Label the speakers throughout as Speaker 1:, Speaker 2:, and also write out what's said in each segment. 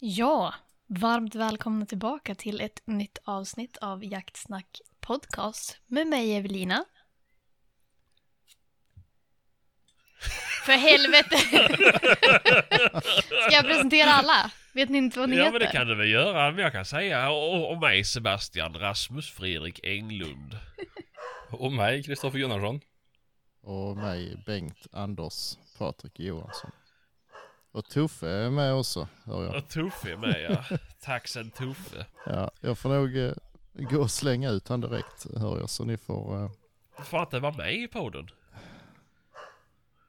Speaker 1: Ja, varmt välkomna tillbaka till ett nytt avsnitt av Jaktsnack Podcast med mig Evelina. För helvete! Ska jag presentera alla? Vet ni inte vad ni
Speaker 2: Ja
Speaker 1: heter?
Speaker 2: men det kan du väl göra. Men jag kan säga och, och mig Sebastian Rasmus Fredrik Englund.
Speaker 3: Och mig, Kristoffer Gunnarsson.
Speaker 4: Och mig, Bengt, Anders, Patrik Johansson. Och Tuffe är med också, hör jag.
Speaker 2: Och Tuffe är med ja. Taxen Tuffe.
Speaker 4: Ja, jag får nog eh, gå och slänga ut han direkt, hör jag. Så ni får eh,
Speaker 2: Du får inte vara med i podden.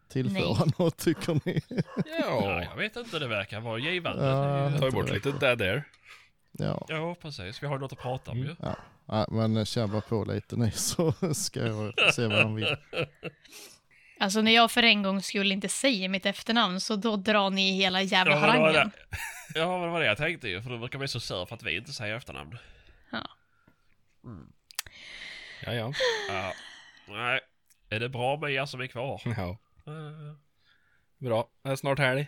Speaker 4: tillföra något, tycker ni.
Speaker 2: Ja,
Speaker 3: Ja,
Speaker 2: jag vet inte, det verkar vara givande.
Speaker 4: Ja.
Speaker 2: Det är ju-
Speaker 3: tar ju bort lite där där.
Speaker 4: Ja,
Speaker 2: Ja, precis. Vi har något att prata om
Speaker 3: Mm.
Speaker 2: ju.
Speaker 4: ja men eh, tjabba på lite ni så ska jag se vad han vill.
Speaker 1: Alltså när jag för en gång skulle inte säga mitt efternamn så då drar ni hela jävla
Speaker 2: Ja, men det var
Speaker 1: harangen.
Speaker 2: det. Ja, men det var det jag tänkte ju. För du verkar bli så sur för att vi inte säger efternamn.
Speaker 3: Ja, ja.
Speaker 2: Ja. Nej. Är det bra med er som är kvar?
Speaker 3: ja.
Speaker 2: Eh,
Speaker 3: Bra. Det är snart helg.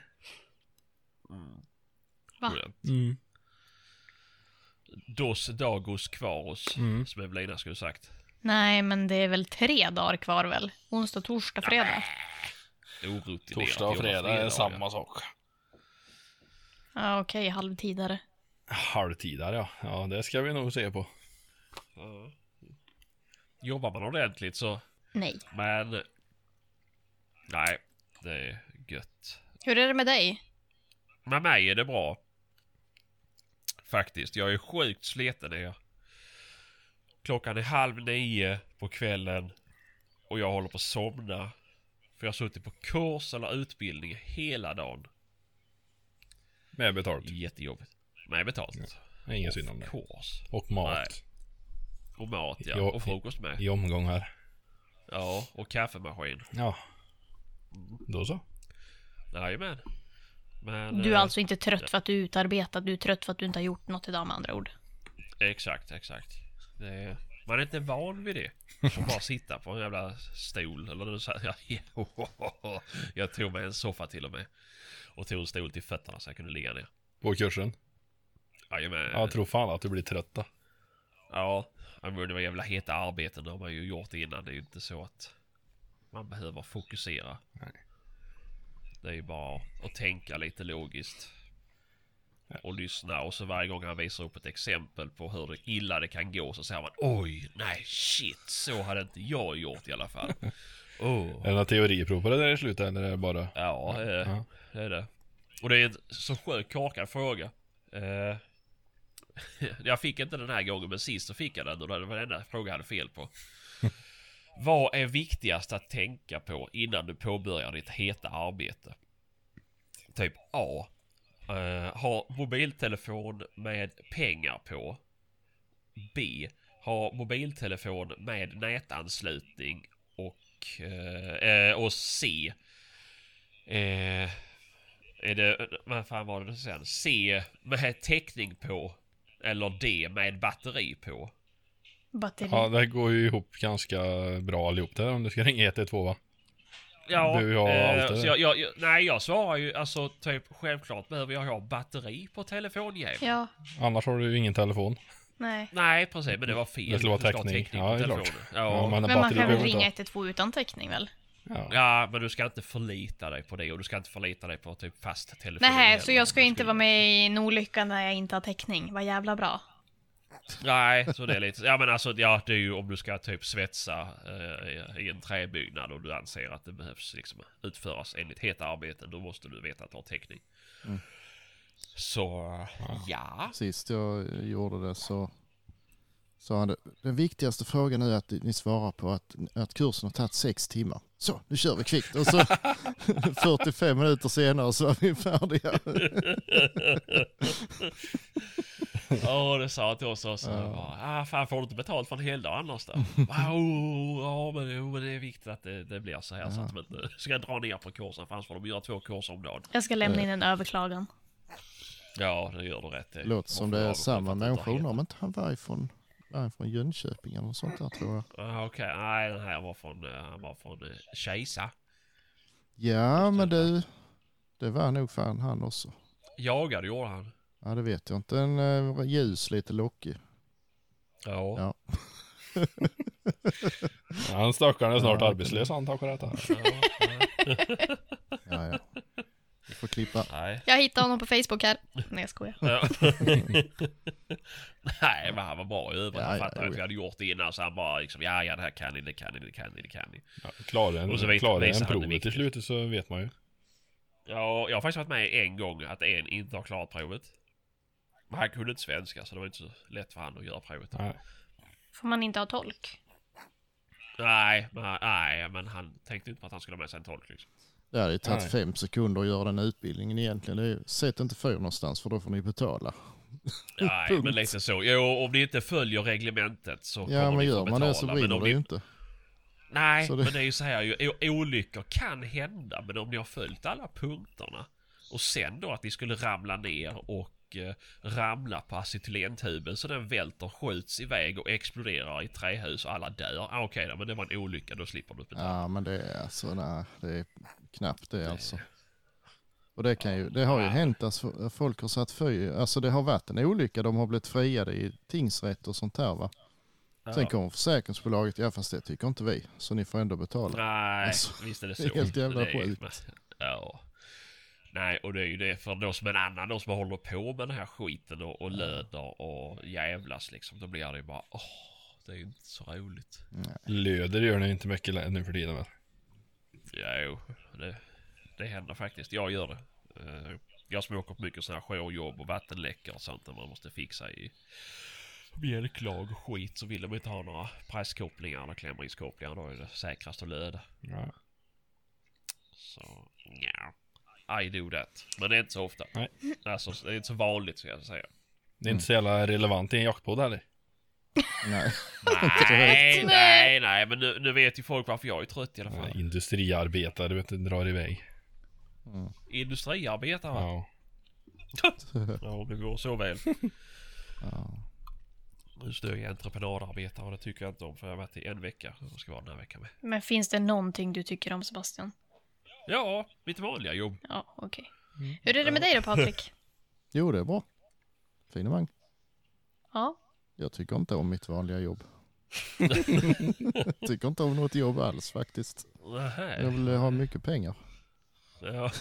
Speaker 1: Va?
Speaker 2: skönt.
Speaker 3: Mm.
Speaker 2: Eh, Dos dagos kvaros,
Speaker 3: Mm.
Speaker 2: som Evelina skulle sagt.
Speaker 1: Nej, men det är väl tre dagar kvar väl? Onsdag, torsdag, fredag.
Speaker 2: Orutinerat
Speaker 3: Torsdag och
Speaker 2: jobba
Speaker 3: fredag är
Speaker 2: fredagar.
Speaker 3: samma sak.
Speaker 1: Ja, okej, halvtidare.
Speaker 3: Halvtidare ja. Ja, det ska vi nog se på.
Speaker 2: Ja. Jobbar man ordentligt så,
Speaker 1: Nej.
Speaker 2: men... Nej, det är gött.
Speaker 1: Hur är det med dig?
Speaker 2: Med mig är det bra. Faktiskt, jag är sjukt sliten är jag. Klockan är halv nio på kvällen och jag håller på att somna. För jag har suttit på kurs eller utbildning hela dagen.
Speaker 3: Med betalt.
Speaker 2: Mm. Jättejobbigt. Nej, betalt.
Speaker 3: Det är Ingen synd om det.
Speaker 2: Kurs.
Speaker 3: Och
Speaker 2: Nej.
Speaker 3: mat.
Speaker 2: Och mat ja.
Speaker 3: Jo-
Speaker 2: Och frukost med.
Speaker 3: I omgångar.
Speaker 2: Ja, och kaffemaskin.
Speaker 3: Ja. Då så.
Speaker 2: Jajamän. Men...
Speaker 1: Du är
Speaker 2: eh,
Speaker 1: alltså inte trött för att du är utarbetad, du är trött för att du inte har gjort något idag med andra ord.
Speaker 2: Exakt, exakt. Det är... Man är inte van vid det. Att bara sitta på en jävla stol. Eller så här, ja, jag tog mig en soffa till och med. Och tog en stol till fötterna så jag kunde ligga ner.
Speaker 3: På kursen.
Speaker 2: Jajamän.
Speaker 3: Ja, Jag tror fan att du blir trött då.
Speaker 2: Ja. ja, men det var jävla heta arbeten. Det har man ju gjort innan. Det är ju inte så att man behöver fokusera.
Speaker 3: Nej.
Speaker 2: Det är ju bara att tänka lite logiskt. Och lyssna och så varje gång han visar upp ett exempel på hur det- illa det kan gå så säger man oj, nej shit, så hade inte jag gjort i alla fall. oh.
Speaker 3: Är det några teoriprov på det där i slutet eller är det bara...
Speaker 2: Ja, eh,
Speaker 3: Ja.
Speaker 2: det är det. Och det är en så sjukt korkad fråga. Eh, jag fick inte den här gången, men sist så fick jag den och det var den enda fråga jag hade fel på. Vad är viktigast att tänka på innan du påbörjar ditt heta arbete? Typ A. Eh, ha mobiltelefon med pengar på. B. Ha mobiltelefon med nätanslutning och, eh, eh, och C. Eh, är det, vad fan var det sen? C med täckning på. Eller D med batteri på.
Speaker 1: Batteri.
Speaker 3: Ja, det går ju ihop ganska bra allihop där om du ska ringa 112 va? Du, jag har allt det
Speaker 2: eh, så
Speaker 3: där.
Speaker 2: jag, jag, jag, Nej, jag svarar ju alltså typ självklart behöver jag ha batteri på telefonjäveln.
Speaker 1: Ja,
Speaker 3: Annars har du ju ingen telefon.
Speaker 1: nej.
Speaker 2: Nej, precis, men det var fel.
Speaker 3: Det skulle vara
Speaker 2: ska ha
Speaker 3: täckning.
Speaker 2: på
Speaker 3: Ja, det är
Speaker 2: telefonen.
Speaker 3: klart.
Speaker 2: Ja,
Speaker 3: men
Speaker 1: Men man
Speaker 3: batteri
Speaker 1: kan väl
Speaker 3: behöver inte
Speaker 1: ringa
Speaker 3: ha.
Speaker 1: 112 utan täckning väl?
Speaker 3: Ja.
Speaker 2: ja, men du ska inte förlita dig på det och du ska inte förlita dig på typ fast telefon.
Speaker 1: Nej, så
Speaker 2: heller.
Speaker 1: jag ska inte vara med i en olycka när jag inte har täckning. Vad jävla bra.
Speaker 2: Nej, så det är lite... Ja men alltså, ja, det är ju om du ska typ svetsa eh, i- i en träbyggnad och du anser att det behövs liksom utföras enligt heta arbeten, då måste du veta att du har täckning.
Speaker 4: Mm.
Speaker 2: Så, ja.
Speaker 4: Sist jag gjorde det så sa han det. Den viktigaste frågan är att ni svarar på att, att kursen har tagit sex timmar. Så, nu kör vi kvickt. Och så 45 minuter senare så är vi färdiga.
Speaker 2: Ja, det sa jag till oss också. Jag bara, Ah, fan får du inte betalt för en hel dag annars då? Wow, ja men, jo, men det är viktigt att det, det blir så här så att de inte ska dra ner på kursen, för annars får de göra två kurser om dagen.
Speaker 1: Jag ska lämna in en överklagan.
Speaker 2: Ja, det gör du rätt i.
Speaker 4: Låter som
Speaker 2: Varför
Speaker 4: det är
Speaker 2: har de
Speaker 4: samma
Speaker 2: inte
Speaker 4: människa.
Speaker 2: heta?
Speaker 4: Undrar om inte han var ifrån, var ifrån Jönköping eller något sånt där tror jag.
Speaker 2: Ah, Okej, nej den här var från, eh, han var från eh, Kisa.
Speaker 4: Ja, men du. Det var nog fan han också.
Speaker 2: Jagade gjorde han.
Speaker 4: Ja, det vet jag inte. En eh, ljus, lite lockig.
Speaker 2: Ja.
Speaker 4: Ja.
Speaker 3: Han stackaren är snart
Speaker 4: Ja.
Speaker 3: arbetslös han tack vare detta.
Speaker 2: ja, nej,
Speaker 4: Ja, ja. Vi får klippa.
Speaker 2: Nej.
Speaker 1: Jag hittade honom på Facebook här. Nej, jag skojar.
Speaker 2: Ja. Nej, men han var bra i övrigt.
Speaker 4: Ja,
Speaker 2: Han
Speaker 4: ja,
Speaker 2: fattade
Speaker 4: ja.
Speaker 2: inte vad jag hade gjort innan så han bara liksom ja, ja, det här kan ni, det kan ni, det kan ni, det kan ni.
Speaker 3: Ja, klarar en,
Speaker 2: Och så vet-
Speaker 3: klarar
Speaker 2: visar
Speaker 3: en
Speaker 2: han det
Speaker 3: provet till
Speaker 2: viktigt.
Speaker 3: slutet så vet man ju.
Speaker 2: Ja, jag har faktiskt varit med en gång att en inte har klarat provet. Men han kunde inte svenska så det var inte så lätt för han att göra provet.
Speaker 3: Nej.
Speaker 1: Får man inte ha tolk?
Speaker 2: Nej, men, han- nej, men han tänkte inte på att han skulle ha med sig en tolk liksom.
Speaker 4: Det hade ju tagit
Speaker 3: Nej.
Speaker 4: fem sekunder att göra den utbildningen egentligen. Det är ju, sätt inte fyr någonstans för då får ni betala.
Speaker 2: Nej,
Speaker 4: Punkt.
Speaker 2: men lite så. Jo, om ni inte följer reglementet så
Speaker 4: Ja,
Speaker 2: kommer
Speaker 4: men
Speaker 2: ni få
Speaker 4: gör man
Speaker 2: betala.
Speaker 4: det så
Speaker 2: men
Speaker 4: brinner
Speaker 2: om
Speaker 4: det
Speaker 2: ni...
Speaker 4: ju inte.
Speaker 2: Nej,
Speaker 4: Så det-
Speaker 2: men det är ju så här ju. o- Olyckor kan hända, men om ni har följt alla punkterna och sen då att ni skulle ramla ner och eh, ramla på acetylentuben så den välter, skjuts iväg och exploderar i trähus och alla dör. Ah, Okej då, men det var en olycka, då slipper du betala.
Speaker 4: Ja, men det är alltså, nej, det är knappt det alltså. Och det kan ju, det har ju
Speaker 2: Ja.
Speaker 4: hänt att alltså, folk har satt fyr, alltså det har varit en olycka, de har blivit friade i tingsrätt och sånt här va. Sen
Speaker 2: Ja.
Speaker 4: kommer försäkringsbolaget, ja fast det tycker inte vi, så ni får ändå betala.
Speaker 2: Nej,
Speaker 4: Alltså,
Speaker 2: visst är det så.
Speaker 4: det är helt jävla
Speaker 2: Det är-
Speaker 4: sjukt.
Speaker 2: Ja. Nej, och det är ju det för då som en annan, då som håller på med den här skiten och, och löder och jävlas liksom. Då blir det ju bara åh, det är ju inte så roligt.
Speaker 3: Löder gör ni inte mycket lä- nu för tiden väl?
Speaker 2: Jo, det, det händer faktiskt. Jag gör det. Eh, Jag som åker på mycket sådana här jourjobb och vattenläckor och sånt där man måste fixa i mjölklag och skit så vill de inte ha några presskopplingar eller klämringskopplingar. Då är det säkrast att löda.
Speaker 3: Ja.
Speaker 2: Så, nja. I do that. Men det är inte så ofta.
Speaker 3: Nej.
Speaker 2: Alltså, det är inte så vanligt ska jag säga.
Speaker 3: Det är inte så jävla relevant i en jaktpodd heller.
Speaker 4: Nej.
Speaker 2: Nej,
Speaker 1: direkt.
Speaker 2: nej, nej, men nu, nu vet ju folk varför jag är trött i alla fall.
Speaker 3: Ja, industriarbetare vet du, drar iväg.
Speaker 2: Industriarbetare. Ja.
Speaker 3: Ja.
Speaker 2: om det går så väl.
Speaker 4: Ja.
Speaker 2: Nu står jag i entreprenadarbetare och det tycker jag inte om för jag har varit i en vecka och ska vara den här veckan med.
Speaker 1: Men finns det någonting du tycker om Sebastian?
Speaker 2: Ja, mitt vanliga jobb.
Speaker 1: Ja, okej.
Speaker 2: Mm.
Speaker 1: Hur är det med
Speaker 2: Eh.
Speaker 1: dig då Patrik?
Speaker 4: Jo, det är bra. Finemang.
Speaker 1: Ja,
Speaker 4: Jag tycker inte om mitt vanliga jobb. tycker inte om något jobb alls faktiskt. Jag
Speaker 2: Nähä.
Speaker 4: vill ha mycket pengar.
Speaker 2: Ja.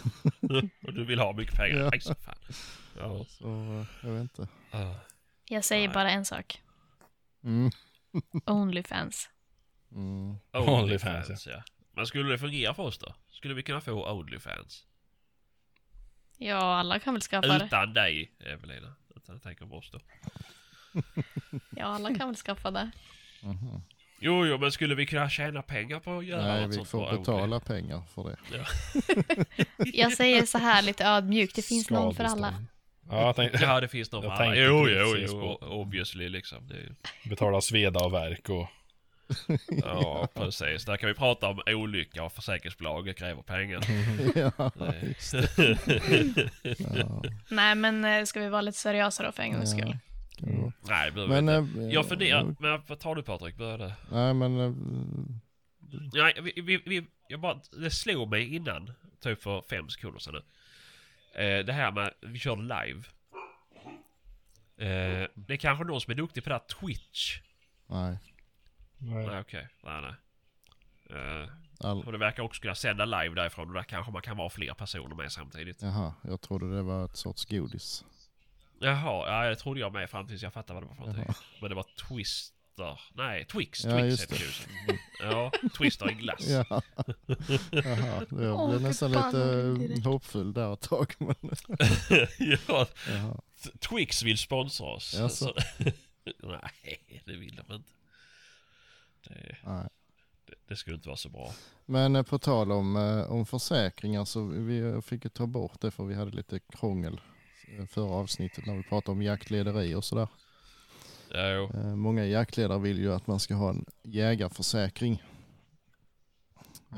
Speaker 2: Och du vill ha mycket pengar.
Speaker 4: Ja.
Speaker 2: Nej, så fan. Ja.
Speaker 4: Så eh, jag vet inte.
Speaker 2: Ah.
Speaker 1: jag säger
Speaker 2: Nej.
Speaker 1: bara en sak.
Speaker 4: Mm.
Speaker 1: Onlyfans.
Speaker 4: Mm.
Speaker 3: Onlyfans,
Speaker 2: Onlyfans, ja. Men skulle det fungera för oss då? Skulle vi kunna få Onlyfans?
Speaker 1: Ja, alla kan väl skaffa det.
Speaker 2: Utan dig, Evelina. Utan jag tänker på oss då.
Speaker 1: Ja, alla kan väl skaffa det.
Speaker 4: Mhm.
Speaker 2: Jo, jo, men skulle vi kunna tjäna pengar på att göra
Speaker 4: Nej,
Speaker 2: något
Speaker 4: vi
Speaker 2: sånt
Speaker 4: får
Speaker 2: bra?
Speaker 4: betala pengar för det.
Speaker 1: Jag säger så här lite ödmjukt, det finns någon för alla.
Speaker 3: Skadestånd. Ja, jag tänkte
Speaker 2: Ja, det finns nog för
Speaker 3: Jag
Speaker 2: alla.
Speaker 3: tänkte
Speaker 2: Jo, jo,
Speaker 3: precis
Speaker 2: jo,
Speaker 3: på-
Speaker 2: obviously liksom. Det är, ju-
Speaker 3: betala sveda och verk och...
Speaker 2: ja, precis. Där kan vi prata om olycka och försäkringsbolaget kräver pengar.
Speaker 4: ja.
Speaker 2: Det-
Speaker 4: Ja.
Speaker 1: Nej, men eh, ska vi vara lite seriösa då för en gångs
Speaker 4: Ja.
Speaker 1: skull?
Speaker 4: Jo.
Speaker 2: Nej, det behöver vi
Speaker 4: Men,
Speaker 2: inte.
Speaker 4: eh,
Speaker 2: Jag funderar, men vad tar du Patrik? Börja du.
Speaker 4: Nej, men eh,
Speaker 2: Nej, vi, vi, vi, jag bara, det slog mig innan, typ för fem sekunder sedan nu. Eh, det här med, vi kör live. Eh, det är kanske någon som är duktig på det här Twitch.
Speaker 4: nej.
Speaker 2: Nej, okej. Nej, nej. Eh,
Speaker 4: All...
Speaker 2: och det verkar också kunna sända live därifrån och där kanske man kan vara fler personer med samtidigt.
Speaker 4: Jaha, jag trodde det var ett sorts godis.
Speaker 2: Jaha, ja, det trodde jag med fram tills jag fattade vad det var för någonting. Men det var Twister. Nej, Twix.
Speaker 4: Ja,
Speaker 2: Twix
Speaker 4: just
Speaker 2: heter det. ju. Ja, Twister i glass.
Speaker 4: Ja. Jaha, jag
Speaker 1: Åh,
Speaker 4: blev
Speaker 1: fy
Speaker 4: nästan
Speaker 1: fan,
Speaker 4: lite
Speaker 1: jag blev
Speaker 4: eh,
Speaker 1: direkt-
Speaker 4: hoppfull där ett tag. Men...
Speaker 2: ja,
Speaker 4: Jaha.
Speaker 2: T- Twix vill sponsra oss.
Speaker 4: Jaså?
Speaker 2: Så- Nej, det vill de inte. Det,
Speaker 4: Nej.
Speaker 2: det, det skulle inte vara så bra.
Speaker 4: Men eh, på tal om, eh, om försäkringar så vi eh, fick ju ta bort det för vi hade lite krångel eh, förra avsnittet när vi pratade om jaktlederi och sådär.
Speaker 2: Ja, jo.
Speaker 4: Eh, Många jaktledare vill ju att man ska ha en jägarförsäkring.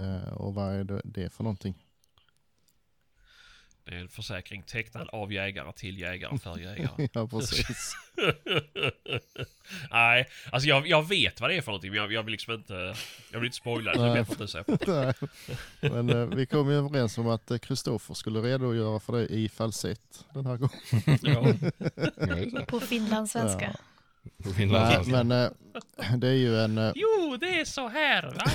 Speaker 4: Eh, Och vad är det- det för någonting?
Speaker 2: Det är en försäkring tecknad av jägare till jägare för jägare.
Speaker 4: Ja, precis.
Speaker 2: Nej, alltså jag, jag vet vad det är för någonting men jag, jag vill liksom inte... Jag vill inte spoila det så det är
Speaker 4: Nej.
Speaker 2: bättre att du säger det.
Speaker 4: Nej. Men eh, vi kom ju överens om att eh, Kristoffer skulle redogöra för det i falsett den här gången.
Speaker 2: Ja.
Speaker 3: Ja, just det.
Speaker 1: På finlandssvenska.
Speaker 3: På Finland.
Speaker 4: Nej,
Speaker 3: alltså.
Speaker 4: men eh, det är ju en... eh,
Speaker 2: Jo, det är så här va?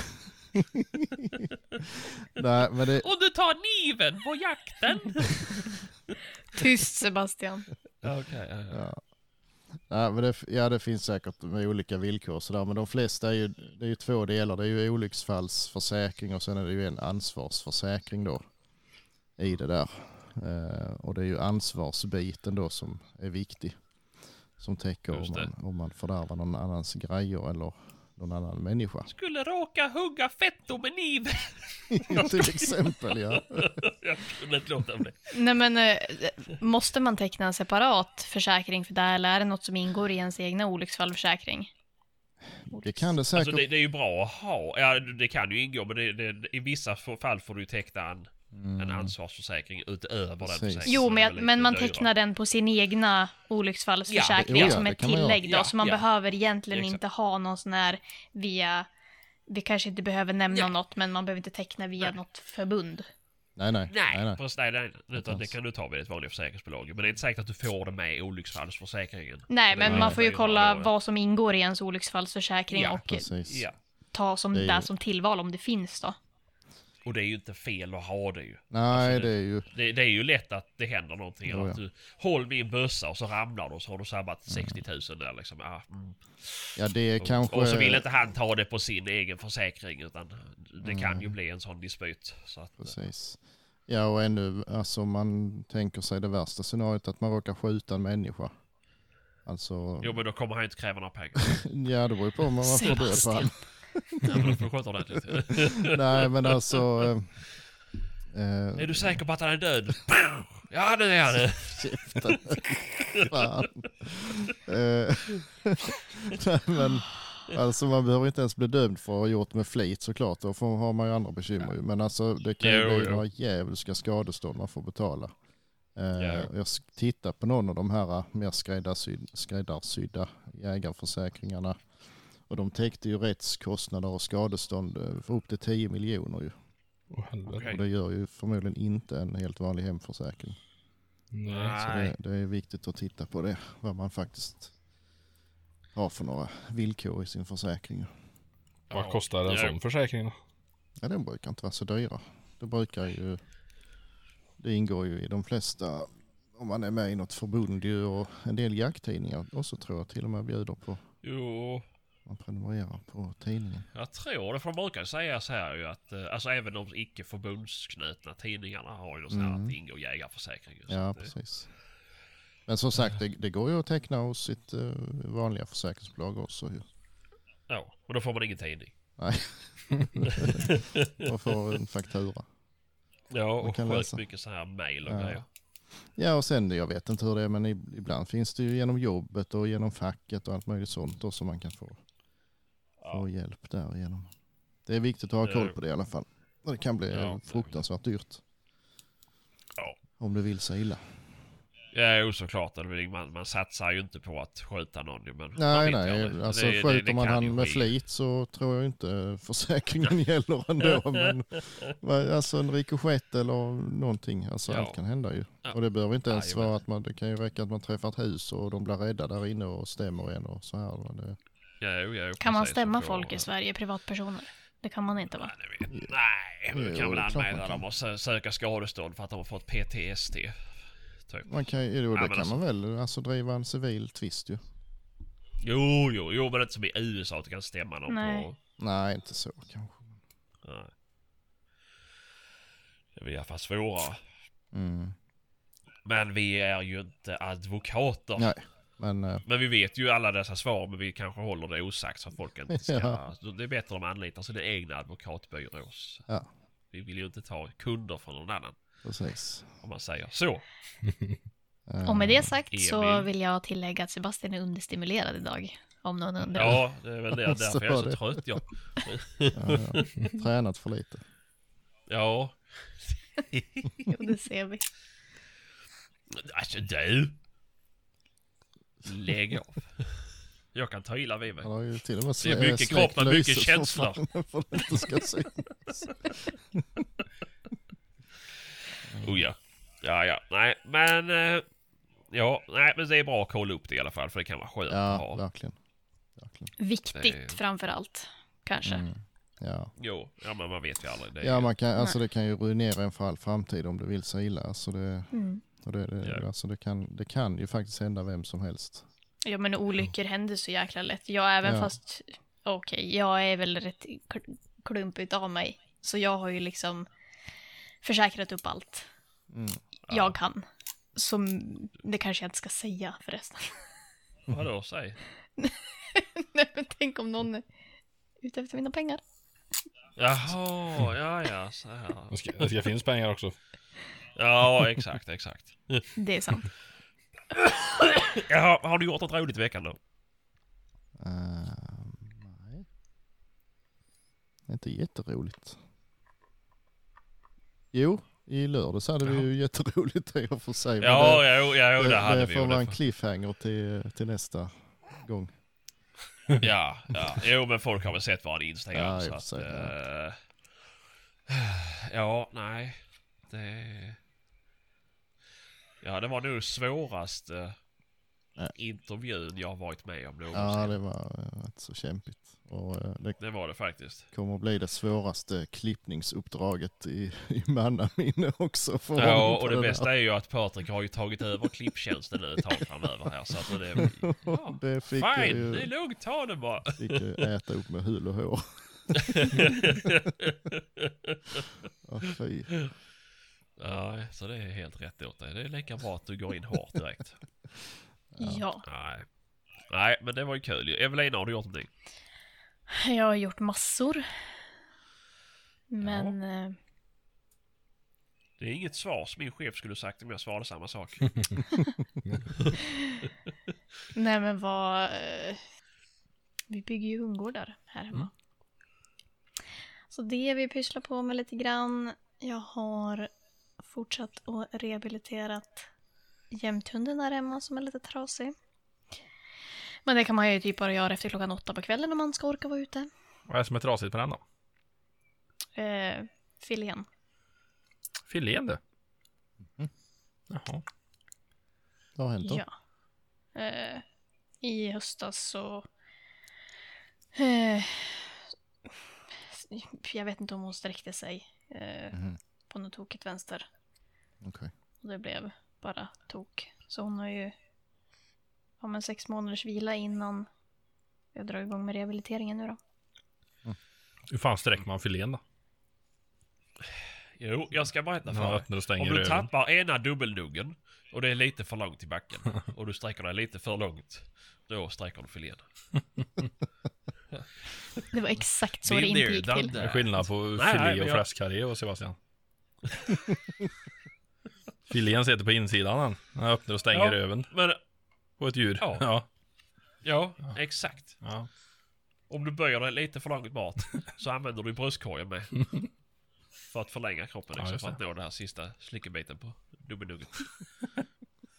Speaker 4: Nej, men det,
Speaker 2: Om du tar kniven på jakten!
Speaker 1: Tyst Sebastian.
Speaker 2: Okej, ja, ja.
Speaker 4: ja. Nej, men det, ja, det finns säkert med olika villkor och sådär, men de flesta är ju, det är ju två delar. Det är ju olycksfallsförsäkring och sen är det ju en ansvarsförsäkring då i det där. Eh, och det är ju ansvarsbiten då som är viktig. Som täcker om
Speaker 2: Just det.
Speaker 4: man, om man fördärvar någon annans grejer eller någon annan människa.
Speaker 2: Skulle råka hugga fetto med kniven.
Speaker 4: Till exempel ja.
Speaker 2: Jag kunde inte låta bli.
Speaker 1: Nej men, eh, måste man teckna en separat försäkring för det här, eller är det något som ingår i ens egna olycksfallsförsäkring?
Speaker 4: Det kan det säkert.
Speaker 2: Alltså det, det är ju bra att ha. Ja, det kan ju ingå men det, det, i vissa fall får du ju teckna en,
Speaker 4: Mm.
Speaker 2: en ansvarsförsäkring utöver
Speaker 4: Precis.
Speaker 2: den försäkring
Speaker 1: Jo,
Speaker 2: som är
Speaker 1: men,
Speaker 2: lite
Speaker 1: men man
Speaker 2: dyrare.
Speaker 1: tecknar den på sin egna olycksfallsförsäkring
Speaker 4: Ja, det- jo, ja,
Speaker 1: som
Speaker 4: det
Speaker 1: ett
Speaker 4: kan man göra.
Speaker 1: tillägg då,
Speaker 2: Ja,
Speaker 1: så man
Speaker 2: ja.
Speaker 1: behöver egentligen
Speaker 2: Exakt.
Speaker 1: inte ha någon sån här via, vi kanske inte behöver nämna
Speaker 2: Ja.
Speaker 1: något, men man behöver inte teckna via
Speaker 2: Nej.
Speaker 1: något förbund.
Speaker 4: Nej, nej.
Speaker 2: Nej, precis. Nej, nej, utan det
Speaker 4: alls.
Speaker 2: kan du ta vid ett vanligt försäkringsbolag. Men det är inte säkert att du får det med i olycksfallsförsäkringen.
Speaker 1: Nej,
Speaker 2: Det
Speaker 1: men
Speaker 2: är
Speaker 1: man får ju
Speaker 2: det
Speaker 1: kolla
Speaker 2: då, ja.
Speaker 1: vad som ingår i ens olycksfallsförsäkring
Speaker 2: Ja,
Speaker 1: och eh,
Speaker 4: Precis.
Speaker 2: Ja,
Speaker 1: ta som
Speaker 4: Det
Speaker 1: det,
Speaker 4: är ju-
Speaker 1: där som tillval om det finns då.
Speaker 2: och det är ju inte fel att ha det ju.
Speaker 4: Nej,
Speaker 2: Alltså,
Speaker 4: det är ju...
Speaker 2: Det, det är ju lätt att det händer någonting.
Speaker 4: Jo,
Speaker 2: eller att
Speaker 4: ja. Mm.
Speaker 2: du, håll min bössa och så ramlar du och så har du sabbat 60 000 där liksom. Ah, mm.
Speaker 4: Ja, det är kanske...
Speaker 2: Och så vill inte han ta det på sin egen försäkring utan det kan
Speaker 4: Mm.
Speaker 2: ju bli en sån dispyt. Så att,
Speaker 4: Precis. Ja, och ännu, alltså om man tänker sig det värsta scenariot att man råkar skjuta en människa. Alltså,
Speaker 2: jo men då kommer han ju inte kräva några pengar.
Speaker 4: ja det beror ju på om man får död på
Speaker 1: Sebastian.
Speaker 4: han.
Speaker 2: Ja, men då får du sköta ordentligt.
Speaker 4: Nej, men alltså... eh, eh,
Speaker 2: Är du säker på att han är död? Ja det är han.
Speaker 4: käften. Fan. Eh, Nej, men, alltså man behöver inte ens bli dömd för att ha gjort med flit såklart. Då får, har man ju andra bekymmer. ju. Men alltså det kan ju
Speaker 2: Jo,
Speaker 4: bli
Speaker 2: jo.
Speaker 4: några djävulska skadestånd man får betala. Eh,
Speaker 2: Ja.
Speaker 4: Jag s- tittar på någon av de här eh, mer skräddarsyd, skräddarsydda jägarförsäkringarna. Och de täckte ju rättskostnader och skadestånd eh, för upp till 10 miljoner ju.
Speaker 3: Åh, helvete.
Speaker 2: Okej.
Speaker 4: Och det gör ju förmodligen inte en helt vanlig hemförsäkring.
Speaker 3: Nej.
Speaker 4: Så
Speaker 2: Nej.
Speaker 4: det, det är viktigt att titta på det, vad man faktiskt har för några villkor i sin försäkring.
Speaker 3: Vad kostar en
Speaker 2: Ja.
Speaker 3: sån försäkring då?
Speaker 4: Ja, de brukar inte vara så dyra. Det brukar ju, det ingår ju i de flesta, om man är med i något förbund ju och en del jakttidningar också tror jag till och med bjuder på.
Speaker 2: Jo,
Speaker 4: Man prenumererar på tidningen.
Speaker 2: jag tror det. För de brukar ju säga så här ju att eh, alltså även de icke förbundsknutna tidningarna har ju något sån här att det ingår jägarförsäkring. ju, så
Speaker 4: Mm. Ja,
Speaker 2: att det-
Speaker 4: precis. Men som sagt, det, det går ju att teckna hos sitt eh, vanliga försäkringsbolag också. ju.
Speaker 2: Ja, och då får man ingen tidning.
Speaker 4: Nej. Man får en faktura.
Speaker 2: Ja, och
Speaker 4: kan
Speaker 2: sjukt
Speaker 4: läsa.
Speaker 2: mycket så här mejl och
Speaker 4: Ja.
Speaker 2: grejer.
Speaker 4: Ja och sen, jag vet inte hur det är, men ib- ibland finns det ju genom jobbet och genom facket och allt möjligt sånt då som man kan få, få hjälp där genom. Det är viktigt att ha
Speaker 2: Det är
Speaker 4: koll
Speaker 2: det.
Speaker 4: på det i alla fall. Och Det kan bli
Speaker 2: Ja, det är
Speaker 4: eh, fruktansvärt dyrt.
Speaker 2: Ja.
Speaker 4: Om det vill sig illa.
Speaker 2: Ja, jo såklart. Det är väl- Man, man satsar ju inte på att skjuta någon ju, men man
Speaker 4: Nej,
Speaker 2: vet ju
Speaker 4: nej,
Speaker 2: aldrig.
Speaker 4: alltså
Speaker 2: Det- det- det
Speaker 4: skjuter man
Speaker 2: kan ju
Speaker 4: han med
Speaker 2: ske.
Speaker 4: flit så tror jag inte försäkringen gäller ändå. Men, men alltså en rikoschett eller någonting, alltså
Speaker 2: Ja.
Speaker 4: allt kan hända ju.
Speaker 2: Ja.
Speaker 4: Och det behöver inte ens
Speaker 2: Jajamän.
Speaker 4: vara att man, det kan ju räcka att man träffar ett hus och de blir rädda där inne och stämmer en och så här. Men det,
Speaker 2: Ja, jo, ja, jo,
Speaker 4: Alltså,
Speaker 1: Kan man
Speaker 2: precis,
Speaker 1: stämma
Speaker 2: så får-
Speaker 1: folk i Sverige, privatpersoner? Det kan man inte va?
Speaker 2: Nej, det vet- Nej, men du
Speaker 4: Jo,
Speaker 2: kan väl
Speaker 4: det är klart man
Speaker 2: anmäla
Speaker 4: kan.
Speaker 2: dem och sö- söka skadestånd för att de har fått PTSD. Typ.
Speaker 4: Man kan, ju- jo, det
Speaker 2: men
Speaker 4: kan
Speaker 2: alltså-
Speaker 4: man väl alltså driva en civil tvist ju.
Speaker 2: Jo, jo, jo, men inte som i USA att du kan stämma någon
Speaker 1: Nej.
Speaker 2: på...
Speaker 4: Nej, inte så kanske.
Speaker 2: Nej. Det blir i alla fall svårare.
Speaker 4: Mm.
Speaker 2: Men vi är ju inte advokater.
Speaker 4: Nej, men eh,
Speaker 2: Men vi vet ju alla dessa svar, men vi kanske håller det osagt så att folk inte ska...
Speaker 4: Ja.
Speaker 2: Så Det är bättre om man anlitar sina egna advokatbyrås.
Speaker 4: Ja.
Speaker 2: Vi vill ju inte ta kunder från någon annan,
Speaker 4: precis.
Speaker 2: om man säger så.
Speaker 4: Eh,
Speaker 1: Och med det sagt så
Speaker 2: Emil.
Speaker 1: vill jag tillägga att Sebastian är understimulerad idag. Om någon undrar.
Speaker 2: Ja, det är väl det.
Speaker 4: Så
Speaker 2: Därför jag är
Speaker 4: var
Speaker 2: så
Speaker 4: det.
Speaker 2: trött jag.
Speaker 4: ja, ja. Tränat för lite.
Speaker 2: Ja.
Speaker 1: Jo, det ser vi.
Speaker 2: Alltså du! Lägg av. Jag kan ta illa vid mig.
Speaker 4: Han har ju till och med
Speaker 2: Det är mycket
Speaker 4: släckt
Speaker 2: kropp, men mycket
Speaker 4: lyset för
Speaker 2: känslor.
Speaker 4: fan, För att det inte ska synas.
Speaker 2: Oh ja. Ja, ja. Nej, men... eh, Ja, nej, men det är bra att kolla upp det i alla fall, för det kan vara skönt att
Speaker 4: Ja,
Speaker 2: ha.
Speaker 4: verkligen. verkligen.
Speaker 1: Viktigt
Speaker 2: Det-
Speaker 1: framför allt, kanske.
Speaker 4: Mm. Ja.
Speaker 2: Jo, ja, men man vet ju aldrig. Det är,
Speaker 4: Ja, man kan, alltså det kan ju ruinera en för all framtid om det vill sig illa. Alltså det,
Speaker 1: Mm.
Speaker 4: och det, det,
Speaker 2: Ja.
Speaker 4: alltså det, kan, det kan ju faktiskt hända vem som helst.
Speaker 1: Ja, men olyckor händer så jäkla lätt. Jag även
Speaker 4: Ja.
Speaker 1: fast, okej, jag är väl rätt kl- klumpigt av mig. Så jag har ju liksom försäkrat upp allt
Speaker 2: Mm. Ja.
Speaker 1: jag kan. Som, det kanske jag inte ska säga förresten.
Speaker 2: Vadå, säg?
Speaker 1: Nej, men tänk om någon är ute efter mina pengar.
Speaker 2: Jaha, ja, ja, så här.
Speaker 3: Det ska, det ska finnas pengar också.
Speaker 2: Ja, exakt, exakt.
Speaker 1: Det är sant.
Speaker 2: Jaha, har du gjort något roligt i veckan då?
Speaker 4: Ehm, nej. Det är inte jätteroligt. Jo, i lördags hade vi
Speaker 2: Jaha.
Speaker 4: ju jätteroligt i och för sig. men
Speaker 2: Ja, det, jo, ja, jo, det,
Speaker 4: det,
Speaker 2: hade
Speaker 4: det
Speaker 2: vi
Speaker 4: får
Speaker 2: ju.
Speaker 4: vara en
Speaker 2: Det
Speaker 4: cliffhanger till, till nästa gång.
Speaker 2: får- Ja, ja. Jo, men folk har väl sett våran Instagram,
Speaker 4: Ja, i och
Speaker 2: så
Speaker 4: för
Speaker 2: att...
Speaker 4: sig,
Speaker 2: eh, ja, nej. Det... Ja, det var nog svåraste
Speaker 4: Ja.
Speaker 2: intervjun jag har varit med om någonsin.
Speaker 4: Ja,
Speaker 2: det...
Speaker 4: det var eh, rätt så kämpigt. Och eh, det
Speaker 2: var det faktiskt.
Speaker 4: kommer att bli det svåraste klippningsuppdraget i, i mannaminne också. För honom
Speaker 2: Ja,
Speaker 4: på
Speaker 2: och det
Speaker 4: den här.
Speaker 2: bästa är ju att Patrik har ju tagit över klipptjänsten nu ett tag framöver här, så att det... Ja.
Speaker 4: Det fick jag
Speaker 2: Fine, det är
Speaker 4: ju
Speaker 2: lugnt, ta det bara.
Speaker 4: fick jag äta upp med hul och hår. Ja, fy.
Speaker 2: Nej, så det är helt rätt åt dig. Det är lika bra att du går in hårt direkt.
Speaker 1: Ja.
Speaker 2: Nej. Nej, men det var ju kul ju. Evelina, har du gjort någonting?
Speaker 1: Jag har gjort massor. Men eh,
Speaker 2: Det är inget svar som min chef skulle sagt om jag svarade samma sak.
Speaker 1: Nej men vad... eh, Vi bygger ju hundgårdar här hemma. Så det vi pysslar på med lite grann. Jag har fortsatt och rehabiliterat jämthunden där hemma som är lite trasig. Men det kan man ju typ bara göra efter klockan åtta på kvällen om man ska orka vara ute.
Speaker 5: Vad är det som är trasigt på den då?
Speaker 1: Eh, filén.
Speaker 5: Filén du.
Speaker 4: Mhm.
Speaker 5: Jaha.
Speaker 4: Det har hänt då.
Speaker 1: Ja. Eh, I höstas så... Eh, jag vet inte om hon sträckte sig eh,
Speaker 4: Mhm,
Speaker 1: på något tokigt vänster.
Speaker 4: okej.
Speaker 1: Och det blev bara tok. Så hon har ju ja, men sex månaders vila innan jag drar igång med rehabiliteringen nu då.
Speaker 5: Hur fan sträcker man filén då?
Speaker 2: Jo, jag ska berätta
Speaker 5: När
Speaker 2: för
Speaker 5: man
Speaker 2: dig.
Speaker 5: öppnar och
Speaker 2: Om
Speaker 5: stänger
Speaker 2: du
Speaker 5: ögonen.
Speaker 2: tappar ena dubbelnuggen och det är lite för långt i backen och du sträcker dig lite för långt, då sträcker du filén.
Speaker 1: Det var exakt så
Speaker 2: Been
Speaker 1: det inte
Speaker 2: there,
Speaker 1: gick
Speaker 2: done
Speaker 1: till.
Speaker 5: Det
Speaker 2: that.
Speaker 5: är skillnad på
Speaker 2: Eh, Nej,
Speaker 5: filé
Speaker 2: nej, men
Speaker 5: och
Speaker 2: jag-
Speaker 5: fläskkarré och Sebastian. Filén sitter på insidan den. När jag öppnar och stänger
Speaker 2: Ja.
Speaker 5: röven
Speaker 2: Men,
Speaker 5: på ett djur.
Speaker 2: Ja.
Speaker 5: Ja.
Speaker 2: ja, exakt.
Speaker 5: ja.
Speaker 2: Om du böjer dig lite för långt bort så använder du bröstkorgen med. För att förlänga kroppen
Speaker 5: Ja,
Speaker 2: liksom,
Speaker 5: just
Speaker 2: för att nå den här sista slickebiten på dubbelnuggen.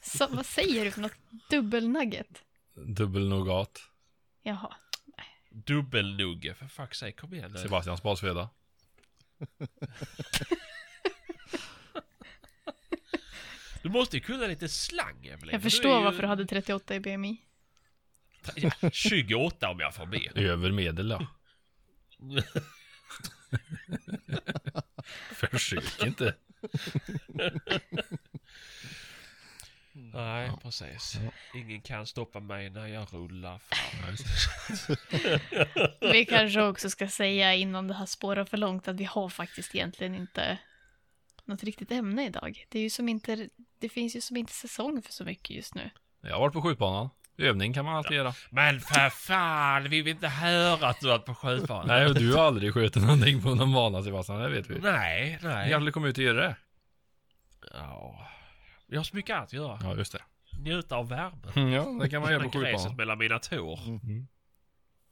Speaker 1: Så, vad säger du för något? Dubbelnugget?
Speaker 5: Dubbel nougat.
Speaker 1: Jaha.
Speaker 2: Dubbelnugge, för fuck's sake, kom igen nu.
Speaker 5: Sebastians basföda.
Speaker 2: Du måste ju kunna lite slang Evelina.
Speaker 1: Jag
Speaker 2: är
Speaker 1: förstår
Speaker 2: ju-
Speaker 1: varför du hade 38 i BMI.
Speaker 2: Ja, 28 om jag får be.
Speaker 5: Över medel ja. Försök inte.
Speaker 2: Nej, precis. Ingen kan stoppa mig när jag rullar
Speaker 5: Ja,
Speaker 2: fram.
Speaker 5: just
Speaker 1: Vi kanske också ska säga innan det här spårar för långt att vi har faktiskt egentligen inte något riktigt ämne idag. Det är ju som inte, det finns ju som inte säsong för så mycket just nu.
Speaker 5: Jag har varit på skjutbanan. Övning kan man alltid göra.
Speaker 2: Men för fan, vi vill inte höra att du varit på skjutbanan.
Speaker 5: Nej, och du har aldrig skjutit någonting på någon bana Sebastian, det vet vi. Nej.
Speaker 2: Nej,
Speaker 5: Jag
Speaker 2: nej.
Speaker 5: har aldrig kommit ut och gjort det.
Speaker 2: Ja. Jag har så mycket annat att göra.
Speaker 5: Ja, just det.
Speaker 2: Njuta av värmen.
Speaker 5: Mm, Ja, det kan man göra på
Speaker 2: Känna gräset
Speaker 5: skjutbanan.
Speaker 2: mellan mina tår.
Speaker 5: Mm.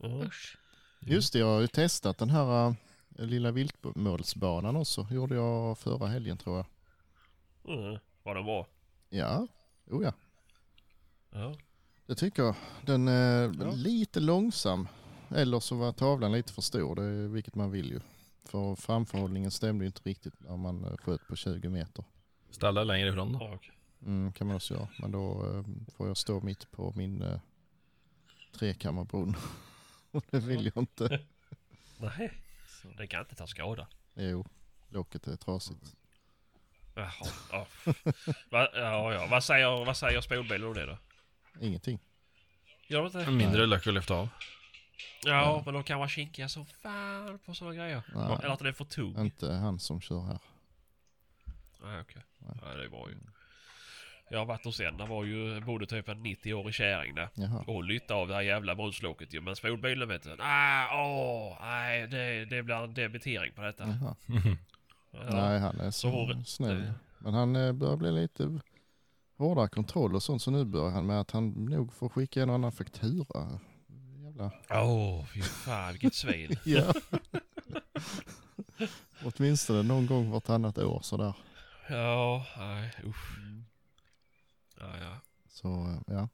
Speaker 2: Mm.
Speaker 1: Usch.
Speaker 4: Just det, jag har ju testat den här eh, lilla viltmålsbanan också. gjorde jag förra helgen tror jag.
Speaker 2: Mm. Var det bra?
Speaker 4: Ja, oh ja.
Speaker 2: Ja.
Speaker 4: Det tycker jag. Den är lite långsam. Eller så var tavlan lite för stor, det är, vilket man vill ju. För framförhållningen stämde ju inte riktigt när man eh, sköt på 20 meter.
Speaker 5: Ställa längre ifrån då.
Speaker 2: Ja, okej.
Speaker 4: Mm, kan man också göra. Men då eh, får jag stå mitt på min eh, trekammarbrunn. Och det vill jag inte.
Speaker 2: Nej. Den kan inte ta skada.
Speaker 4: Jo, locket är trasigt.
Speaker 2: Jaha. Ja. Va, ja, ja. Vad säger, vad säger spolbilen om det då?
Speaker 4: Ingenting.
Speaker 2: Gör de
Speaker 4: Mm.
Speaker 2: inte?
Speaker 5: En mindre lök att lyfta av.
Speaker 2: Ja, men de kan vara kinkiga som fan på sådana grejer.
Speaker 4: Nej. Mm.
Speaker 2: Eller att den är för tung.
Speaker 4: Inte han som kör här.
Speaker 2: Nej, okej. Nej, det är bra ju. Jag har varit hos en, där var ju, bodde typ en 90-årig kärring där.
Speaker 4: Jaha.
Speaker 2: Och hon lytte av det här jävla brunnsloket ju. Men spolbilen vet du. Nej, åh, nej, det, det blir en debitering på detta.
Speaker 4: Jaha.
Speaker 2: Ja.
Speaker 4: Mm. Nej, han
Speaker 2: Så
Speaker 4: är så
Speaker 2: håret-
Speaker 4: snäll.
Speaker 2: det-
Speaker 4: Men han eh, börjar bli lite hårdare kontroll och sånt. Så nu börjar han med att han nog får skicka en och annan faktura. Jävla...
Speaker 2: Åh, fy fan vilket svin.
Speaker 4: Ja. Åtminstone någon gång vartannat år sådär.
Speaker 2: ja, nej, usch.
Speaker 4: Mm.
Speaker 2: Ja, ja.
Speaker 4: Så eh, ja.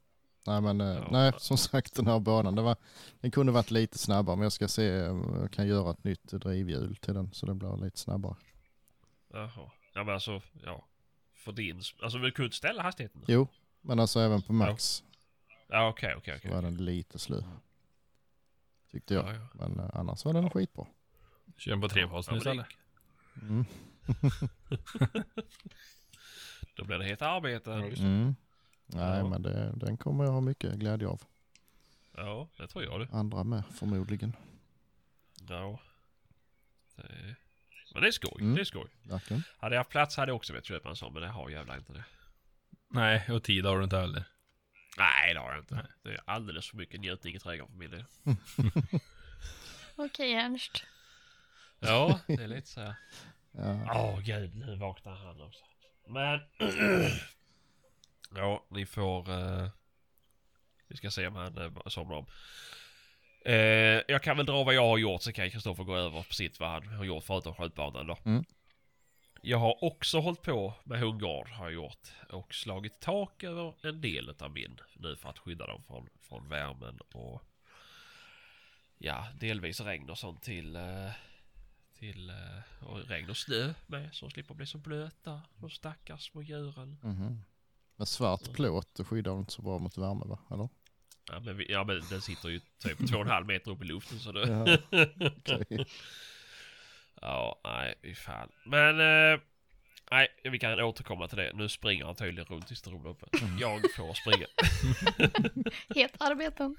Speaker 4: Nej men eh,
Speaker 2: Ja.
Speaker 4: nej, som sagt den här banan, det var, den kunde varit lite snabbare men jag ska se eh, om jag kan göra ett nytt drivhjul till den så den blir lite snabbare.
Speaker 2: Jaha. Ja, men alltså, ja. För din... Alltså, du kunde inte ställa hastigheten?
Speaker 4: Jo, men alltså även på max
Speaker 2: Ja, okej, okej,
Speaker 4: så var
Speaker 2: okej.
Speaker 4: den lite slö. Tyckte jag.
Speaker 2: Ja, ja.
Speaker 4: Men eh, annars var den skitbra.
Speaker 5: Kör den på trefas
Speaker 2: Ja,
Speaker 5: nu
Speaker 2: men det
Speaker 5: istället.
Speaker 2: gick.
Speaker 4: Mm.
Speaker 2: Då blir det heta arbete.
Speaker 4: Mm. Nej
Speaker 2: Ja.
Speaker 4: men det, den kommer jag ha mycket glädje av.
Speaker 2: Ja, det tror jag det.
Speaker 4: Andra med förmodligen.
Speaker 2: Ja. Det är... Men det är skoj,
Speaker 4: Mm.
Speaker 2: det är skoj.
Speaker 4: Verkligen.
Speaker 2: Hade jag haft plats hade jag också velat köpa en sån, men det har jag jävlar inte det.
Speaker 5: Nej, och tid har du inte heller.
Speaker 2: Nej, det har jag inte. Det är alldeles för mycket njutning i trädgården för min del.
Speaker 1: Okej Ernst.
Speaker 2: Ja, det är lite så här.
Speaker 4: Ja.
Speaker 2: Åh gud, nu vaknar han också. Men... ja, ni får... eh, Vi ska se om han uh, somnar om. Eh, jag kan väl dra vad jag har gjort, så kan Kristoffer gå över på sitt vad han har gjort förutom skjutbanan då.
Speaker 4: Mm.
Speaker 2: Jag har också hållit på med hundgård, har jag gjort. Och slagit tak över en del av min nu för att skydda dem från, från värmen och... Ja, delvis regn och sånt till... eh, till eh, och regn och snö med så de slipper bli så blöta de stackars små djuren.
Speaker 4: Mhm. Men svart plåt det skyddar inte så bra mot värme va? Eller?
Speaker 2: Ja men, vi, ja, men den sitter ju typ två och en halv meter upp i luften så det...
Speaker 4: Ja. Okej.
Speaker 2: Ja, nej fy fan. Men... Eh, nej, vi kan återkomma till det. Nu springer han tydligen runt i stolen uppe. Jag får springa.
Speaker 1: Het arbeten.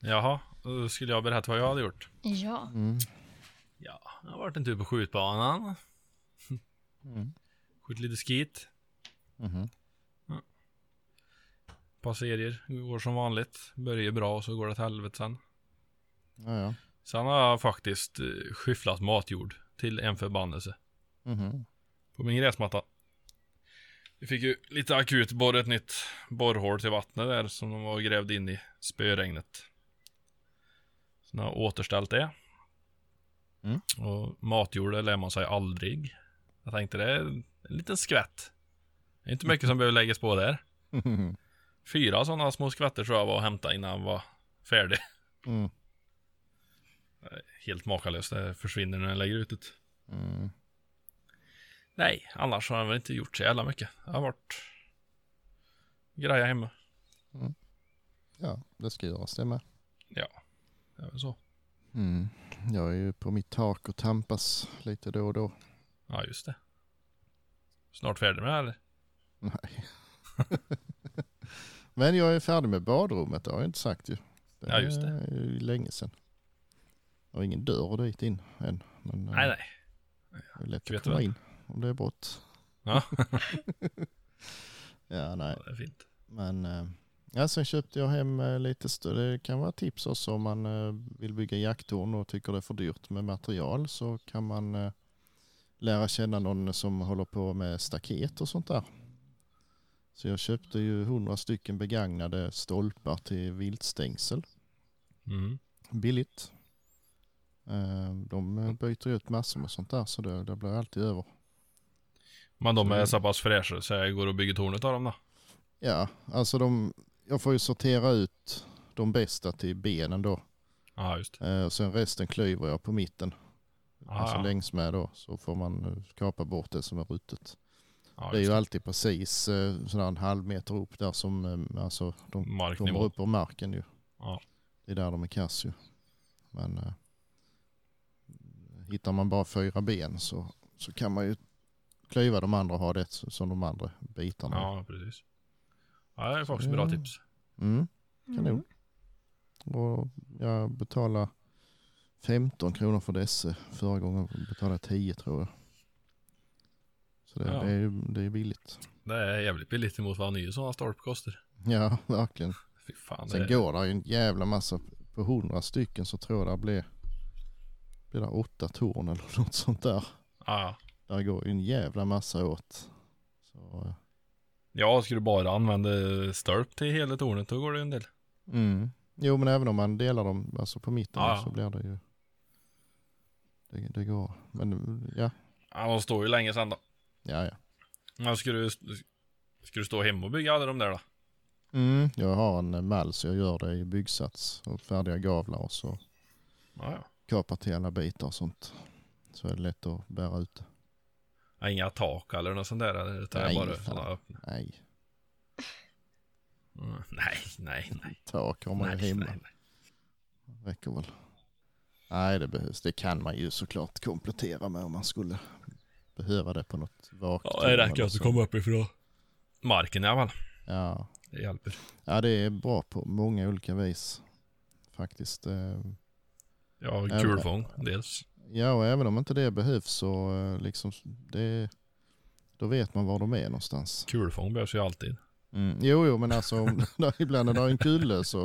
Speaker 5: Jaha, då skulle jag berätta vad jag hade gjort.
Speaker 1: Ja.
Speaker 4: Mm.
Speaker 5: Ja, jag har varit en tur på skjutbanan.
Speaker 4: Mm.
Speaker 5: Skjutit lite skit.
Speaker 4: Mhm.
Speaker 5: Par serier. Går som vanligt. Börjar bra och så går det till helvete sen.
Speaker 4: Ja, ja.
Speaker 5: Sen har jag faktiskt eh, skyfflat matjord till en förbannelse
Speaker 4: Mhm.
Speaker 5: på min gräsmatta. Vi fick ju lite akut borra ett nytt borrhål till vattnet där som de var grävd in i spöregnet. Så nu har jag återställt det.
Speaker 4: Mm.
Speaker 5: Och matjord det lär man sig aldrig. Jag tänkte det är en liten skvätt. Det är inte mycket som behöver läggas på där.
Speaker 4: Mhm.
Speaker 5: Fyra sådana små skvätter tror jag var att hämta innan jag var färdig.
Speaker 4: Mm.
Speaker 5: Helt makalöst, det försvinner när jag lägger ut det.
Speaker 4: Mm.
Speaker 5: Nej, annars har han väl inte gjort så jävla mycket. Jag har varit greja hemma.
Speaker 4: Ja, det ska göras det med.
Speaker 5: Det är väl så.
Speaker 4: Mm. Jag är ju på mitt tak och tampas lite då och då.
Speaker 5: Ja, just det. Snart färdig med det här, eller?
Speaker 4: Nej. Men jag är färdig med badrummet, det har jag inte sagt ju. Det
Speaker 5: Ja, just det.
Speaker 4: är ju länge sedan. Jag har ingen dörr dit in än. Men eh,
Speaker 5: Nej, nej.
Speaker 4: det är lätt att
Speaker 5: Vet
Speaker 4: komma
Speaker 5: väl.
Speaker 4: in om det är brått.
Speaker 5: Ja.
Speaker 4: ja, nej.
Speaker 5: Ja, det är fint.
Speaker 4: Men eh, ja, sen köpte jag hem eh, lite större. Det kan vara tips också om man eh, vill bygga jakttorn och tycker det är för dyrt med material så kan man eh, lära känna någon som håller på med staket och sånt där. Så jag köpte ju hundra stycken begagnade stolpar till viltstängsel.
Speaker 5: Mm.
Speaker 4: Billigt. Eh, De
Speaker 5: Mm.
Speaker 4: eh, byter ju ut massor med sånt där så det, det blir alltid över.
Speaker 5: Men de
Speaker 4: Så-
Speaker 5: är så pass fräscha så jag går och bygger tornet av dem då.
Speaker 4: Ja, alltså de, jag får ju sortera ut de bästa till benen då.
Speaker 5: Ja, just det.
Speaker 4: Eh, och sen resten klyver jag på mitten.
Speaker 5: Ah,
Speaker 4: alltså
Speaker 5: ja.
Speaker 4: längs med då. Så får man eh, kapa bort det som är ruttet.
Speaker 5: Ja,
Speaker 4: det är
Speaker 5: just
Speaker 4: ju alltid precis eh, sådär en halv meter upp där som eh, alltså, de kommer
Speaker 5: Marknivå.
Speaker 4: upp ur marken ju.
Speaker 5: Ja.
Speaker 4: Det är där de är kass ju. Men eh, hittar man bara fyra ben så, så kan man ju klyva de andra och ha det som de andra bitarna.
Speaker 5: Ja, precis. Ja, det är faktiskt bra
Speaker 4: Ja.
Speaker 5: tips.
Speaker 4: Mm.
Speaker 1: Mm.
Speaker 4: Kanon.
Speaker 5: Mm.
Speaker 4: Och jag betalade 15 kronor för dessa. Förra gången betalade jag 10 tror jag. Så det,
Speaker 5: Ja.
Speaker 4: det, är, ju- det är billigt.
Speaker 5: Det är jävligt billigt emot vad nya sådana stolp kostar.
Speaker 4: Ja, verkligen.
Speaker 5: Fy fan.
Speaker 4: Sen
Speaker 5: det...
Speaker 4: går det ju en jävla massa. På 100 stycken så tror jag det blir, blir det åtta torn eller något sånt där.
Speaker 5: Ja.
Speaker 4: Där går ju en jävla massa åt. Så, eh,
Speaker 5: ja, skulle du bara använda stolp till hela tornet då går det ju en del.
Speaker 4: Mm. Jo, men även om man delar dem alltså på mitten
Speaker 5: Ja, ja.
Speaker 4: så blir det ju... Det, det går. Men ja,
Speaker 5: Ja, de står ju länge sen då.
Speaker 4: ja, ja.
Speaker 5: Men ska du, ska du stå hemma och bygga alla de där då?
Speaker 4: Mm. Jag har en eh, mall så jag gör det i byggsats och färdiga gavlar och så
Speaker 5: Ja, ja.
Speaker 4: kapar till alla bitar och sånt. Så är det lätt att bära ut det.
Speaker 5: Ja, Inga tak eller något sånt där. Utan
Speaker 4: Nej,
Speaker 5: bara
Speaker 4: fan.
Speaker 5: sådana öppna.
Speaker 4: Nej,
Speaker 5: Mm. Nej, nej, nej.
Speaker 4: tak har man ju
Speaker 5: nej,
Speaker 4: hemma.
Speaker 5: nej, nej.
Speaker 4: Räcker väl. Nej, det behövs. Det kan man ju såklart komplettera med om man skulle behöva det på något vagt.
Speaker 5: Ja, det räcker att du
Speaker 4: så.
Speaker 5: kommer uppifrån marken i alla fall.
Speaker 4: Ja.
Speaker 5: Det hjälper.
Speaker 4: Ja, det är bra på många olika vis. Faktiskt. eh,
Speaker 5: Ja,
Speaker 4: men-
Speaker 5: kulfång dels.
Speaker 4: Ja, och även om inte det behövs så eh, liksom, det, då vet man var de är någonstans.
Speaker 5: Kulfång behövs ju alltid.
Speaker 4: Mm. Jo, jo, men alltså om, ibland när det är en kulle så,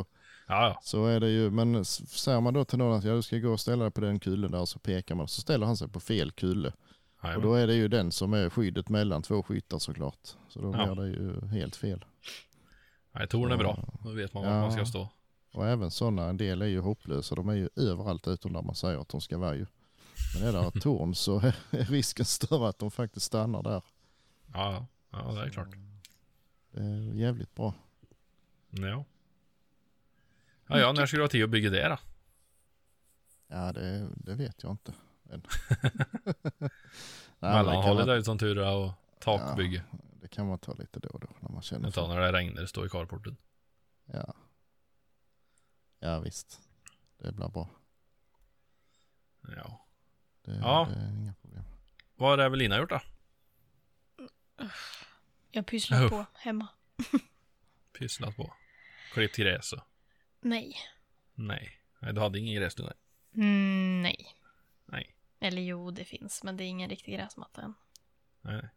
Speaker 5: Ja, ja.
Speaker 4: så är det ju, men s- säger man då till någon att ja, du ska gå och ställa dig på den kullen där så pekar man, så ställer han sig på fel kulle.
Speaker 5: Nej,
Speaker 4: Och då är det ju den som är skyddet mellan två skyttar såklart. Så då
Speaker 5: Ja.
Speaker 4: blir det ju helt fel.
Speaker 5: nej torn är bra. Då vet man var
Speaker 4: Ja.
Speaker 5: man ska stå.
Speaker 4: Och även sådana, en del är ju hopplösa. De är ju överallt utom där man säger att de ska vara ju. Men är det ett torn så är risken större att de faktiskt stannar där.
Speaker 5: Ja, ja. ja det är klart.
Speaker 4: Det är Eh, jävligt bra.
Speaker 5: Ja. Ja, ja, när ska du ha tid att bygga det då?
Speaker 4: Ja, det, det vet jag inte. Än. Nej, men det, kan
Speaker 5: Mellanhållet
Speaker 4: man,
Speaker 5: är ju som tur är och takbygge.
Speaker 4: det kan man ta lite då och då när man känner
Speaker 5: Utan
Speaker 4: för
Speaker 5: när det regnar stå i carporten.
Speaker 4: ja. ja, visst. Det blir bra.
Speaker 5: Ja.
Speaker 4: Det,
Speaker 5: Ja.
Speaker 4: det är inga problem.
Speaker 5: Vad har Evelina gjort då?
Speaker 1: Jag pysslar
Speaker 5: Uff.
Speaker 1: på hemma.
Speaker 5: Pysslat på. Klippt gräs och...
Speaker 1: Nej.
Speaker 5: Nej. Nej, du hade ingen gräs du nej.
Speaker 1: Mm, nej.
Speaker 5: Nej.
Speaker 1: Eller jo, det finns, men det är ingen riktig gräsmatta än.
Speaker 5: nej. nej.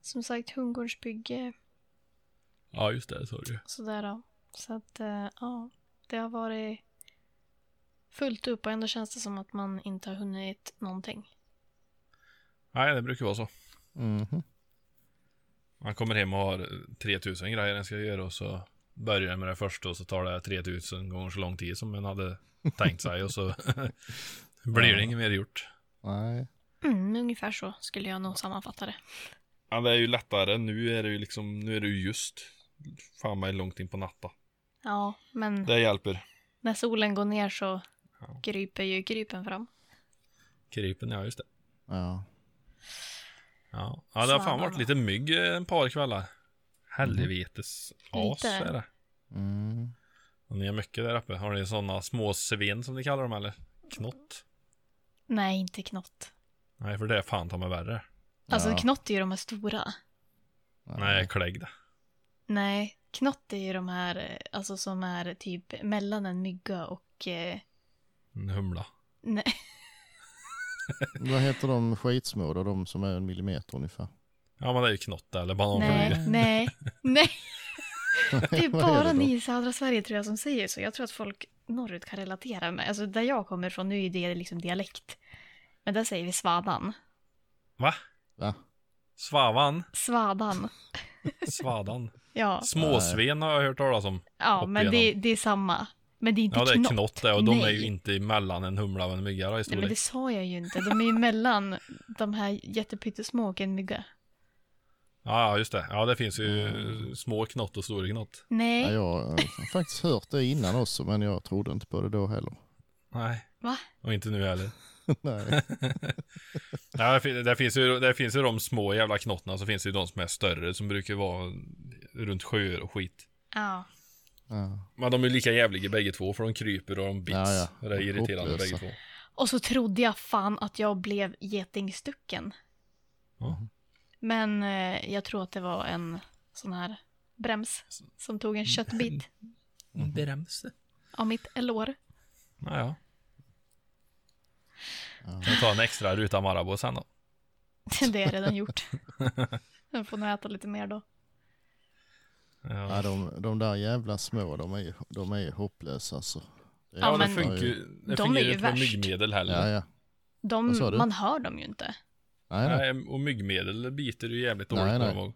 Speaker 1: Som sagt, hundgårdsbygge
Speaker 5: Ja, just det, det sa du ju.
Speaker 1: sådär då. Så att, eh, ja. Det har varit fullt upp och ändå känns det som att man inte har hunnit någonting.
Speaker 5: Nej, det brukar vara så.
Speaker 4: Mhm.
Speaker 5: Man kommer hem och har eh, 3000 grejer den ska göra och så börjar den med det första och så tar det 3000 gånger så lång tid som man hade tänkt sig och så blir det inget mer gjort.
Speaker 4: Nej.
Speaker 1: Mm, ungefär så skulle jag nog sammanfatta det.
Speaker 5: Ja, det är ju lättare. Nu är det ju liksom, nu är det ju just fan mig långt in på natta.
Speaker 1: Ja, men
Speaker 5: Det hjälper.
Speaker 1: när solen går ner så
Speaker 5: Ja.
Speaker 1: kryper ju krypen fram.
Speaker 5: Krypen, ja just det.
Speaker 4: Ja.
Speaker 5: Ja, ja det har fan
Speaker 1: Snabba.
Speaker 5: varit lite mygg eh, en par kvällar. Helvetes as
Speaker 1: Lite.
Speaker 5: är det.
Speaker 4: Mm.
Speaker 5: Och ni har mycket där uppe. Har ni sådana små svin som ni kallar dem eller? Knott?
Speaker 1: Nej, inte knott.
Speaker 5: Nej, för det är fan ta mig värre.
Speaker 1: Alltså
Speaker 4: Ja.
Speaker 1: knott är ju de här stora.
Speaker 5: Nej, klägg det.
Speaker 1: Nej, knott är ju de här eh, alltså, som är typ mellan en mygga och... Eh,
Speaker 5: En humla.
Speaker 1: nej,
Speaker 4: Vad heter de skitsmå då? De som är en millimeter ungefär.
Speaker 5: Ja, men det är ju knott eller bananfluga.
Speaker 1: nej, nej, nej. Det är
Speaker 4: Vad är
Speaker 1: bara
Speaker 4: det då?
Speaker 1: ni i södra Sverige tror jag som säger så. Jag tror att folk norrut kan relatera med. Alltså där jag kommer ifrån, nu är det liksom dialekt. Men där säger vi svadan.
Speaker 5: Va?
Speaker 4: Va?
Speaker 5: Svavan?
Speaker 1: Svadan.
Speaker 5: Svadan?
Speaker 1: Ja,
Speaker 5: Småsven har jag hört talas om.
Speaker 1: ja
Speaker 5: Hopp
Speaker 1: men det,
Speaker 5: igenom.
Speaker 1: det är samma. Men det är inte
Speaker 5: Ja, det är
Speaker 1: knott.
Speaker 5: knott det och de är ju
Speaker 1: Nej.
Speaker 5: inte mellan en humla och en mygga då, i
Speaker 1: Nej, men det
Speaker 5: storlek.
Speaker 1: sa jag ju inte. De är ju mellan de här jättepyttesmå och en mygga.
Speaker 5: Ja, just det. Ja, det finns ju
Speaker 1: Mm.
Speaker 5: små knott och stora knott.
Speaker 4: Ja,
Speaker 1: Nej,
Speaker 4: jag har faktiskt hört det innan också, men jag trodde inte på det då heller.
Speaker 5: Nej.
Speaker 1: va?
Speaker 5: Och inte nu heller.
Speaker 4: Nej.
Speaker 5: Ja, det fin- det finns ju, det finns ju de små jävla knottarna, så finns det ju de som är större, som brukar vara runt sjöar och skit.
Speaker 1: Ja.
Speaker 4: Ja.
Speaker 5: Men de är lika jävliga bägge två, för de kryper och de bits.
Speaker 4: Ja, ja.
Speaker 5: Och det är irriterande
Speaker 4: Hopplösa.
Speaker 5: bägge två.
Speaker 1: Och så trodde jag fan att jag blev getingstucken.
Speaker 5: Ja.
Speaker 1: Men eh, jag tror att det var en sån här brems som tog en köttbit
Speaker 5: Bremse.
Speaker 1: av mitt lår.
Speaker 5: Ja, ja. Kan vi ta en extra ruta Marabou sen då?
Speaker 1: Det har jag redan gjort. Jag får nog äta lite mer då.
Speaker 5: Ja,
Speaker 4: Ja, de, de där jävla små, de är ju de är ju hopplösa alltså. Det är-
Speaker 1: Ja,
Speaker 5: ja det
Speaker 1: men-
Speaker 5: funkar ju det
Speaker 1: de
Speaker 5: fungerar
Speaker 1: är ju
Speaker 5: ju inte med
Speaker 1: värst.
Speaker 5: myggmedel heller.
Speaker 4: Ja, ja.
Speaker 1: De,
Speaker 4: Vad sa du?
Speaker 1: man hör dem ju inte.
Speaker 4: Nej, nej.
Speaker 5: Nej, och myggmedel biter ju jävligt
Speaker 4: Nej,
Speaker 5: dåligt
Speaker 4: nej.
Speaker 5: kommer jag ihåg.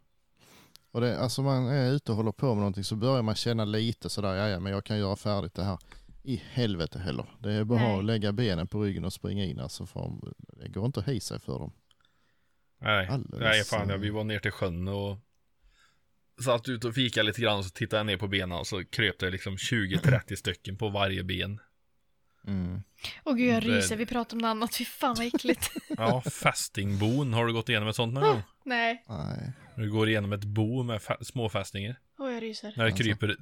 Speaker 4: Och det, alltså man är ute och håller på med någonting så börjar man känna lite sådär, ja, ja men jag kan göra färdigt det här. I helvete heller. Det är bara
Speaker 1: Nej.
Speaker 4: att lägga benen på ryggen och springa in alltså. För de- det går inte att ha i sig för dem.
Speaker 5: Nej,
Speaker 4: Alldeles,
Speaker 5: nej fan ja,
Speaker 4: eh,
Speaker 5: vi var ner till sjön och satt ut och fikade lite grann så tittade jag ner på benen och så kröp det liksom 20-30 stycken på varje ben.
Speaker 4: Mm.
Speaker 1: Åh gud, jag
Speaker 5: Det-
Speaker 1: ryser. Vi pratar om något annat. Fy fan vad äckligt.
Speaker 5: Ja, fästingbon, har du gått igenom ett sånt någon gång?
Speaker 1: Nej.
Speaker 4: Nej.
Speaker 5: Du går igenom ett bo med fa- små fästingar.
Speaker 1: Åh, jag ryser.
Speaker 5: När det
Speaker 4: Alltså.
Speaker 5: kryper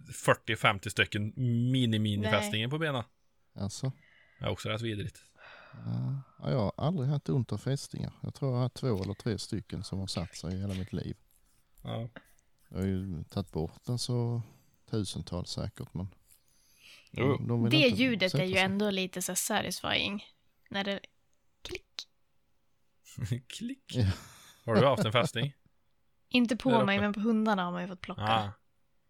Speaker 5: 40-50 stycken mini-mini-fästingar på benen.
Speaker 4: Alltså.
Speaker 5: Det är också rätt vidrigt.
Speaker 4: Ja, jag har aldrig haft ont av fästingar. Jag tror jag har haft två eller tre stycken som har satt sig i hela mitt liv.
Speaker 5: Ja.
Speaker 4: Jag har ju tagit bort den så tusentals säkert. Men
Speaker 5: Jo.
Speaker 4: de vill
Speaker 1: Det
Speaker 4: inte
Speaker 1: ljudet
Speaker 4: sätta
Speaker 1: är ju
Speaker 4: sig.
Speaker 1: ändå lite så här satisfying. När det... Klick.
Speaker 5: Klick.
Speaker 4: Ja.
Speaker 5: Har du haft en fästing?
Speaker 1: Inte på
Speaker 5: Där
Speaker 1: mig,
Speaker 5: uppe.
Speaker 1: men på hundarna har man ju fått plocka.
Speaker 5: Ja.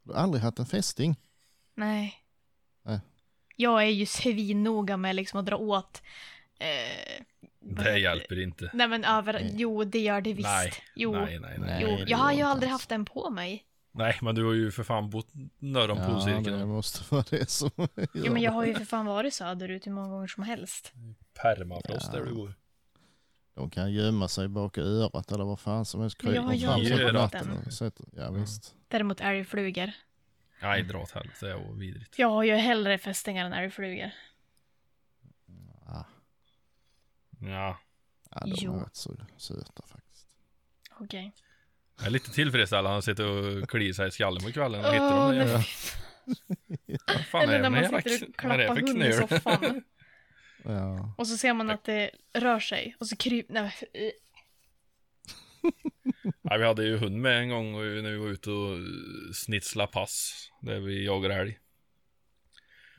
Speaker 4: Du har aldrig haft en fästing?
Speaker 1: Nej.
Speaker 4: Nej.
Speaker 1: Jag är ju svinnoga med liksom att dra åt... Eh, vad
Speaker 5: Det
Speaker 1: heter-
Speaker 5: hjälper inte.
Speaker 1: Nej men över...
Speaker 4: Nej.
Speaker 1: Jo, det gör det visst.
Speaker 5: Nej,
Speaker 1: jo.
Speaker 5: Nej, nej, nej.
Speaker 1: jo.
Speaker 4: det
Speaker 1: Jag
Speaker 4: gör
Speaker 1: har ju
Speaker 4: inte
Speaker 1: aldrig
Speaker 4: alls.
Speaker 1: haft den på mig.
Speaker 5: Nej, men du har ju för fan bott norr om
Speaker 4: Ja,
Speaker 5: polcirkeln.
Speaker 4: det måste vara det som gör
Speaker 1: Jo men jag
Speaker 4: det.
Speaker 1: har ju för fan varit söderut hur många gånger som helst.
Speaker 5: Permafrost där du bor.
Speaker 4: De kan gömma sig bak i örat eller vad fan som helst.
Speaker 1: Men jag har
Speaker 4: kryper fram
Speaker 5: ju
Speaker 4: sig på
Speaker 5: örat.
Speaker 4: natten och sätter- Ja
Speaker 5: Mm.
Speaker 4: visst.
Speaker 1: Däremot älgflugor.
Speaker 5: Nej, dra åt helvete, det var vidrigt.
Speaker 1: Jag har ju hellre fästingar än älgflugor.
Speaker 5: Ja.
Speaker 4: Ah, Ja, de
Speaker 1: Jo.
Speaker 4: är rätt så söta faktiskt.
Speaker 1: Okej.
Speaker 5: Jag är lite tillfredsställande att sitta och klia sig i skallen på kvällen och hitta
Speaker 1: Åh,
Speaker 5: dem där.
Speaker 1: nej.
Speaker 5: Vad fan är
Speaker 1: Eller
Speaker 5: det
Speaker 1: när man
Speaker 5: med jävla
Speaker 1: sitter
Speaker 5: kn-
Speaker 1: och
Speaker 5: vad är det
Speaker 1: klappar
Speaker 5: för
Speaker 1: hund i
Speaker 5: knöl?
Speaker 1: soffan.
Speaker 4: Ja.
Speaker 1: Och så ser man att det rör sig. Och så kryper... Nej, men- eh,
Speaker 5: Nej, vi hade ju hund med en gång och när vi var ute och eh, snitsla pass där vi jagar älg.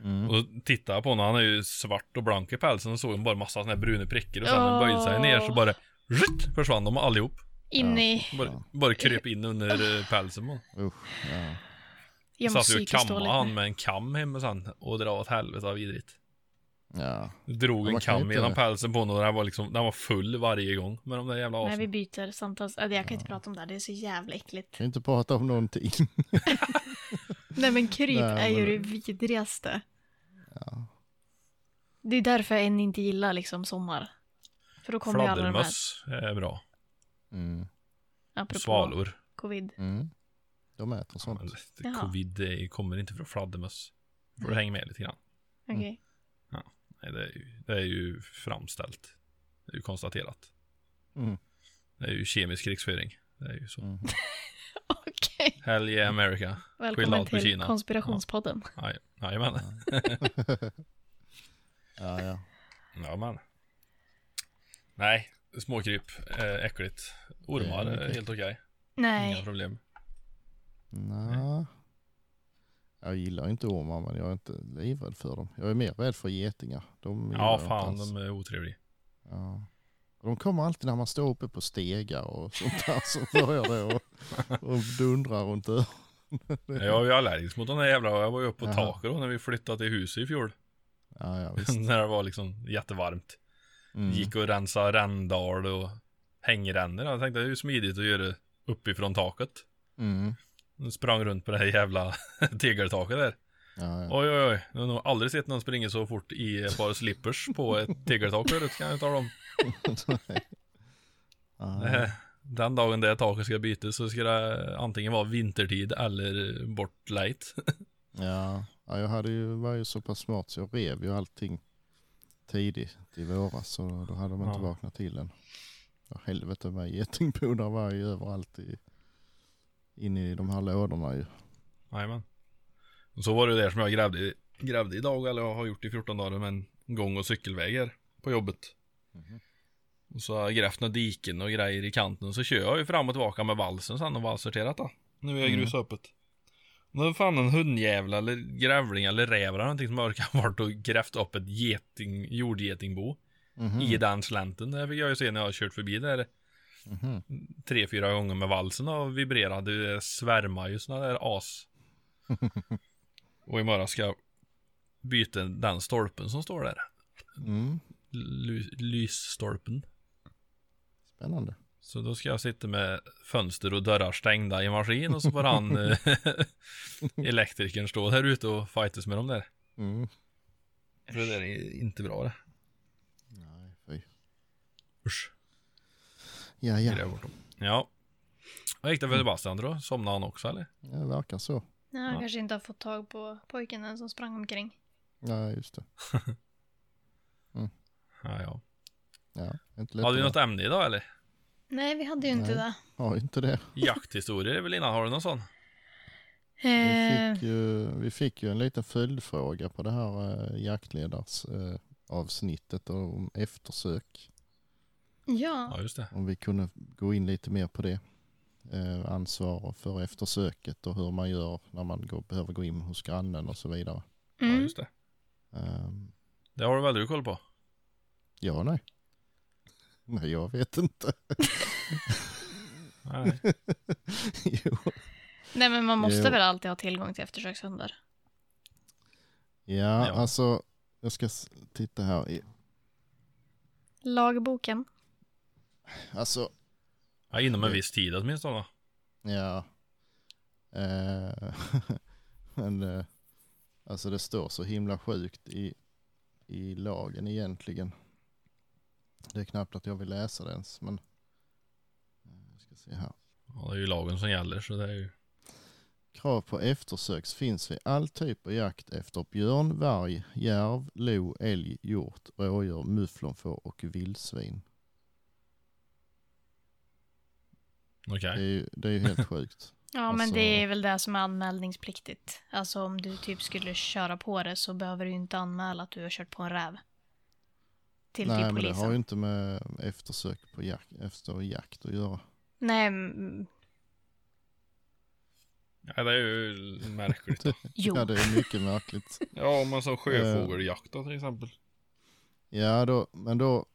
Speaker 4: Mm.
Speaker 5: Och tittade på honom, han är ju svart och blank i pälsen och såg bara massa sådana här bruna prickar och sen när han
Speaker 1: Åh.
Speaker 5: böjde sig ner så bara rutt, försvann de allihop.
Speaker 1: In i...
Speaker 5: Bara, bara kröp in under eh, pälsen på honom.
Speaker 4: Usch, ja.
Speaker 1: Jag mår
Speaker 5: Satt ju och
Speaker 1: psykiskt
Speaker 5: kammade
Speaker 1: dåligt
Speaker 5: han
Speaker 1: nu.
Speaker 5: med en kam hemma sen och dra åt helvete vad vidrigt.
Speaker 4: Ja.
Speaker 5: Drog
Speaker 4: Ja,
Speaker 5: en
Speaker 4: man kan ju
Speaker 5: kam
Speaker 4: inte-
Speaker 5: genom pälsen på honom och den var, liksom, den var full varje gång med de där jävla
Speaker 1: Nej,
Speaker 5: asen.
Speaker 1: vi byter samtals... äh, Jag kan inte prata om det här, det är så jävla äckligt.
Speaker 4: Kan inte prata om någonting.
Speaker 1: Nej men kryp
Speaker 4: Nej,
Speaker 1: är ju
Speaker 4: men-
Speaker 1: det vidrigaste. Det är därför jag än inte gillar liksom sommar. För då kommer ju alla de här,
Speaker 5: Fladdermöss är bra.
Speaker 4: Mm.
Speaker 1: apropå
Speaker 5: Svalor.
Speaker 1: covid.
Speaker 4: Mm. De äter sånt.
Speaker 5: Men
Speaker 1: Jaha.
Speaker 5: Covid det kommer inte från fladdermöss. Får du hänga med lite grann.
Speaker 1: Okej.
Speaker 5: Nej, det, är ju, det är ju framställt. Det är ju konstaterat.
Speaker 4: Mm.
Speaker 5: Det är ju kemisk krigsföring. Det är ju så.
Speaker 4: Mm.
Speaker 1: Okej.
Speaker 5: Hell yeah America.
Speaker 1: Välkommen
Speaker 5: out på
Speaker 1: till
Speaker 5: Kina.
Speaker 1: konspirationspodden.
Speaker 5: Aj- Jajamän.
Speaker 4: Ja, ja.
Speaker 5: Jajamän. Nej, småkryp. Eh, äckligt. Ormar
Speaker 4: Det är
Speaker 5: är helt okej. Inga
Speaker 1: Nej.
Speaker 5: problem.
Speaker 4: Nå. Jag gillar inte ormar men jag är inte livrädd för dem. Jag är mer rädd för getingar. De gillar
Speaker 5: Ja,
Speaker 4: jag
Speaker 5: fan
Speaker 4: inte alls.
Speaker 5: de är otrevliga.
Speaker 4: Ja. Och De kommer alltid när man står uppe på stegar och sånt där så börjar det och, och dundrar runt öronen.
Speaker 5: Jag är ju allergisk mot de där jävla, jag var ju uppe på
Speaker 4: Jaha.
Speaker 5: taket då när vi flyttade till huset i fjol.
Speaker 4: Ja, ja visst.
Speaker 5: när det var liksom jättevarmt.
Speaker 4: Mm.
Speaker 5: Gick och rensade ränndal och hängrännor. Jag tänkte det är ju smidigt att göra uppifrån taket.
Speaker 4: Mm.
Speaker 5: Nu Sprang runt på det här jävla tegeltaket där.
Speaker 4: Ja, ja.
Speaker 5: Oj oj oj, jag har nog aldrig sett någon springa så fort i ett par slippers på ett tegeltak förut kan jag tala om.
Speaker 4: Nej. Ja,
Speaker 5: Eh, Den dagen det taket ska bytas så ska det antingen vara vintertid eller bort late.
Speaker 4: Ja, ja jag hade ju, var ju så pass smart så jag rev ju allting tidigt i våras så då hade de inte
Speaker 5: Ja.
Speaker 4: vaknat till än. Ja, helvete med getingbonar var ju överallt i, in i de här lådorna ju.
Speaker 5: Jajamän. Och Så var det där som jag grävde, i- grävde idag, eller har gjort i 14 dagar, men gång och cykelvägar på jobbet.
Speaker 4: Mhm.
Speaker 5: Och så har jag grävt några diken och grejer i kanten och så kör jag ju fram och tillbaka med valsen sen och valssorterat då. Nu är jag
Speaker 4: Mm.
Speaker 5: grusöppet. Nu är fan en hundjävel eller grävling eller räv eller någonting som har orkat varit och grävt upp ett geting, jordgetingbo
Speaker 4: Mhm.
Speaker 5: i den slänten. Det fick jag ju se när jag har kört förbi där
Speaker 4: Mhm.
Speaker 5: tre, fyra gånger med valsen och vibrerade. Det svärmar ju såna där as. och imorgon ska jag byta den stolpen som står där.
Speaker 4: Mm.
Speaker 5: Ly- lysstolpen.
Speaker 4: Spännande.
Speaker 5: Så då ska jag sitta med fönster och dörrar stängda i maskin och så får han eh, elektrikern stå där ute och fightas med dem där.
Speaker 4: Mm.
Speaker 5: För det där är inte bra det.
Speaker 4: Nej, fy.
Speaker 5: Usch.
Speaker 4: Ja, ja.
Speaker 5: Gräv bort dem. Ja. Vad gick det för Sebastian då? Somnade han också eller?
Speaker 4: ja, det verkar så.
Speaker 1: Nej, jag
Speaker 5: Ja.
Speaker 1: kanske inte har fått tag på pojken än som sprang omkring.
Speaker 4: Ja, just det.
Speaker 5: Ja, ja.
Speaker 4: Ja, inte lätt
Speaker 5: Hade vi
Speaker 4: att-
Speaker 5: något ämne idag eller?
Speaker 1: Nej, vi hade ju inte
Speaker 4: Nej.
Speaker 1: det.
Speaker 4: Har ju inte det.
Speaker 5: Jakthistorier är väl innan, har du någon sån?
Speaker 4: Vi
Speaker 1: Eh,
Speaker 4: fick, ju, vi fick ju en liten följdfråga på det här eh, jaktledars eh, avsnittet om eftersök.
Speaker 1: ja,
Speaker 5: Ja, just det.
Speaker 4: Om vi kunde gå in lite mer på det. Eh, ansvar för eftersöket och hur man gör när man går, behöver gå in hos grannen och så vidare.
Speaker 5: Ja,
Speaker 1: mm.
Speaker 5: just det.
Speaker 4: Eh,
Speaker 5: Det har du väl du koll på?
Speaker 4: ja, nej. Nej, jag vet inte.
Speaker 5: Nej.
Speaker 4: jo.
Speaker 1: Nej, men man måste
Speaker 4: Jo.
Speaker 1: väl alltid ha tillgång till eftersökshundar?
Speaker 4: Ja,
Speaker 5: Ja.
Speaker 4: alltså, jag ska s- titta här. I-
Speaker 1: Lagboken.
Speaker 4: Alltså,
Speaker 5: Ja, inom en viss tid åtminstone.
Speaker 4: Ja. Eh, men eh, alltså det står så himla sjukt i, i lagen egentligen. Det är knappt att jag vill läsa det ens, men eh, jag ska se här.
Speaker 5: Ja, det är ju lagen som gäller, så det är ju...
Speaker 4: Krav på eftersöks finns vid all typ av jakt efter björn, varg, järv, lo, älg, hjort, rådjur, mufflonfår och vildsvin.
Speaker 5: Okej.
Speaker 4: Det är ju, det är ju helt sjukt.
Speaker 1: Ja, men
Speaker 4: Alltså-
Speaker 1: det är väl det som är anmälningspliktigt. Alltså om du typ skulle köra på det så behöver du ju inte anmäla att du har kört på en räv. Till
Speaker 4: Nej,
Speaker 1: till
Speaker 4: men det
Speaker 1: polisen.
Speaker 4: har ju inte med eftersök på jakt, efter jakt att göra.
Speaker 1: Nej, mm,
Speaker 5: Ja, det är ju märkligt. då.
Speaker 1: jo.
Speaker 4: Ja, det är mycket märkligt.
Speaker 5: ja, om man sa sjöfågeljakt då, till exempel.
Speaker 4: Ja, då, men då...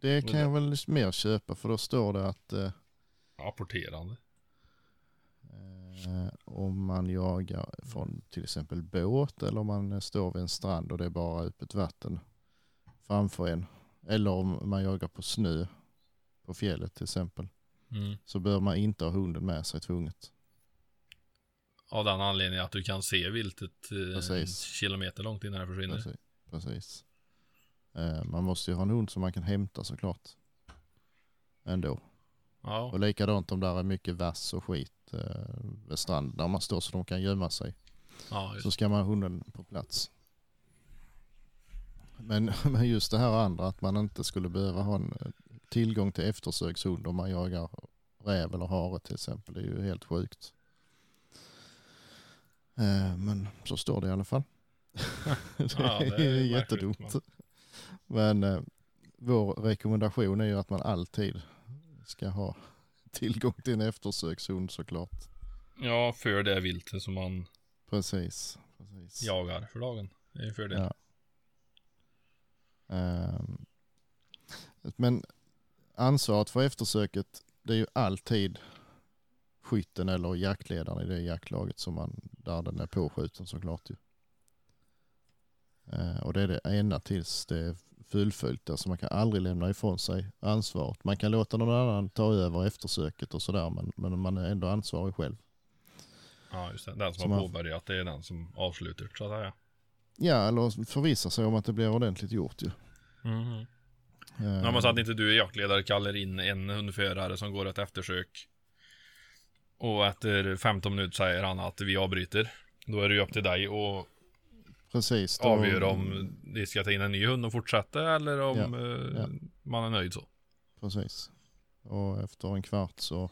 Speaker 4: Det
Speaker 5: Och
Speaker 4: kan jag väl liksom mer köpa för då står det att eh,
Speaker 5: Apporterande.
Speaker 4: eh, om man jagar från till exempel båt eller om man eh, står vid en strand och det är bara öppet vatten framför en. Eller om man jagar på snö på fjället till exempel.
Speaker 5: Mm.
Speaker 4: Så bör man inte ha hunden med sig tvunget.
Speaker 5: Av den anledningen att du kan se viltet eh, en
Speaker 4: Precis.
Speaker 5: kilometer långt innan det försvinner.
Speaker 4: Precis. Precis. Eh, man måste ju ha en hund som man kan hämta såklart. Ändå.
Speaker 5: Ja,
Speaker 4: Och likadant om där är mycket vass och skit eh, vid stranden där man står så de kan gömma sig.
Speaker 5: ja just.
Speaker 4: Så ska man ha hunden på plats. Men, men just det här andra att man inte skulle behöva ha en eh, tillgång till eftersökshund om man jagar räv eller hare till exempel. Det är ju helt sjukt. Eh, Men så står det i alla fall. det
Speaker 5: Ja, det är
Speaker 4: är,
Speaker 5: märkligt,
Speaker 4: jättedumt.
Speaker 5: men-
Speaker 4: Men eh, vår rekommendation är ju att man alltid ska ha tillgång till en eftersökshund såklart.
Speaker 5: ja, för det viltet som man
Speaker 4: Precis. precis.
Speaker 5: jagar för dagen. Det är ju fördel.
Speaker 4: Ja. Ehm, Men ansvaret för eftersöket, det är ju alltid skytten eller jaktledaren i det jaktlaget som man, där den är påskjuten såklart. Ju. Eh, Och det är det enda tills det är fullföljt, alltså man kan aldrig lämna ifrån sig ansvaret. Man kan låta någon annan ta över eftersöket och sådär, men, men man är ändå ansvarig själv.
Speaker 5: Ja, just det. Den som,
Speaker 4: Som
Speaker 5: har
Speaker 4: har-
Speaker 5: påbörjat, det är den som avslutar, så att säga.
Speaker 4: Ja, eller förvissa sig om att det blir ordentligt gjort ju.
Speaker 5: Mhm. Ja,
Speaker 4: Mm.
Speaker 5: men så att inte du jaktledare kallar in en hundförare som går ett eftersök. Och efter 15 minuter säger han att vi avbryter. Då är det ju upp till dig att
Speaker 4: Ehm, Precis. då-
Speaker 5: avgöra om vi ska ta in en ny hund och fortsätta eller om
Speaker 4: Ja,
Speaker 5: eh,
Speaker 4: ja.
Speaker 5: man är nöjd så.
Speaker 4: Precis. Och efter en kvart så...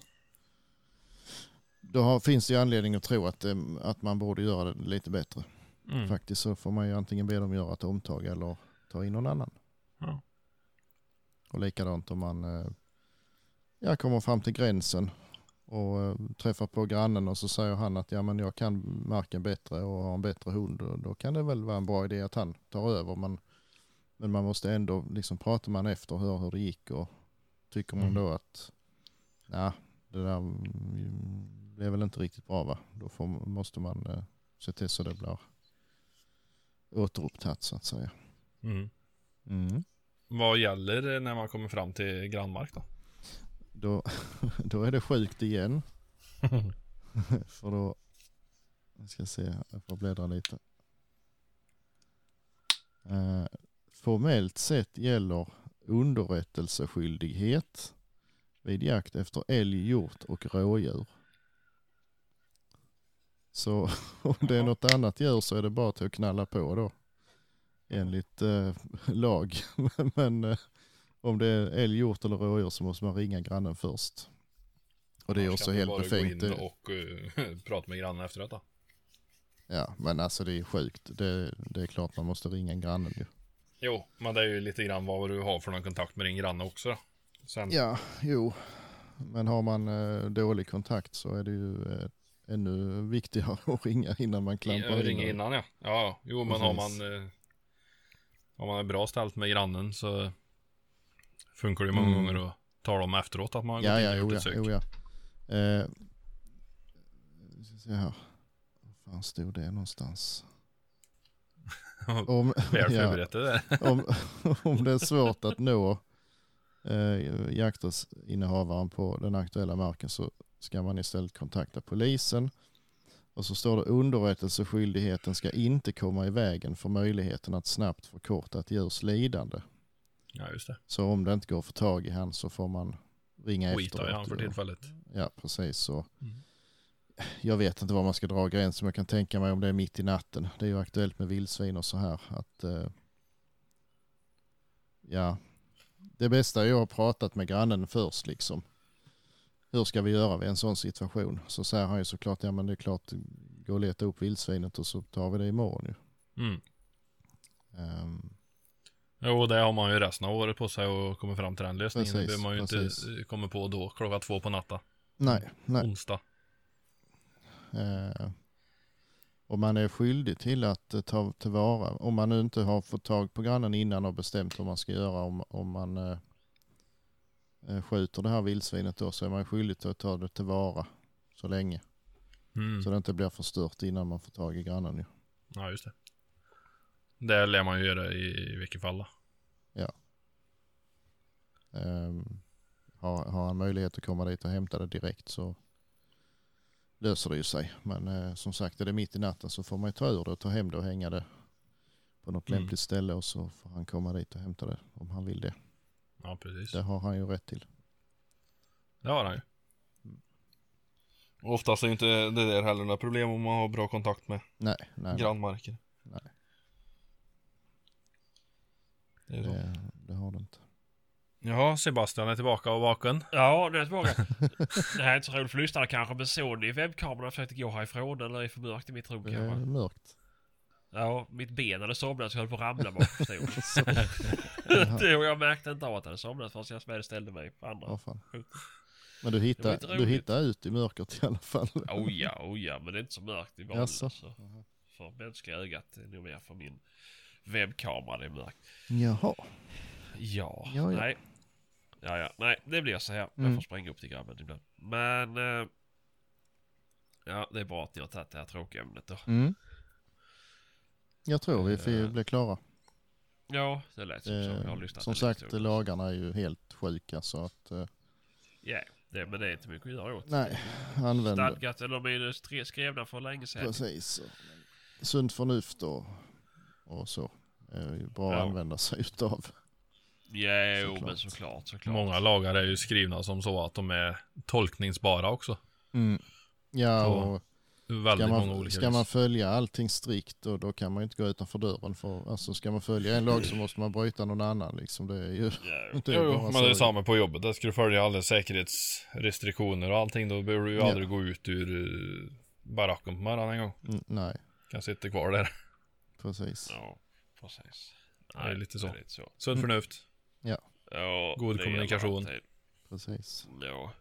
Speaker 4: Då har, finns det ju anledning att tro att, eh, att man borde göra det lite bättre.
Speaker 5: Mm.
Speaker 4: Faktiskt så får man ju antingen be dem göra ett omtag eller ta in någon annan.
Speaker 5: Ja.
Speaker 4: Och likadant om man eh, ja, kommer fram till gränsen och eh, träffar på grannen och så säger han att ja, men jag kan marken bättre och har en bättre hund. Och då kan det väl vara en bra idé att han tar över. Men, men man måste ändå, liksom pratar man efter och hör hur det gick och tycker man
Speaker 5: Mm.
Speaker 4: då att ja, det där mm, blev väl inte riktigt bra va? Då får, måste man eh, se till så det blir återupptatt så att säga.
Speaker 5: Mm. Vad gäller när man kommer fram till grannmark då?
Speaker 4: Då, då är det sjukt igen. För då, jag ska se, jag får bläddra lite. Eh, formellt sett gäller underrättelseskyldighet vid jakt efter älg, hjort och rådjur. Så om det är något annat djur så är det bara till att knalla på då. Enligt eh, lag. Men eh, om det är älg, hjort eller rådjur så måste man ringa grannen först. Och det är
Speaker 5: Annars
Speaker 4: också
Speaker 5: kan du
Speaker 4: helt
Speaker 5: bara
Speaker 4: befängt.
Speaker 5: Gå in
Speaker 4: Det-
Speaker 5: och eh, prata med grannen efteråt då.
Speaker 4: Ja, men alltså det är sjukt. Det, det är klart man måste ringa grannen ju.
Speaker 5: Jo, men det är ju lite grann vad du har för någon kontakt med din granne också. då. Sen,
Speaker 4: Ja, jo. Men har man eh, dålig kontakt så är det ju eh, ännu viktigare att ringa innan man klampar in.
Speaker 5: ringer innan ja. Ja, ja. jo men har
Speaker 4: Precis.
Speaker 5: man eh, Om man är bra ställt med grannen så Funkar det ju många
Speaker 4: Mm.
Speaker 5: gånger att tala om efteråt att man har
Speaker 4: Ja,
Speaker 5: gått
Speaker 4: ja,
Speaker 5: in och
Speaker 4: jo,
Speaker 5: gjort
Speaker 4: ja,
Speaker 5: ett sök.
Speaker 4: jo, ja. Eh, ska se här. Var fan stod det någonstans? Om,
Speaker 5: Väl
Speaker 4: ja,
Speaker 5: förberett det där.
Speaker 4: om, om det är svårt att nå eh, jakträttsinnehavaren på den aktuella marken så ska man istället kontakta polisen. Och så står det underrättelseskyldigheten ska inte komma i vägen för möjligheten att snabbt förkorta ett djurs lidande.
Speaker 5: Ja just det.
Speaker 4: Så om det inte går att få tag i han så får man ringa
Speaker 5: Skita i han
Speaker 4: efteråt.
Speaker 5: för
Speaker 4: ja.
Speaker 5: tillfället.
Speaker 4: Ja, precis så.
Speaker 5: Mm.
Speaker 4: Jag vet inte var man ska dra gränsen, men jag kan tänka mig om det är mitt i natten. Det är ju aktuellt med vildsvin och så här. Att, eh, ja, det bästa är ju att ha pratat med grannen först liksom. Hur ska vi göra vid en sån situation? Så säger han ju såklart, ja men det är klart, gå och leta upp vildsvinet och så tar vi det imorgon ju.
Speaker 5: Mm.
Speaker 4: Ehm,
Speaker 5: Jo det har man ju resten av året på sig att komma fram till den lösningen. det
Speaker 4: Precis,
Speaker 5: behöver man ju
Speaker 4: precis.
Speaker 5: inte eh, komma på då klockan två på natten.
Speaker 4: nej, nej.
Speaker 5: Onsdag.
Speaker 4: Eh, och man är skyldig till att eh, ta tillvara, om man nu inte har fått tag på grannen innan och bestämt hur man ska göra om, om man eh, eh, skjuter det här vildsvinet då så är man skyldig till att ta det tillvara så länge.
Speaker 5: Mm.
Speaker 4: Så det inte blir förstört innan man får tag i grannen ju.
Speaker 5: Ja just det. Det lär man ju göra i, i vilket fall då.
Speaker 4: Ehm, har, har han möjlighet att komma dit och hämta det direkt så löser det ju sig. Men eh, som sagt är det mitt i natten så får man ju ta ur det och ta hem det och hänga det på något
Speaker 5: Mm.
Speaker 4: lämpligt ställe och så får han komma dit och hämta det om han vill det.
Speaker 5: Ja precis.
Speaker 4: Det har han ju rätt till.
Speaker 5: Det har han ju. Och Oftast är ju inte det där heller några problem om man har bra kontakt med
Speaker 4: Nej, nej.
Speaker 5: grannmarken.
Speaker 4: Nej.
Speaker 5: Det är så.
Speaker 4: Det, det har det inte.
Speaker 5: Jaha, Sebastian är tillbaka och vaken.
Speaker 2: Ja, nu är jag tillbaka. det här är inte så roligt för lyssnarna kanske, men såg ni webbkameran försökte gå härifrån eller är för mörkt i mitt rum
Speaker 4: Det är
Speaker 2: kanske?
Speaker 4: mörkt.
Speaker 2: Ja, mitt ben hade somnat så jag höll på att ramla bakom stolen. Det- och jag märkte inte av att jag hade somnat förrän jag väl ställde mig på andra.
Speaker 4: Vad fan. Men du hittar,
Speaker 2: lite
Speaker 4: du
Speaker 2: roligt.
Speaker 4: hittar ut i mörkret i alla fall.
Speaker 2: Oh ja, oh ja, men det är inte så mörkt i vanliga.
Speaker 4: Jaså?
Speaker 2: Så. För mänskliga ögat, det är nog mer för min webbkamera det är mörkt.
Speaker 4: Jaha.
Speaker 2: Ja,
Speaker 4: Ja, ja.
Speaker 2: nej. Ja, ja, nej, det blir så här. Jag
Speaker 4: Mm.
Speaker 2: får spränga upp till grabben ibland. Men... Eh, ja, det är bra att ni har tagit det här tråkiga ämnet då.
Speaker 4: Mm. Jag tror vi
Speaker 2: Eh.
Speaker 4: får bli klara.
Speaker 2: Ja, det lät som så. Jag har
Speaker 4: Eh,
Speaker 2: lyssnat
Speaker 4: som
Speaker 2: en liten
Speaker 4: sagt,
Speaker 2: stund.
Speaker 4: lagarna är ju helt sjuka så att eh,
Speaker 2: Ja, det, men det är inte mycket att göra åt.
Speaker 4: nej, använd
Speaker 2: Stadgat, eller de är ju stre- skrivna för länge sedan.
Speaker 4: precis. Sunt förnuft och, och så. Är ju bra
Speaker 2: Ja.
Speaker 4: att använda sig utav.
Speaker 2: Jo,
Speaker 4: Såklart.
Speaker 2: men såklart, såklart.
Speaker 5: Många lagar är ju skrivna som så att de är tolkningsbara också.
Speaker 4: Mm. Ja,
Speaker 5: Så,
Speaker 4: och
Speaker 5: Väldigt
Speaker 4: ska
Speaker 5: många
Speaker 4: man,
Speaker 5: olika
Speaker 4: ska man
Speaker 5: vis.
Speaker 4: följa allting strikt och då kan man ju inte gå utanför dören. För, alltså, ska man följa en lag så måste man bryta någon annan. Liksom. Det är ju
Speaker 2: Ja,
Speaker 4: inte
Speaker 5: Jo, jo,
Speaker 4: bara
Speaker 5: men
Speaker 4: så.
Speaker 5: det är samma på jobbet. Där ska du följa alla säkerhetsrestriktioner och allting. Då behöver du ju
Speaker 4: Ja.
Speaker 5: aldrig gå ut ur eh, baracken på morgonen en gång.
Speaker 4: Mm, nej,
Speaker 5: Kan sitta kvar där.
Speaker 4: precis.
Speaker 2: ja, precis.
Speaker 5: Det är lite så.
Speaker 2: det är lite så.
Speaker 4: Mm.
Speaker 5: Sunt förnuft.
Speaker 2: Ja,
Speaker 5: God
Speaker 2: det gäller
Speaker 5: kommunikation.
Speaker 2: alltid.
Speaker 4: precis.
Speaker 2: Ja.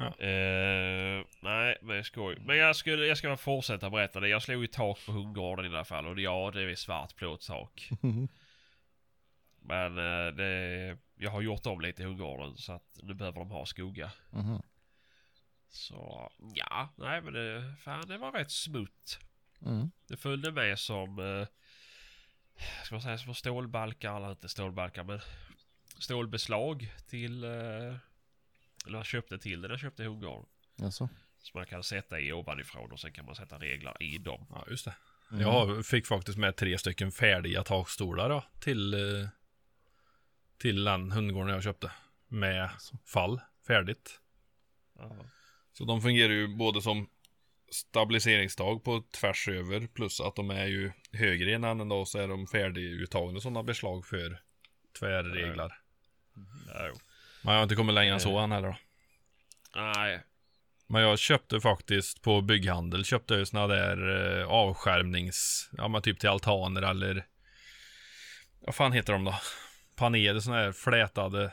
Speaker 5: Ja.
Speaker 2: Eh, nej, men skoj. Men jag, skulle, jag ska fortsätta berätta det. Jag slog ju tak på hundgården i alla fall. Och ja, det är svart plåttak.
Speaker 4: Mhm,
Speaker 2: Men eh, det, jag har gjort om lite i hundgården så att nu behöver de ha skugga.
Speaker 4: Mhm.
Speaker 2: Så ja, nej men det, fan det var rätt smutt.
Speaker 4: Mm.
Speaker 2: Det följde med som, eh, ska man säga, som stålbalkar, eller inte stålbalkar men stålbeslag till, eh, eller jag köpte till den jag köpte i hundgården.
Speaker 4: Alltså.
Speaker 2: Som man kan sätta i ovanifrån och sen kan man sätta reglar i dem.
Speaker 5: Ja, just det.
Speaker 4: Mm.
Speaker 5: Jag fick faktiskt med tre stycken färdiga takstolar då, till, eh, till den hundgården jag köpte. Med fall, färdigt. Så de fungerar ju både som stabiliseringstag på tvärs över plus att de är ju högre i en ände och så är de färdiguttagna sådana beslag för tvärreglar. Eh.
Speaker 2: Ja.
Speaker 5: Men jag har inte kommit längre än så än heller då.
Speaker 2: Nej,
Speaker 5: Men jag köpte faktiskt på bygghandel, köpte jag ju såna där eh, avskärmnings, ja men typ till altaner eller vad fan heter de då? Paneler, såna här flätade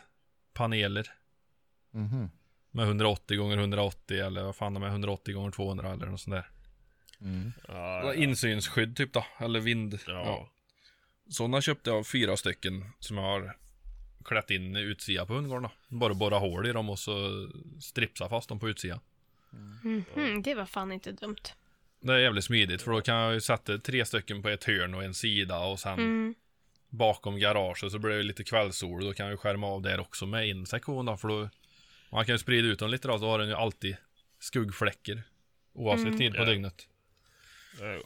Speaker 5: paneler
Speaker 4: Mhm.
Speaker 5: med 180 gånger 180 eller vad fan de är 180 gånger 200 eller något sånt där.
Speaker 4: Mm.
Speaker 2: ja, ja.
Speaker 5: Insynsskydd typ då, eller vind.
Speaker 2: ja.
Speaker 5: Sådana köpte jag fyra stycken som jag har klätt in i utsidan på hundgården då. Bara borra hål i dem och så stripsa fast dem på utsidan.
Speaker 1: Mhm, det var fan inte dumt.
Speaker 5: Det är jävligt smidigt för då kan jag ju sätta tre stycken på ett hörn och en sida och sen
Speaker 1: Mm.
Speaker 5: bakom garaget så blir det lite kvällssol. Då kan jag ju skärma av där också med insektion då för då man kan ju sprida ut dem lite då så har den ju alltid skuggfläckar oavsett tid på
Speaker 2: Ja.
Speaker 5: dygnet.
Speaker 2: ja.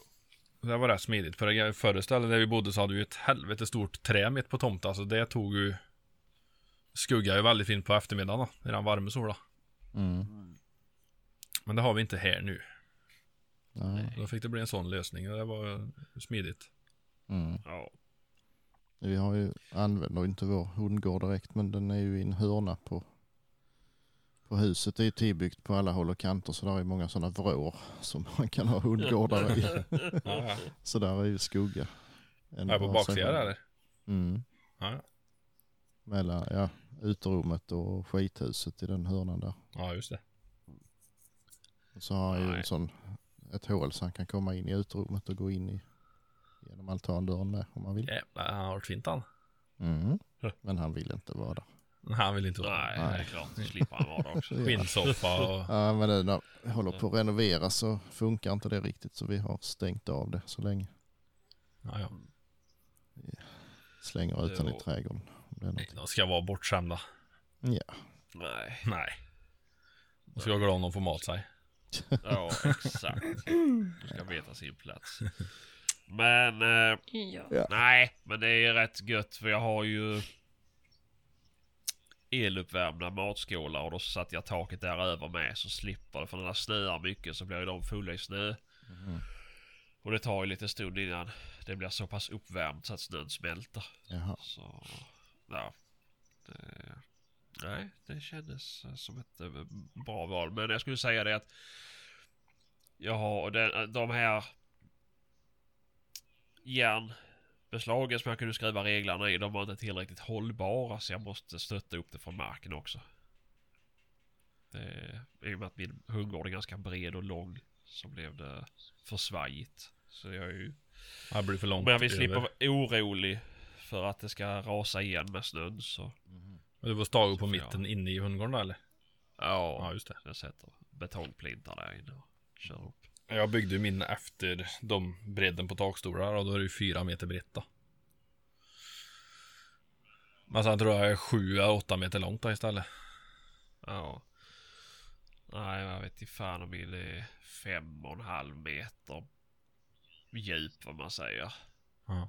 Speaker 5: Det var rätt smidigt för det förra stället där vi bodde så hade vi ett helvete stort trä mitt på tomten. Alltså det tog ju skugga ju väldigt fint på eftermiddagen då, i den varma solen.
Speaker 4: Mm.
Speaker 5: Men det har vi inte här nu.
Speaker 4: Nej.
Speaker 5: Då fick det bli en sån lösning och det var eh, smidigt.
Speaker 4: Mm.
Speaker 2: ja.
Speaker 4: Vi har ju, använder ju inte vår hundgård direkt men den är ju i en hörna på, på huset. Det är ju tillbyggt på alla håll och kanter så där är många sådana vrår som man kan ha hundgårdar i. Så där är ju skugga. En
Speaker 5: Här på
Speaker 4: bra
Speaker 5: baksidan
Speaker 4: säng.
Speaker 5: eller?
Speaker 4: Mm.
Speaker 5: Ja.
Speaker 4: Mellan ja, uterummet och skithuset i den hörnan där.
Speaker 5: ja, just det.
Speaker 4: Och så har han ju
Speaker 2: Nej.
Speaker 4: en sån, ett hål så han kan komma in i uterummet och gå in i genom altandörren med om han vill.
Speaker 5: Jävlar, han har varit fint han.
Speaker 4: Mm. Men han vill inte vara där.
Speaker 5: Nej, Han vill inte vara
Speaker 2: Nej, det är klart. Då slipper han vara det också.
Speaker 5: skinnsoffa och...
Speaker 4: Ja, men nu när vi håller på att renovera så funkar inte det riktigt så vi har stängt av det så länge.
Speaker 5: Ja, ja.
Speaker 4: Slänger ut den
Speaker 2: Jo.
Speaker 4: i trädgården. om det är något.
Speaker 5: De ska vara bortskämda.
Speaker 4: Ja,
Speaker 2: Nej,
Speaker 5: Nej. De ska vara glada om de får mat sig.
Speaker 2: ja exakt. Du ska veta sin plats. Men eh,
Speaker 1: Ja.
Speaker 2: nej, men det är rätt gött för jag har ju eluppvärmda matskålar och då satte jag taket där över med så slipper det. För när det snöar mycket så blir ju de fulla i snö. Och det tar ju lite stund innan det blir så pass uppvärmt så att snön smälter.
Speaker 4: jaha.
Speaker 2: Så, ja. Det, nej, det kändes eh, som ett eh, bra val. Men jag skulle säga det att jag har den, eh, de här järnbeslagen som jag kunde skriva reglerna i, de var inte tillräckligt hållbara så jag måste stötta upp det från marken också. Det, I och med att min hundgård är ganska bred och lång så blev det för svajigt. Så jag är ju
Speaker 5: Det blir för långt
Speaker 2: men jag vill
Speaker 5: över.
Speaker 2: slippa vara orolig för att det ska rasa igen med snön så...
Speaker 5: Men Du får stå på
Speaker 2: Så får
Speaker 5: mitten inne i hundgården där, eller? Ja,
Speaker 2: Ja,
Speaker 5: just det.
Speaker 2: jag sätter betongplintar där inne och kör upp.
Speaker 5: Jag byggde ju min efter de bredden på takstolar och då är det ju fyra meter brett då. Men sen tror jag jag är sju, eller åtta meter långt då istället.
Speaker 2: Ja. Nej, jag vet inte fan om min är fem och en halv meter djup vad man säger.
Speaker 5: Ja.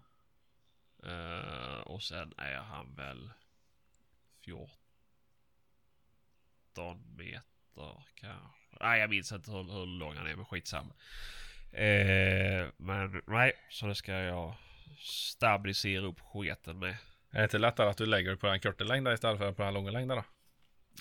Speaker 2: Eh, och sen är han väl 14 meter kanske. Nej, jag minns inte hur, hur lång han är, men skitsamma. Eh, men nej, så det ska jag stabilisera upp sketen med.
Speaker 5: Är det inte lättare att du lägger det på den korta längden istället för på den långa längden då?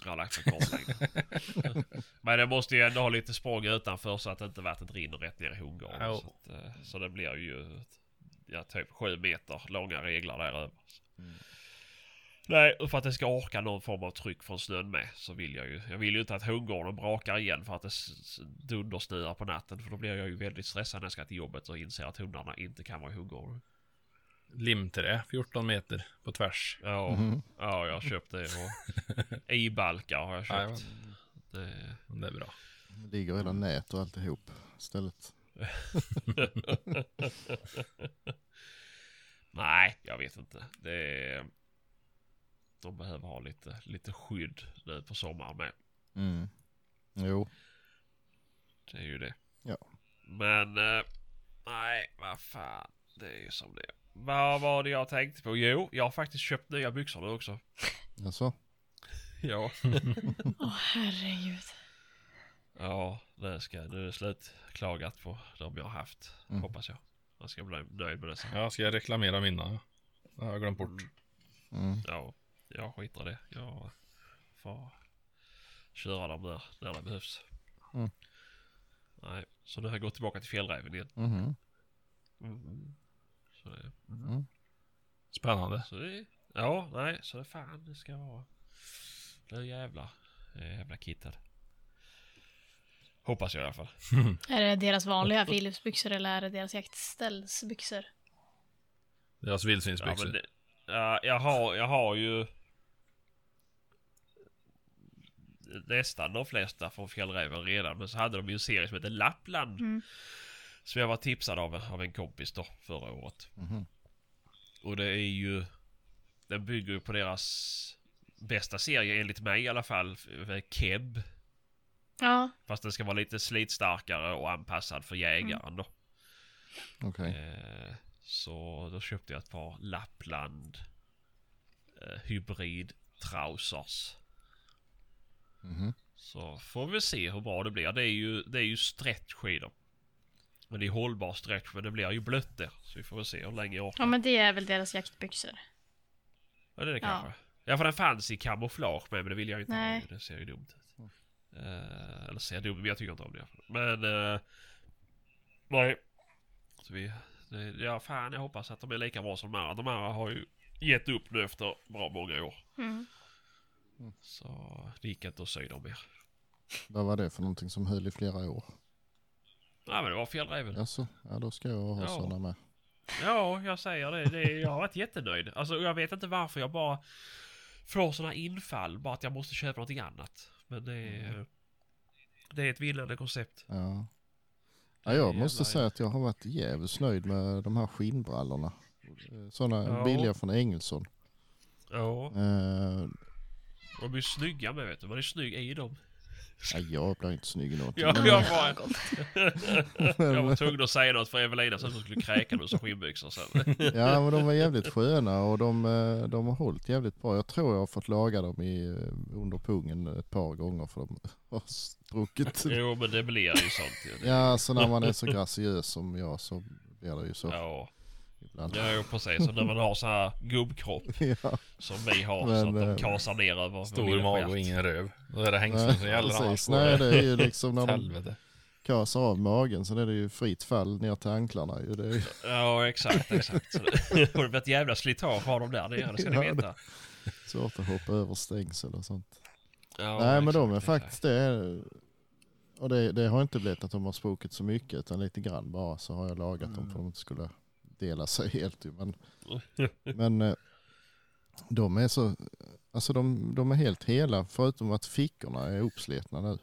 Speaker 2: Jag har lagt för kort längd. Men det måste ju ändå ha lite språng utanför så att inte vattnet rinner rätt ner i hundgården.
Speaker 5: Ja.
Speaker 2: Så, att, eh, så det blir ju ett- ja, typ sju meter långa reglar där över. Nej, och för att det ska orka någon form av tryck från snön med så vill jag ju. Jag vill ju inte att hundgården brakar igen för att det s- s- dundersnöar på natten. För då blir jag ju väldigt stressad när jag ska till jobbet och inser att hundarna inte kan vara i hundgården.
Speaker 5: Limträ, 14 meter på tvärs.
Speaker 2: Ja, ja jag har köpt det och i-balkar har jag
Speaker 5: Jajamän.
Speaker 2: köpt. Det...
Speaker 5: Det är bra.
Speaker 4: Det ligger hela
Speaker 2: Mm.
Speaker 4: nät och alltihop istället.
Speaker 2: Nej, jag vet inte. Det är... De behöver ha lite, lite skydd nu på sommaren med.
Speaker 4: Mm. Jo,
Speaker 2: Det är ju det.
Speaker 4: Ja.
Speaker 2: Men, eh, nej, vad fan. Det är ju som det är. Vad var det jag tänkte på? Jo, jag har faktiskt köpt nya byxor nu också.
Speaker 4: alltså.
Speaker 2: Ja.
Speaker 1: Åh herregud.
Speaker 2: Ja, det ska, nu är det slut klagat på de jag har haft.
Speaker 4: Mm.
Speaker 2: Hoppas jag. Jag ska bli nöjd med det sen.
Speaker 5: Ja, ska jag reklamera mina? Det har jag glömt bort.
Speaker 4: Mm.
Speaker 2: Ja, jag skiter i det. Jag får köra dem där när det behövs.
Speaker 4: Mm.
Speaker 2: Nej, så nu har jag gått tillbaka till fjällräven igen.
Speaker 4: Mhm. Mm.
Speaker 2: Så det,
Speaker 5: Spännande.
Speaker 2: så det, ja, nej, så det fan det ska vara. Nu jävlar. Jag är jävla kittad. Hoppas jag i alla fall.
Speaker 1: Är det deras vanliga friluftsbyxor eller är det deras jaktställsbyxor?
Speaker 5: Deras
Speaker 2: Ja, men
Speaker 5: vildsvinsbyxor.
Speaker 2: det, ja, jag, har, jag har ju nästan de flesta från Fjällräven redan. Men så hade de ju en serie som heter Lappland.
Speaker 1: Mm.
Speaker 2: Som jag var tipsad av, av en kompis då förra året.
Speaker 4: Mhm.
Speaker 2: Och det är ju... Den bygger ju på deras bästa serie enligt mig i alla fall. eh, Keb.
Speaker 1: Ja,
Speaker 2: Fast den ska vara lite slitstarkare och anpassad för jägaren då.
Speaker 4: Okej.
Speaker 2: Eh, Så då köpte jag ett par Lappland eh, hybrid trousers.
Speaker 4: Mhm.
Speaker 2: Så får vi se hur bra det blir. Det är ju, det är ju stretch i dem. Men det är hållbar stretch men det blir ju blött där. Så vi får väl se hur länge jag orkar.
Speaker 1: ja men det är väl deras jaktbyxor.
Speaker 2: Ja, det är det
Speaker 1: Ja.
Speaker 2: kanske. Ja, för den fanns i kamouflage med, men det vill jag inte ha
Speaker 1: Nej.
Speaker 2: nu. Det ser ju dumt ut. Eh, eller ser dumt, men jag tycker inte om det. Men... eh, nej. Så vi, det, ja, fan jag hoppas att de är lika bra som de andra. De andra har ju gett upp nu efter bra många år.
Speaker 1: Mm.
Speaker 2: Så det gick inte att sy dem mer.
Speaker 4: Vad var det för någonting som höll i flera år?
Speaker 2: Nej, men det var fjällräven. Ja.
Speaker 4: Alltså, ja då ska jag ha
Speaker 2: Ja.
Speaker 4: sådana med.
Speaker 2: jag säger det. det. Jag har varit jättenöjd. Alltså, och jag vet inte varför jag bara får sådana infall. Bara att jag måste köpa någonting annat. Men det är... Det är ett vinnande koncept.
Speaker 4: Ja. Ja, jag
Speaker 2: Jävlar,
Speaker 4: måste
Speaker 2: ja.
Speaker 4: säga att jag har varit jävligt nöjd med de här skinnbrallorna. Sådana
Speaker 2: Ja.
Speaker 4: billiga från Engelsson.
Speaker 2: Ja,
Speaker 4: Eh,
Speaker 2: de är ju snygga med vet du. Man är snygg i dem.
Speaker 4: nej, jag blir inte snygg i någonting.
Speaker 2: Ja,
Speaker 4: men-
Speaker 2: jag var, jag var tvungen att säga något för Evelina så att hon skulle kräka med sina skinnbyxor sen.
Speaker 4: Ja, men de var jävligt sköna och de, eh, de har hållit jävligt bra. Jag tror jag har fått laga dem i, eh, under pungen ett par gånger för de har struckit.
Speaker 2: Jo, men det blir ju sånt ju.
Speaker 4: Ja, så när man är så graciös som jag så blir det ju så
Speaker 2: Ja,
Speaker 4: ibland.
Speaker 2: ja jo, precis. Så när man har så här gubbkropp
Speaker 4: Ja,
Speaker 2: som vi har så
Speaker 4: Men,
Speaker 2: att de
Speaker 4: eh,
Speaker 2: kasar ner över
Speaker 5: Stor
Speaker 2: mina
Speaker 5: mage
Speaker 2: stjärt.
Speaker 5: och ingen röv. Då är det hängslen som
Speaker 4: nej,
Speaker 5: gäller
Speaker 4: precis.
Speaker 5: annars.
Speaker 4: Nej,
Speaker 5: Nej,
Speaker 4: det är ju liksom när de
Speaker 5: Helvete.
Speaker 4: kasar av magen så är det ju fritt fall ner till anklarna. ju. Det är ju...
Speaker 2: Ja, exakt, exakt. Så det- Och det blir ett jävla slitage har de där nere, det ska ni
Speaker 4: Ja, det-
Speaker 2: veta.
Speaker 4: Svårt att hoppa över stängsel och sånt.
Speaker 2: Ja,
Speaker 4: Nej men
Speaker 2: exakt,
Speaker 4: de är
Speaker 2: exakt.
Speaker 4: faktiskt det. är- Och det, det har inte blivit att de har spruckit så mycket utan lite grann bara så har jag lagat dem för att de inte skulle dela sig helt. ju. Men, men eh, de är så, alltså de, de är helt hela förutom att fickorna är uppslitna nu.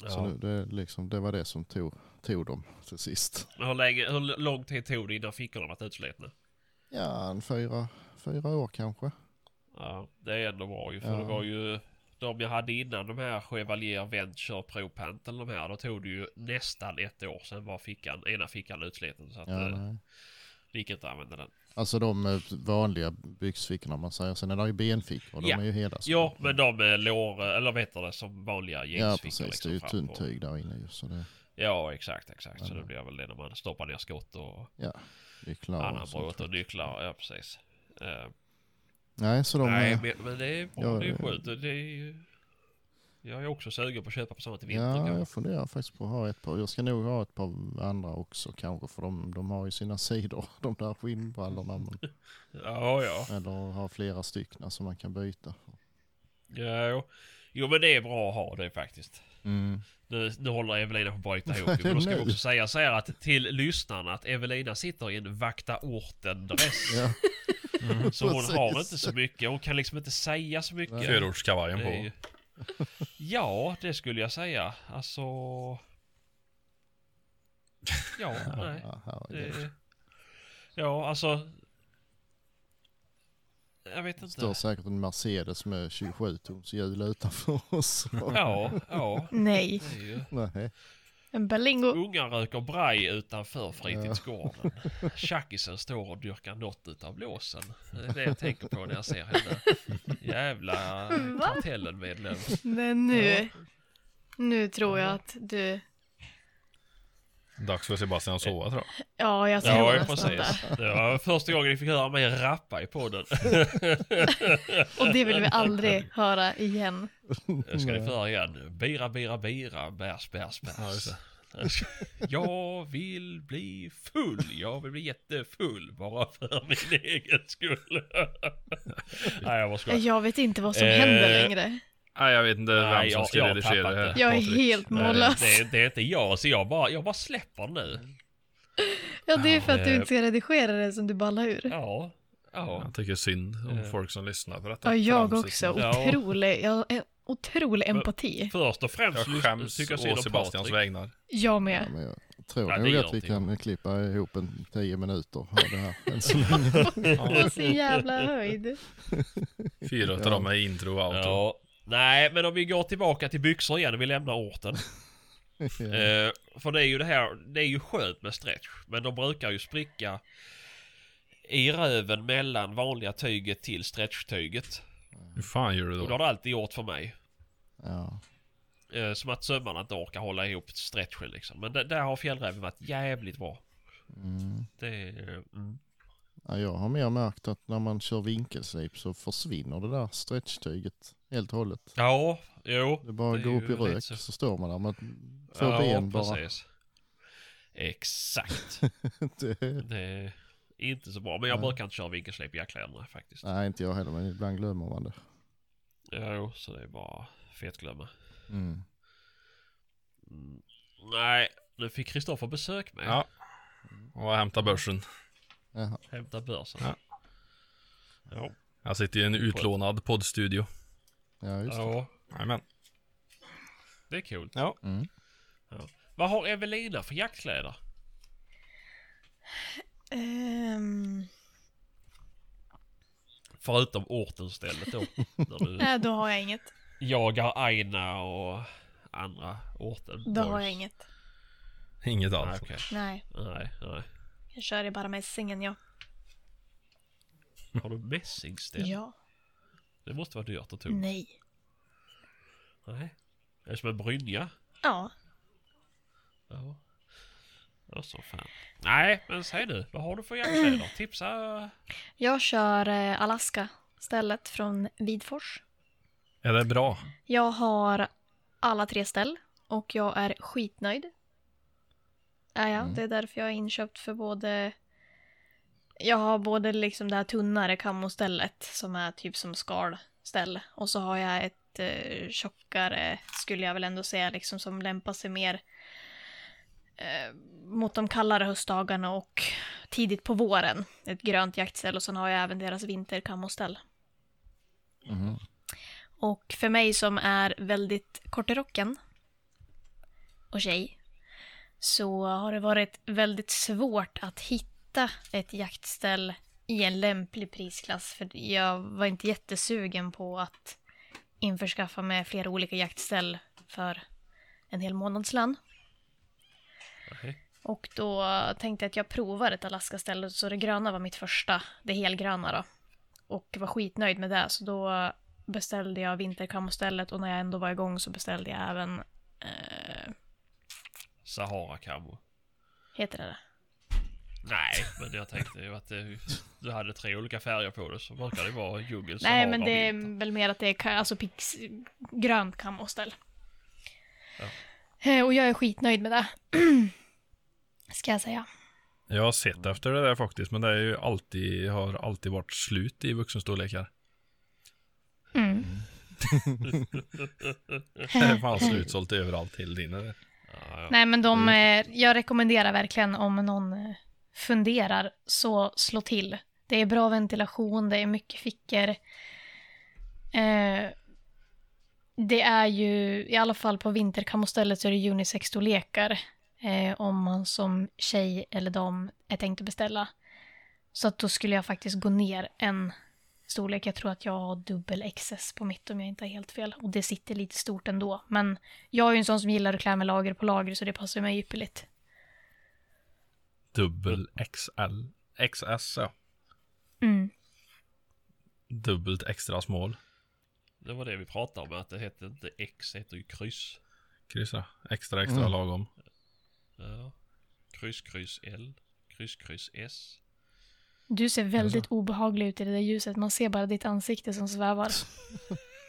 Speaker 4: Så
Speaker 2: Ja.
Speaker 4: nu, det, är liksom, det var det som tog, tog dem till sist.
Speaker 2: Men Hur, länge, hur lång tid tog det innan fickorna varit utslitna?
Speaker 4: Ja, en fyra, fyra år kanske.
Speaker 2: Ja, det är ändå bra ju. För
Speaker 4: Ja.
Speaker 2: det var ju de jag hade innan de här Chevalier Venture Pro Pantel de här. Då tog det ju nästan ett år. Sen var fickan, ena fickan utsliten. Så att,
Speaker 4: Ja,
Speaker 2: eh,
Speaker 4: nej.
Speaker 2: Det gick inte att använda den.
Speaker 4: Alltså de eh, vanliga byxfickorna man säger. Sen är det ju benfickor. De
Speaker 2: Ja.
Speaker 4: är ju hela. så-
Speaker 2: Ja, men de är lår, eh, eller vad heter det, som vanliga
Speaker 4: Ja,
Speaker 2: jeansfickor.
Speaker 4: precis.
Speaker 2: liksom,
Speaker 4: det är ju typ.
Speaker 2: fram
Speaker 4: tunt
Speaker 2: på.
Speaker 4: tyg där inne ju. Så det,
Speaker 2: Ja, exakt, exakt. Så det blir väl det när man stoppar ner skott och
Speaker 4: ja, nycklar och
Speaker 2: annan
Speaker 4: sånt.
Speaker 2: brott och nycklar. Ja, precis. Eh,
Speaker 4: Nej, så de...
Speaker 2: nej,
Speaker 4: eh,
Speaker 2: men, men det är bra.
Speaker 4: ja,
Speaker 2: det är
Speaker 4: eh,
Speaker 2: skönt. Det är, ju- jag är också sugen på att köpa på sånt i vinter.
Speaker 4: Ja,
Speaker 2: kanske.
Speaker 4: jag funderar faktiskt på att ha ett par. Jag ska nog ha ett par andra också kanske, för de, de har ju sina sidor, de där skinnbrallorna. Men,
Speaker 2: ja. ja.
Speaker 4: eller ha flera stycken som man kan byta.
Speaker 2: Ja, jo. jo men det är bra att ha det faktiskt. Nu, nu håller Evelina på att bryta ihop. Men då ska vi
Speaker 4: Nej.
Speaker 2: också säga så här att till lyssnarna att Evelina sitter i en vakta orten-dress.
Speaker 4: Ja,
Speaker 2: så hon har
Speaker 4: precis.
Speaker 2: inte så mycket. Hon kan liksom inte säga så mycket.
Speaker 5: Förortskavajen
Speaker 2: Det är
Speaker 5: på.
Speaker 2: ju- Ja, det skulle jag säga. Alltså... Ja, nej.
Speaker 4: ja, herregud.
Speaker 2: Det... Ja, alltså... Jag vet
Speaker 4: Det står
Speaker 2: inte.
Speaker 4: säkert en Mercedes med 27 tums hjul utanför oss.
Speaker 2: Ja, ja.
Speaker 1: Nej,
Speaker 2: Det är ju...
Speaker 4: Nej.
Speaker 1: en Berlingo.
Speaker 2: Ungar röker braj utanför fritidsgården. Tjackisen står och dyrkar något utav låsen. Det är det jag tänker på när jag ser henne. Jävla Kartellen-medlem.
Speaker 1: Nej, nu. Nu tror jag att du...
Speaker 5: Dags för Sebastian att sova tror jag.
Speaker 1: Ja, jag tror
Speaker 2: Ja,
Speaker 1: nästan det.
Speaker 2: precis. Det var första gången ni fick höra mig rappa i podden.
Speaker 1: Och det vill vi aldrig höra igen.
Speaker 2: Nu ska ni få höra igen. Bira, bira, bira, bärs, bärs, bärs. Jag vill bli full. Jag vill bli jättefull bara för min egen skull. Nej, jag var skojar.
Speaker 1: Jag vet inte vad som
Speaker 2: Eh,
Speaker 1: händer längre.
Speaker 5: Nej, jag vet inte
Speaker 2: Nej,
Speaker 5: vem som
Speaker 2: jag-
Speaker 5: ska
Speaker 2: jag har
Speaker 5: redigera
Speaker 2: tappat
Speaker 5: det här.
Speaker 2: det.
Speaker 1: Jag är
Speaker 5: Patrik.
Speaker 1: helt mållös.
Speaker 2: Eh, Det, det är inte jag, så jag bara, jag bara släpper nu.
Speaker 1: Ja, det är för att du
Speaker 2: eh,
Speaker 1: inte ska redigera det som du ballar ur.
Speaker 2: Ja. Ja.
Speaker 5: Jag tycker synd om
Speaker 2: Eh.
Speaker 5: folk som lyssnar för att det
Speaker 1: Ja, jag
Speaker 5: framställs
Speaker 1: också.
Speaker 5: som-
Speaker 2: Ja.
Speaker 1: Otrolig, jag har en otrolig empati.
Speaker 2: Först och främst
Speaker 5: Jag skäms
Speaker 2: tycker jag synd
Speaker 5: å
Speaker 2: om
Speaker 5: Sebastians
Speaker 2: Patrik.
Speaker 5: vägnar.
Speaker 1: Jag
Speaker 4: Ja,
Speaker 1: med.
Speaker 4: men jag tror
Speaker 2: Ja, det
Speaker 4: nog
Speaker 2: gör
Speaker 4: att vi
Speaker 2: inte
Speaker 4: kan klippa ihop en 10 minuter av det här. Än så länge.
Speaker 1: På sin jävla höjd.
Speaker 5: Fyra utav dem är intro och outro.
Speaker 2: Ja. Nej, men om vi går tillbaka till byxor igen, vi lämnar orten.
Speaker 4: Ja.
Speaker 5: Mm.
Speaker 2: Eh, för det är ju det här, det är ju skönt med stretch. Men de brukar ju spricka i röven mellan vanliga tyget till stretchtyget.
Speaker 5: Hur fan gör du
Speaker 2: Och det har
Speaker 5: då?
Speaker 2: det alltid gjort för mig.
Speaker 4: Ja.
Speaker 2: Eh, som att sömmarna inte orkar hålla ihop stretchen liksom. Men d- där har fjällräven varit jävligt bra.
Speaker 4: Mm.
Speaker 2: Det är... Mm.
Speaker 4: Ja, jag har mer märkt att när man kör vinkelslip så försvinner det där stretchtyget helt och hållet.
Speaker 2: Ja, jo.
Speaker 4: Det bara
Speaker 2: Det är
Speaker 4: går upp
Speaker 2: ju
Speaker 4: i
Speaker 2: lite
Speaker 4: rök
Speaker 2: så.
Speaker 4: så. står man där med två ben bara.
Speaker 2: precis. Exakt.
Speaker 4: Det,
Speaker 2: Det är inte så bra. Men jag
Speaker 4: Nej.
Speaker 2: brukar inte köra vinkelslip i jackkläderna faktiskt.
Speaker 4: nej, inte jag heller, men ibland glömmer man det.
Speaker 2: Ja, Jo, så det är bara fetglömma.
Speaker 4: Mm.
Speaker 2: Mm. Nej, nu fick Kristoffer besök med.
Speaker 5: Ja. Och hämta börsen.
Speaker 4: Jaha.
Speaker 2: Hämta börsen.
Speaker 5: Ja.
Speaker 2: Ja.
Speaker 5: Jag sitter i en utlånad poddstudio.
Speaker 4: Ja, just det.
Speaker 2: ja,
Speaker 5: Jajamän.
Speaker 2: det är kul.
Speaker 5: Ja.
Speaker 4: Mm.
Speaker 2: Vad har Evelina för jaktkläder?
Speaker 1: Ehm,
Speaker 2: Förutom ortenstället då. när du
Speaker 1: nej, då har jag inget.
Speaker 2: jagar Aina och andra orten.
Speaker 1: Då har
Speaker 2: boys.
Speaker 1: jag inget.
Speaker 5: Inget
Speaker 2: Nej,
Speaker 5: alls.
Speaker 2: okej.
Speaker 1: Nej,
Speaker 2: Nej, nej.
Speaker 1: jag kör det bara med sängen jag.
Speaker 2: Har du mässingsställ?
Speaker 1: Ja.
Speaker 2: Det måste vara dyrt och tungt.
Speaker 1: Nej.
Speaker 2: Nej. Är det som en brynja?
Speaker 1: Ja.
Speaker 2: Ja. Ja, så fan. Nej, men säg nu. Vad har du för jaktkläder? Tipsa.
Speaker 1: Jag kör eh, Alaska stället från Vidfors.
Speaker 5: Är det bra?
Speaker 1: Jag har alla tre ställ och jag är skitnöjd. Ja, ja,
Speaker 4: Mm.
Speaker 1: det är därför jag är inköpt för både... Jag har både liksom det här tunnare kammostället som är typ som skalställ och så har jag ett eh, tjockare skulle jag väl ändå säga liksom som lämpar sig mer eh, mot de kallare höstdagarna och tidigt på våren. Ett grönt jaktställ och sen har jag även deras vinterkammoställ.
Speaker 4: Mhm.
Speaker 1: Och för mig som är väldigt kort i rocken och tjej så har det varit väldigt svårt att hitta ett jaktställ i en lämplig prisklass för jag var inte jättesugen på att införskaffa mig flera olika jaktställ för en hel månadslön.
Speaker 2: Nej.
Speaker 1: Och då tänkte jag att jag provar ett Alaska-ställe, så det gröna var mitt första, det helgröna då. Och var skitnöjd med det, så då beställde jag vinterkamostället och när jag ändå var igång så beställde jag även, eh,
Speaker 2: Sahara Camo.
Speaker 1: heter det det?
Speaker 2: Nej, men jag tänkte ju att det, du hade tre olika färger på det så brukar det vara djungel,
Speaker 1: Nej,
Speaker 2: Sahara,
Speaker 1: men det
Speaker 2: vinter.
Speaker 1: är väl mer att det är ka- alltså pix, grönt kamoställ.
Speaker 2: Ja.
Speaker 1: Eh, Och jag är skitnöjd med det. Ska jag säga.
Speaker 5: Jag har sett efter det där faktiskt, men det är ju alltid, har alltid varit slut i vuxenstorlekar.
Speaker 1: Mm.
Speaker 5: Det är fan slutsålt överallt hela tiden.
Speaker 2: Ja, ja.
Speaker 1: Nej, men de, eh, jag rekommenderar verkligen om någon eh, funderar, så slå till. Det är bra ventilation, det är mycket fickor. Eh, det är ju, i alla fall på vinterkamostället så är det unisex-storlekar eh, om man som tjej eller dam är tänkt att beställa. Så att då skulle jag faktiskt gå ner en storlek. Jag tror att jag har dubbel XS på mitt om jag inte har helt fel. Och det sitter lite stort ändå. Men jag är ju en sån som gillar att klä mig lager på lager så det passar mig ypperligt.
Speaker 5: Dubbel XL. XS, ja.
Speaker 1: Mm.
Speaker 5: Dubbelt extra small.
Speaker 2: Det var det vi pratade om, att det hette inte X, det hette ju kryss.
Speaker 5: Kryssa. Extra, extra
Speaker 4: Mm.
Speaker 5: lagom.
Speaker 2: Ja. Kryss, kryss L, kryss, kryss S.
Speaker 1: Du ser väldigt obehaglig ut i det där ljuset. Man ser bara ditt ansikte som svävar.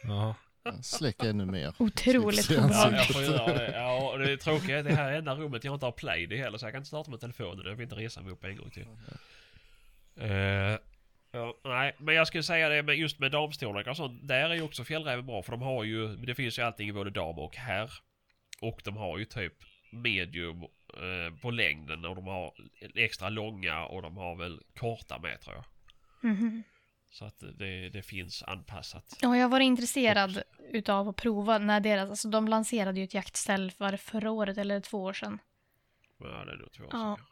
Speaker 5: Ja.
Speaker 4: Släck ännu mer.
Speaker 1: Otroligt
Speaker 4: Slipper se
Speaker 2: Ja,
Speaker 1: obehagligt.
Speaker 2: jag får göra det. Ja, och det är tråkigt. Det här är enda rummet jag inte har play i heller, så jag kan inte starta med telefonen. Jag vill inte resa mig upp en gång till. Eh, ja, nej, men jag skulle säga det med just med damstorlekar och sånt. Där är ju också fjällräven bra, för de har ju... Det finns ju allting i både dam och herr. Och de har ju typ medium eh, på längden och de har extra långa och de har väl korta med tror jag.
Speaker 1: Mhm.
Speaker 2: Så att det, det finns anpassat.
Speaker 1: Ja, jag var intresserad utav att prova när deras, alltså de lanserade ju ett jaktställ för förra året eller två år sedan.
Speaker 2: Ja, det är nog två år
Speaker 1: Ja.
Speaker 2: sedan.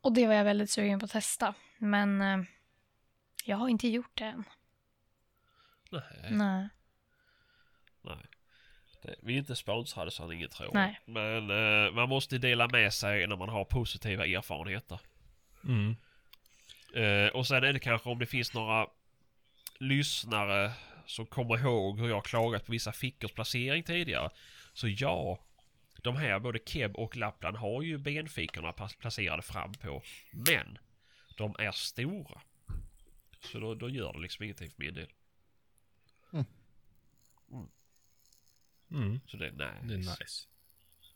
Speaker 1: Och det var jag väldigt sugen på att testa. Men eh, jag har inte gjort det än.
Speaker 2: Nej.
Speaker 1: Nej.
Speaker 2: Nej. Det, vi är inte sponsrade så han inget tror.
Speaker 1: Nej.
Speaker 2: Men eh, man måste dela med sig när man har positiva erfarenheter.
Speaker 5: Mm.
Speaker 2: Eh, och sen är det kanske om det finns några lyssnare som kommer ihåg hur jag har klagat på vissa fickors placering tidigare. Så ja, de här både Keb och Lappland har ju benfickorna pas- placerade fram på. Men de är stora. Så då, då gör det liksom ingenting för min del.
Speaker 5: Mm.
Speaker 2: Så det är nice.
Speaker 5: Det är nice.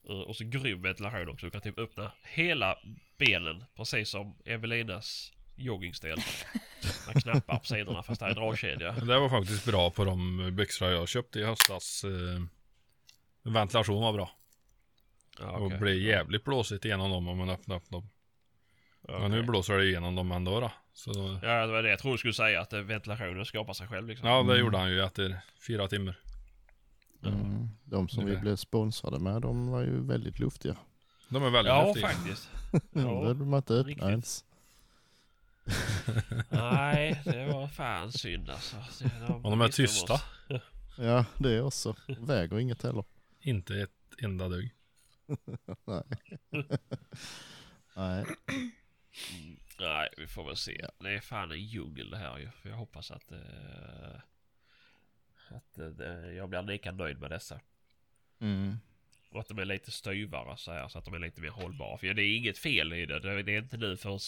Speaker 2: Eh, Och så grym ventilation också. Du kan typ öppna hela benen precis som Evelinas joggingstel. Man knappar på sidorna fast det är en dragkedja.
Speaker 5: Det var faktiskt bra på de byxorna jag köpte i höstas. Eh, ventilation var bra.
Speaker 2: Ja,
Speaker 5: Och
Speaker 2: okej.
Speaker 5: det blev jävligt blåsigt igenom dem om man öppnade upp dem.
Speaker 2: Ja,
Speaker 5: Men nu
Speaker 2: okej.
Speaker 5: blåser det igenom dem ändå då. Så då
Speaker 2: Ja, det var det jag trodde du skulle säga. Att eh, ventilationen skapar sig själv liksom.
Speaker 5: ja, det gjorde han ju efter fyra timmar.
Speaker 4: Mm. De som vi
Speaker 5: Det-
Speaker 4: blev sponsrade med, de var ju väldigt luftiga.
Speaker 5: De är väldigt
Speaker 2: Ja,
Speaker 5: häftiga.
Speaker 2: faktiskt.
Speaker 4: De
Speaker 2: Ja.
Speaker 4: behövde man inte
Speaker 2: riktigt.
Speaker 4: öppna ens.
Speaker 2: Nej, det var fan synd alltså. Det-
Speaker 5: Och de är
Speaker 2: visste om
Speaker 5: tysta.
Speaker 2: oss.
Speaker 4: Ja, det är också. Väger inget heller.
Speaker 5: Inte ett enda dugg.
Speaker 4: Nej.
Speaker 2: Mm, Nej, vi får väl se. Det är fan en djungel det här ju. För jag hoppas att... eh, att eh, jag blir lika nöjd med dessa.
Speaker 4: Mm.
Speaker 2: Och att de är lite styvare så här så att de är lite mer hållbara. För det är inget fel i det. Det det är inte nu förrän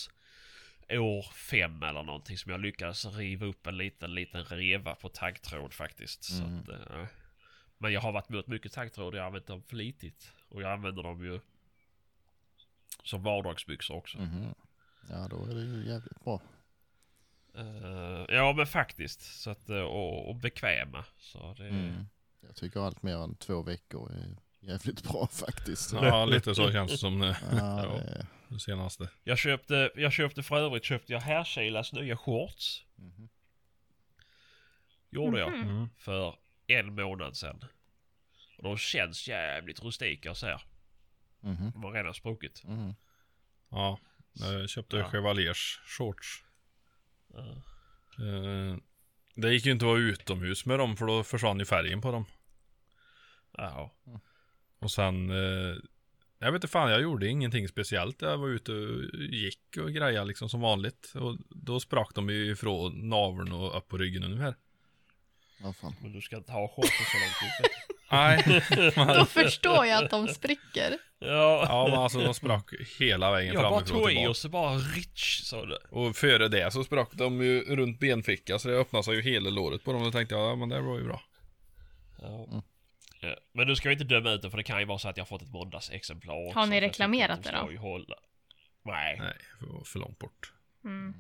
Speaker 2: år fem eller någonting som jag lyckades riva upp en liten, liten reva på taggtråd faktiskt.
Speaker 4: Mm.
Speaker 2: Så att, eh, men jag har varit mot mycket taggtråd. Jag har använt dem flitigt. Och jag använder dem ju som vardagsbyxor också.
Speaker 4: Mhm. Ja, då är det ju jävligt bra.
Speaker 2: Eh, ja men faktiskt. Så att, eh, och, och bekväma. Så det,
Speaker 4: Mm. Jag tycker allt mer än två veckor är jävligt bra faktiskt.
Speaker 5: Ja, lite så känns det som nu.
Speaker 4: Ja, det är-
Speaker 5: Det senaste.
Speaker 2: Jag köpte, jag köpte för övrigt köpte jag Hairkilas nya shorts.
Speaker 4: Mhm.
Speaker 2: Gjorde jag.
Speaker 5: Mm.
Speaker 2: för en månad sedan. Och de känns jävligt rustika så här.
Speaker 4: Mhm.
Speaker 2: De har redan spruckit.
Speaker 4: Mhm.
Speaker 5: Ja, jag köpte
Speaker 2: Ja.
Speaker 5: Chevaliers shorts.
Speaker 2: Ja.
Speaker 5: Eh, Det gick ju inte att vara utomhus med dem för då försvann ju färgen på dem.
Speaker 2: Jaha.
Speaker 5: Och sen eh, Jag vet inte fan, jag gjorde ingenting speciellt. Jag var ute och gick och grejade liksom som vanligt. Och då sprack de ju ifrån naveln och upp på ryggen ungefär.
Speaker 4: Ja, fan.
Speaker 2: Men du ska inte ha shorts och så långt ut.
Speaker 5: Nej.
Speaker 1: Då förstår jag att de spricker.
Speaker 2: Ja.
Speaker 5: Ja men alltså de sprack hela vägen
Speaker 2: Jag bara
Speaker 5: framifrån
Speaker 2: tog
Speaker 5: och
Speaker 2: i
Speaker 5: tillbaka.
Speaker 2: och så bara rich sa du.
Speaker 5: Och före det så sprack de ju runt benfickan så det öppnade sig ju hela låret på dem. Då tänkte jag, ja men det var ju bra.
Speaker 2: Ja. Ja. Men nu ska vi inte döma ut det för det kan ju vara så att jag har fått ett måndagsexemplar också,
Speaker 1: Har ni
Speaker 2: så jag tycker
Speaker 1: reklamerat
Speaker 2: att de
Speaker 1: det då?
Speaker 2: ska ju hålla. Nej,
Speaker 5: Nej, för, för långt bort.
Speaker 1: Mm.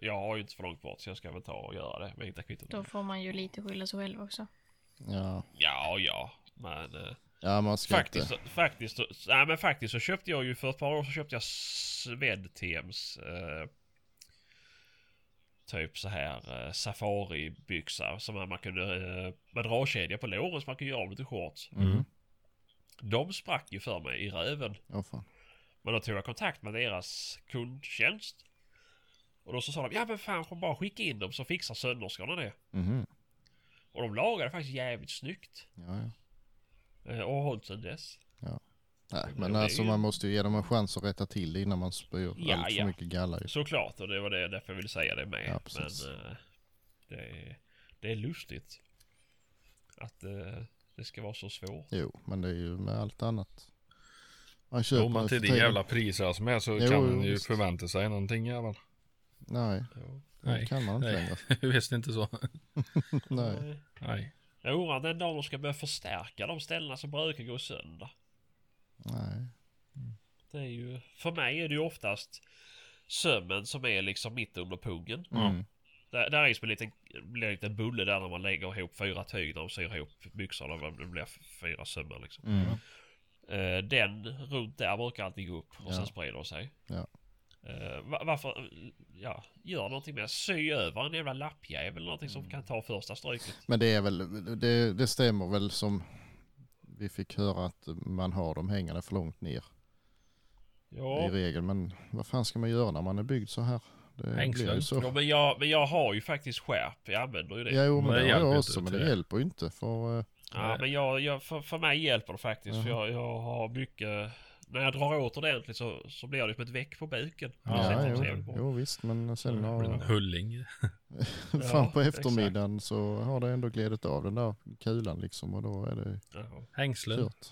Speaker 2: jag har ju inte för långt bort så jag ska väl ta och göra det. Men inte kvitton.
Speaker 1: Då får man ju lite skylla sig själv också.
Speaker 4: Ja.
Speaker 2: Ja, ja. Men eh,
Speaker 4: ja, man ska
Speaker 2: faktiskt,
Speaker 4: inte.
Speaker 2: så- faktiskt, så- nej, men faktiskt så köpte jag ju för ett par år så köpte jag Swedtems eh, typ så här eh, safaribyxa som man kunde eh, med dragkedja på låren så man kunde göra om det till shorts.
Speaker 4: Mm.
Speaker 2: De sprack ju för mig i röven.
Speaker 4: Ja, fan.
Speaker 2: Men då tog jag kontakt med deras kundtjänst. Och då så sa de, ja men fan får bara skicka in dem så fixar sömmerskorna det.
Speaker 4: Mhm.
Speaker 2: Och de lagade faktiskt jävligt snyggt.
Speaker 4: Ja, ja.
Speaker 2: eh, Och har hållit sedan dess.
Speaker 4: Nej,
Speaker 2: Men
Speaker 4: men
Speaker 2: det är
Speaker 4: alltså
Speaker 2: ju-
Speaker 4: man måste ju ge dem en chans att rätta till det innan man spyr
Speaker 2: Ja,
Speaker 4: allt för
Speaker 2: ja.
Speaker 4: mycket galla. ju.
Speaker 2: Såklart, och det var det, därför jag ville säga det med.
Speaker 4: Ja, precis.
Speaker 2: men eh, det, är, det är lustigt. Att eh, det ska vara så svårt.
Speaker 4: Jo, men det är ju med allt annat. Man köper
Speaker 5: Jo men
Speaker 4: nu
Speaker 5: till
Speaker 4: för
Speaker 5: de
Speaker 4: tiden-
Speaker 5: jävla priserna som är så
Speaker 4: Jo,
Speaker 5: kan
Speaker 4: jo,
Speaker 5: man ju
Speaker 4: visst.
Speaker 5: förvänta sig någonting jävel.
Speaker 4: Nej, det
Speaker 5: Nej,
Speaker 4: kan man inte
Speaker 5: Nej.
Speaker 4: längre.
Speaker 5: visst inte så.
Speaker 4: Nej.
Speaker 5: Nej.
Speaker 2: Jag undrar den dagen de ska börja förstärka de ställena som brukar gå sönder.
Speaker 4: Nej.
Speaker 2: Det är ju, för mig är det ju oftast sömmen som är liksom mitt under pungen.
Speaker 4: Mm.
Speaker 2: Där, där är som en liten, blir en liten bulle där när man lägger ihop fyra tyg när de syr ihop byxorna. Det blir f- fyra sömmar liksom.
Speaker 4: Mm.
Speaker 2: Eh, den runt där brukar alltid gå upp och
Speaker 4: Ja.
Speaker 2: sen sprider de sig.
Speaker 4: Ja.
Speaker 2: Eh, va- varför, ja, gör någonting med Sy över en jävla lappjävel någonting
Speaker 4: Mm.
Speaker 2: som kan ta första stryket.
Speaker 4: Men det är väl, det, det stämmer väl som vi fick höra att man har dem hängande för långt ner i
Speaker 2: Ja,
Speaker 4: regel. Men vad fan ska man göra när man är byggd så här? Det
Speaker 5: Hängslen.
Speaker 4: blir ju
Speaker 2: ja
Speaker 4: så.
Speaker 2: men, jag, men jag har ju faktiskt skärp. Jag använder ju det.
Speaker 4: Ja, jo, men
Speaker 5: Men
Speaker 4: det
Speaker 5: det
Speaker 4: har
Speaker 5: hjälper
Speaker 4: jag
Speaker 5: ju
Speaker 4: också,
Speaker 5: inte
Speaker 4: men
Speaker 5: till
Speaker 4: det
Speaker 5: det.
Speaker 4: hjälper ju inte. För, eh,
Speaker 2: Ja,
Speaker 5: Nej.
Speaker 2: men jag, jag, för, för mig hjälper det faktiskt. För jag, jag har mycket... När jag drar åt ordentligt så, så blir det som ett veck på buken.
Speaker 5: Ja,
Speaker 2: Det
Speaker 4: ja,
Speaker 2: ser
Speaker 4: jo,
Speaker 2: inte trevligt ut.
Speaker 4: jo, visst, men sen
Speaker 5: En
Speaker 4: har,
Speaker 5: hulling.
Speaker 4: fram
Speaker 2: Ja,
Speaker 4: på eftermiddagen så har det ändå glidit av den där kulan liksom och då är det
Speaker 2: Ja.
Speaker 5: Hängslen.
Speaker 4: kört.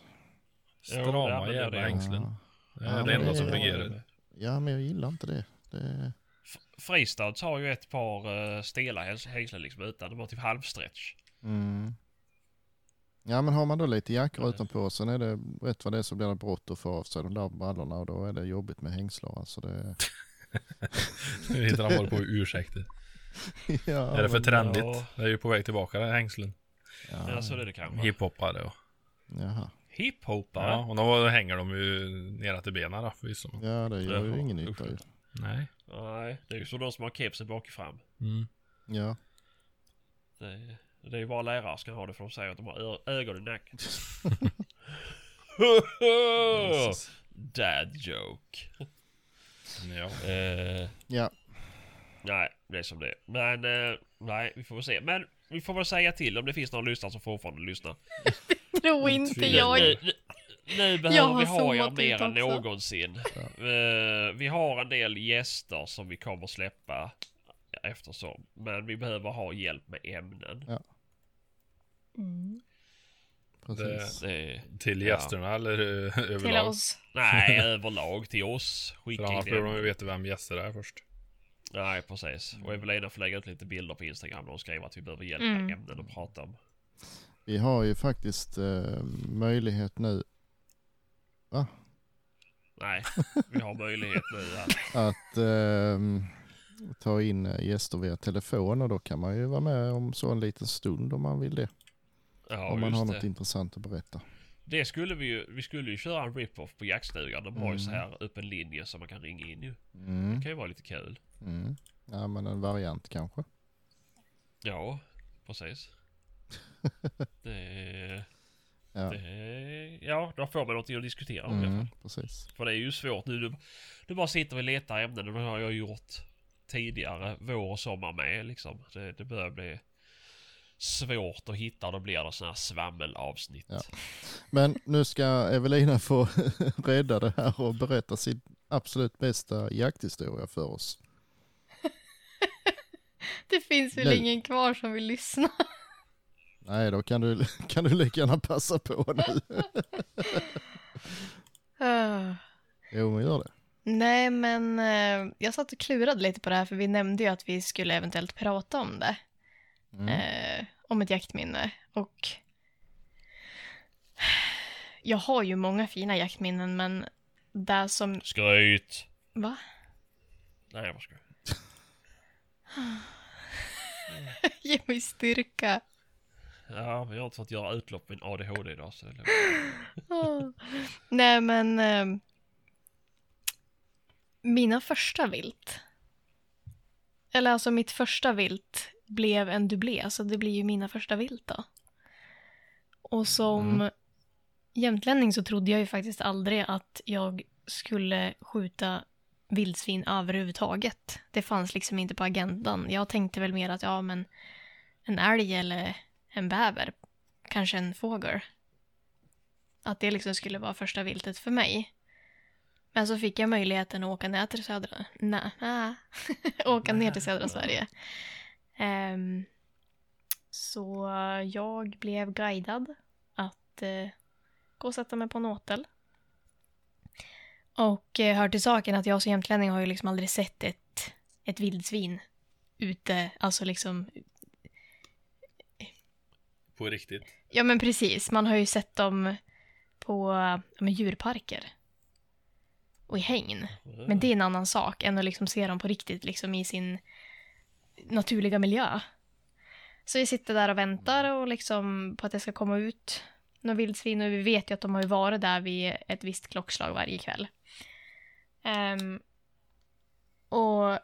Speaker 2: Jo, det
Speaker 5: Strama
Speaker 2: använder
Speaker 5: jävla
Speaker 2: jag.
Speaker 5: hängslen.
Speaker 4: Ja.
Speaker 5: Det är
Speaker 4: Ja,
Speaker 5: det
Speaker 4: men
Speaker 5: enda
Speaker 4: det-
Speaker 5: som fungerar.
Speaker 4: Ja, men jag gillar inte det. det
Speaker 2: F- Fristads har ju ett par eh, stela häls- hängslen liksom utan. De har typ halvstretch.
Speaker 4: mm. Ja, men har man då lite jackor utanpå sen är det rätt vad det är så blir det brått att få av sig de där brallorna och då är det jobbigt med hängslar. Alltså det,
Speaker 5: Nu hittar han bara på ursäkter.
Speaker 4: ja,
Speaker 5: är det för
Speaker 4: men-
Speaker 5: trendigt?
Speaker 2: ja.
Speaker 5: Det är ju på väg tillbaka det här hängslen.
Speaker 2: Ja,
Speaker 4: Ja,
Speaker 2: så är det kanske.
Speaker 5: Hiphoppare och...
Speaker 4: jaha.
Speaker 2: Hiphopare?
Speaker 5: Ja, och då hänger de ju nera till benen då, förvisso.
Speaker 4: ja, det gör ju
Speaker 2: Jaha,
Speaker 4: ingen nytta ju.
Speaker 5: Nej.
Speaker 2: Nej, det är ju som de som har kepsen bakifram.
Speaker 5: Mm.
Speaker 4: Ja,
Speaker 2: Det, är- det är ju bara lärare som kan ha det för de säger att de har ö- ögon i nacken.
Speaker 4: Jesus.
Speaker 2: Dad joke.
Speaker 5: Ja.
Speaker 2: Eh,
Speaker 4: ja.
Speaker 2: Nej, det är som det är. Men eh, nej, vi får väl se. Men vi får väl säga till om det finns någon lyssnare som fortfarande lyssnar.
Speaker 1: Tro inte
Speaker 5: tvivel.
Speaker 1: jag.
Speaker 2: Nu, nu, nu behöver
Speaker 1: har
Speaker 2: vi ha er
Speaker 1: zoomat
Speaker 2: mer
Speaker 1: ut
Speaker 2: än
Speaker 1: också.
Speaker 2: någonsin. Eh, vi har en del gäster som vi kommer släppa eftersom. Men vi behöver ha hjälp med ämnen.
Speaker 1: Mm.
Speaker 4: precis.
Speaker 2: Det,
Speaker 5: Till
Speaker 2: Ja.
Speaker 5: gästerna eller eh,
Speaker 1: Till
Speaker 5: överlag?
Speaker 1: oss.
Speaker 2: nej, överlag till oss.
Speaker 5: För
Speaker 2: Skicka
Speaker 5: annars
Speaker 2: in
Speaker 5: behöver de ju
Speaker 2: ämnen.
Speaker 5: veta vem gäster är först.
Speaker 2: Nej, precis. Och
Speaker 4: Mm.
Speaker 2: Evelina får lägga ut lite bilder på Instagram där hon skriver att vi behöver hjälp med
Speaker 1: Mm.
Speaker 2: ämnen att prata om.
Speaker 4: Vi har ju faktiskt eh, möjlighet nu
Speaker 2: Nej, vi har möjlighet nu att
Speaker 4: att ehm, ta in eh, gäster via telefon och då kan man ju vara med om så en liten stund om man vill det.
Speaker 2: Ja,
Speaker 4: om man
Speaker 2: just
Speaker 4: har
Speaker 2: det.
Speaker 4: något intressant att berätta.
Speaker 2: Det skulle vi ju, vi skulle ju köra en rip-off på jaktstugan. De har ju
Speaker 4: Mm.
Speaker 2: så här öppen linje som man kan ringa in ju.
Speaker 4: Mm.
Speaker 2: Det kan ju vara lite kul.
Speaker 4: Mm. Ja, men en variant kanske.
Speaker 2: Ja, precis. det,
Speaker 4: Ja,
Speaker 2: det, ja, då får man någonting att diskutera om i alla
Speaker 4: mm,
Speaker 2: fall.
Speaker 4: precis.
Speaker 2: För det är ju svårt nu. Du, du bara sitter och letar ämnen och det har jag gjort tidigare vår och sommar med liksom. Det, det börjar bli svårt att hitta. Då blir det sådana här svammelavsnitt.
Speaker 4: Ja. Men nu ska Evelina få rädda det här och berätta sin absolut bästa jakthistoria för oss.
Speaker 1: Det finns väl
Speaker 4: Nej.
Speaker 1: ingen kvar som vill lyssna.
Speaker 4: Nej, då kan du, kan du lika gärna passa på nu.
Speaker 1: Ah.
Speaker 4: Jo, men gör det.
Speaker 1: Nej, men eh, jag satt och klurade lite på det här för vi nämnde ju att vi skulle eventuellt prata om det.
Speaker 4: Mm.
Speaker 1: eh, om ett jaktminne. Och jag har ju många fina jaktminnen, men det som...
Speaker 2: Skryt!
Speaker 1: Va?
Speaker 2: Nej, jag bara skojar.
Speaker 1: Ge mig styrka.
Speaker 2: Ja, men jag har inte fått göra utlopp med min ADHD idag så det är lugnt.
Speaker 1: Åh. Nej, men... Eh, mina första vilt. Eller alltså mitt första vilt blev en dubblé, så det blir ju mina första vilt då. Och som jämtlänning så trodde jag ju faktiskt aldrig att jag skulle skjuta vildsvin överhuvudtaget. Det fanns liksom inte på agendan. Jag tänkte väl mer att ja, men en älg eller en bäver, kanske en fågel. Att det liksom skulle vara första viltet för mig. Men så fick jag möjligheten att åka ner till södra... Nä, nä. åka ner till södra Sverige. Ehm, så jag blev guidad att eh, gå och sätta mig på en åtel. Och eh, hör till saken att jag som jämtlänning har ju liksom aldrig sett ett, ett vildsvin ute, alltså liksom
Speaker 5: På riktigt.
Speaker 1: Ja men precis, man har ju sett dem på ja, men djurparker. Och i hägn. Men det är en annan sak än att liksom se dem på riktigt liksom i sin naturliga miljö. Så vi sitter där och väntar och liksom på att det ska komma ut några vildsvin och vi vet ju att de har ju varit där vid ett visst klockslag varje kväll. Ehm, och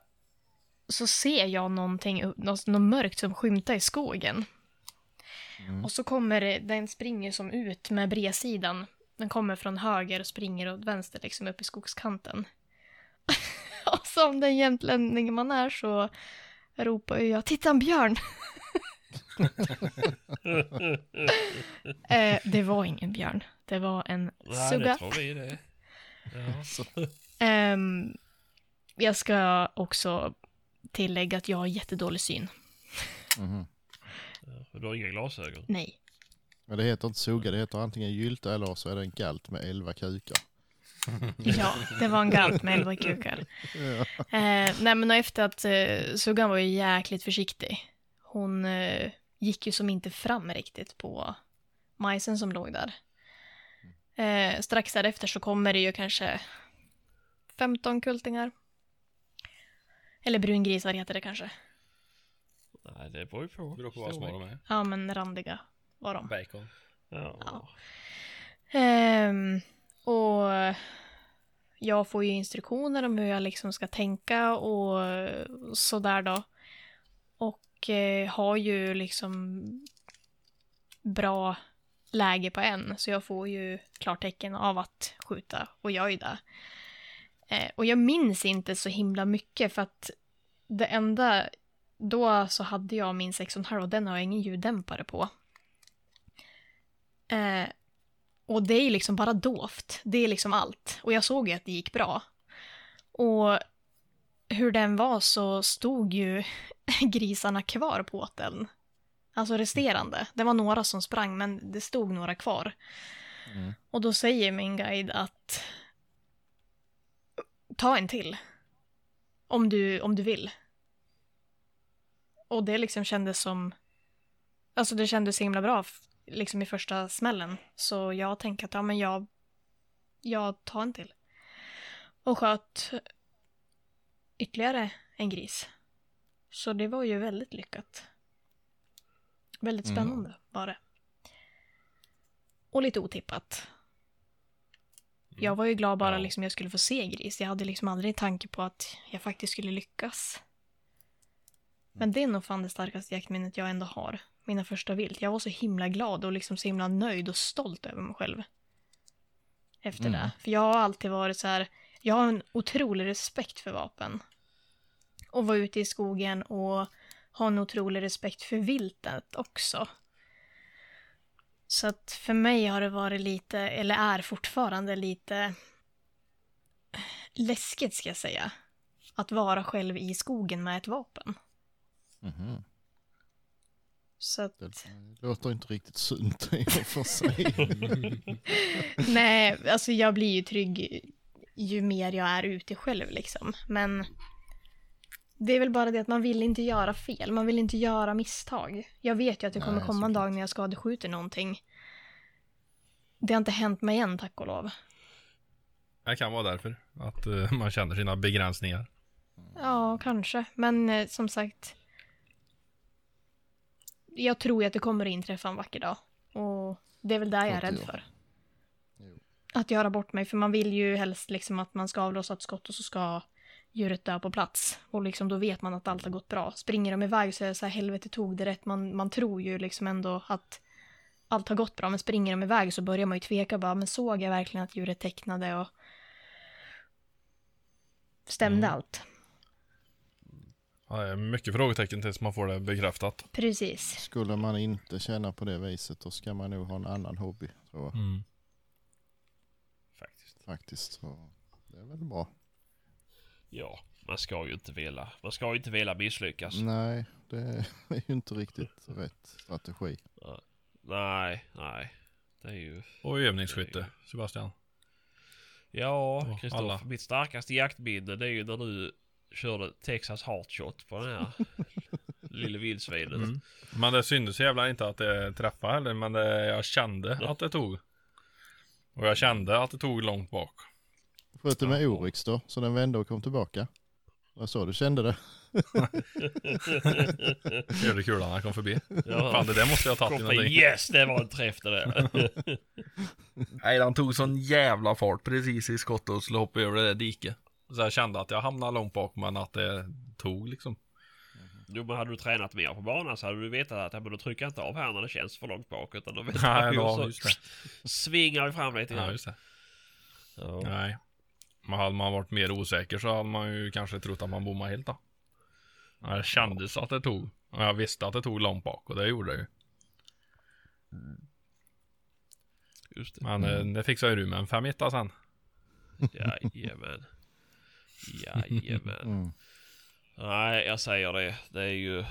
Speaker 1: så ser jag någonting, något, något mörkt som skymtar i skogen.
Speaker 4: Mm.
Speaker 1: Och så kommer det- den springer som ut med bredsidan. Den kommer från höger och springer åt vänster liksom upp i skogskanten. och som den jämtlänning man är så ropar ju jag “Titta en björn!” eh, Det var ingen björn. Det var en
Speaker 2: Nej, det
Speaker 1: sugga.
Speaker 2: tror vi det. Ja.
Speaker 1: Ehm, jag ska också tillägga att jag har jättedålig syn.
Speaker 4: Mhm.
Speaker 2: Ja, Du har inga glasögon?
Speaker 1: Nej.
Speaker 4: Men det heter inte sugga, det heter antingen gylta eller så är det en galt med elva kukar.
Speaker 1: Ja, det var en galt med elva kukar. Eh, nej men och efter att eh, Suggan var ju jäkligt försiktig. Hon eh, gick ju som inte fram riktigt på majsen som låg där. Eh, strax därefter så kommer det ju kanske 15 kultingar. Eller brungrisar heter det kanske.
Speaker 2: Nej, det beror ju på.
Speaker 5: Beror på vad små de är.
Speaker 1: Ja men randiga var de.
Speaker 5: Bacon.
Speaker 2: Ja.
Speaker 1: Ehm, och jag får ju instruktioner om hur jag liksom ska tänka och sådär då. Och eh, har ju liksom bra läge på en, så jag får ju klartecken av att skjuta och gör ju det. Eh, och jag minns inte så himla mycket för att det enda då så hade jag min 6,5 och den har jag ingen ljuddämpare på. Eh, och det är liksom bara dovt. Det är liksom allt. Och jag såg ju att det gick bra. Och hur den var så stod ju grisarna kvar på åteln. Alltså resterande. Det var några som sprang men det stod några kvar.
Speaker 4: Mm.
Speaker 1: Och då säger min guide att ta en till. Om du, om du vill. Och det liksom kändes som Alltså det kändes så himla bra f- liksom i första smällen. Så jag tänkte att ja, men jag, jag tar en till. Och sköt ytterligare en gris. Så det var ju väldigt lyckat. Väldigt
Speaker 4: Mm.
Speaker 1: spännande var det. Och lite otippat. Jag var ju glad bara
Speaker 5: Ja.
Speaker 1: liksom jag skulle få se gris. Jag hade liksom aldrig en tanke på att jag faktiskt skulle lyckas. Men det är nog fan det starkaste jaktminnet jag ändå har. Mina första vilt. Jag var så himla glad och liksom så himla nöjd och stolt över mig själv. Efter
Speaker 4: Mm.
Speaker 1: det. För jag har alltid varit så här. Jag har en otrolig respekt för vapen. Och vara ute i skogen och har en otrolig respekt för viltet också. Så att för mig har det varit lite, eller är fortfarande lite läskigt ska jag säga. Att vara själv i skogen med ett vapen.
Speaker 4: Mhm.
Speaker 1: Så att,
Speaker 4: Det låter inte riktigt sunt i och för sig.
Speaker 1: nej, alltså jag blir ju trygg ju mer jag är ute själv liksom. Men det är väl bara det att man vill inte göra fel, man vill inte göra misstag. Jag vet ju att det kommer
Speaker 4: Nej,
Speaker 1: komma en
Speaker 4: såklart.
Speaker 1: dag när jag skadeskjuter någonting. Det har inte hänt mig än, tack och lov.
Speaker 5: Det kan vara därför. Att eh, man känner sina begränsningar.
Speaker 1: Ja, kanske. Men eh, som sagt. Jag tror ju att det kommer att inträffa en vacker dag. Och det är väl där jag är
Speaker 4: Klart det
Speaker 1: rädd
Speaker 4: gör.
Speaker 1: för.
Speaker 4: Jo.
Speaker 1: Att göra bort mig. För man vill ju helst liksom att man ska avlossa ett skott och så ska djuret dö på plats. Och liksom då vet man att allt har gått bra. Springer de iväg så är det så här helvete tog det rätt. Man, man tror ju liksom ändå att allt har gått bra. Men springer de iväg så börjar man ju tveka bara. Men såg jag verkligen att djuret tecknade och stämde
Speaker 2: Mm.
Speaker 1: allt?
Speaker 5: Ja, det är mycket frågetecken tills man får det bekräftat.
Speaker 1: Precis.
Speaker 4: Skulle man inte känna på det viset då ska man nog ha en annan hobby tror jag
Speaker 2: Faktiskt.
Speaker 4: faktiskt. Så det är väl bra.
Speaker 2: Ja, man ska ju inte vilja, man ska ju inte vilja misslyckas.
Speaker 4: Nej, det är ju inte riktigt rätt strategi.
Speaker 2: Nej, nej. Det är ju...
Speaker 5: Och övningsskytte, Sebastian.
Speaker 2: Ja,
Speaker 5: Ja, alla.
Speaker 2: Kristoffer. Mitt starkaste jaktminne det är ju när du körde Texas Heartshot på den här lille vildsvinet.
Speaker 5: Mm. Men det syntes så jävla inte att det träffade heller, men det, jag kände att det tog. Och jag kände att det tog långt bak.
Speaker 4: Sköt du med Oryx då, så den vände och kom tillbaka? Vad så du kände det?
Speaker 5: Hörde kulan när jag kom förbi.
Speaker 2: Ja.
Speaker 5: Fan, det där måste jag ha tagit i
Speaker 2: Kristoffer,
Speaker 5: någonting.
Speaker 2: yes, det var en träff det där.
Speaker 5: Nej, den tog sån jävla fart precis i skottet och skulle hoppa över det där diket. Så jag kände att jag hamnade långt bak, men att det tog liksom.
Speaker 2: Jo men hade du tränat mer på banan så hade du vetat att ja, men då trycker jag inte av här när det känns för långt bak. Utan då väntar
Speaker 5: Nej,
Speaker 2: vi
Speaker 5: då,
Speaker 2: och så
Speaker 5: just
Speaker 2: svingar vi fram lite
Speaker 5: Ja,
Speaker 2: grann.
Speaker 5: just det.
Speaker 2: Ja,
Speaker 5: Nej. Men hade man varit mer osäker så hade man ju kanske trott att man bommade helt då. Ja, Det kändes att det tog. Och jag visste att det tog långt bak och det gjorde det ju.
Speaker 2: just det.
Speaker 5: Men eh, det fixade ju du med en femetta sen.
Speaker 2: Jajamän. Jajamän.
Speaker 4: Mm.
Speaker 2: Nej, jag säger det. Det är ju...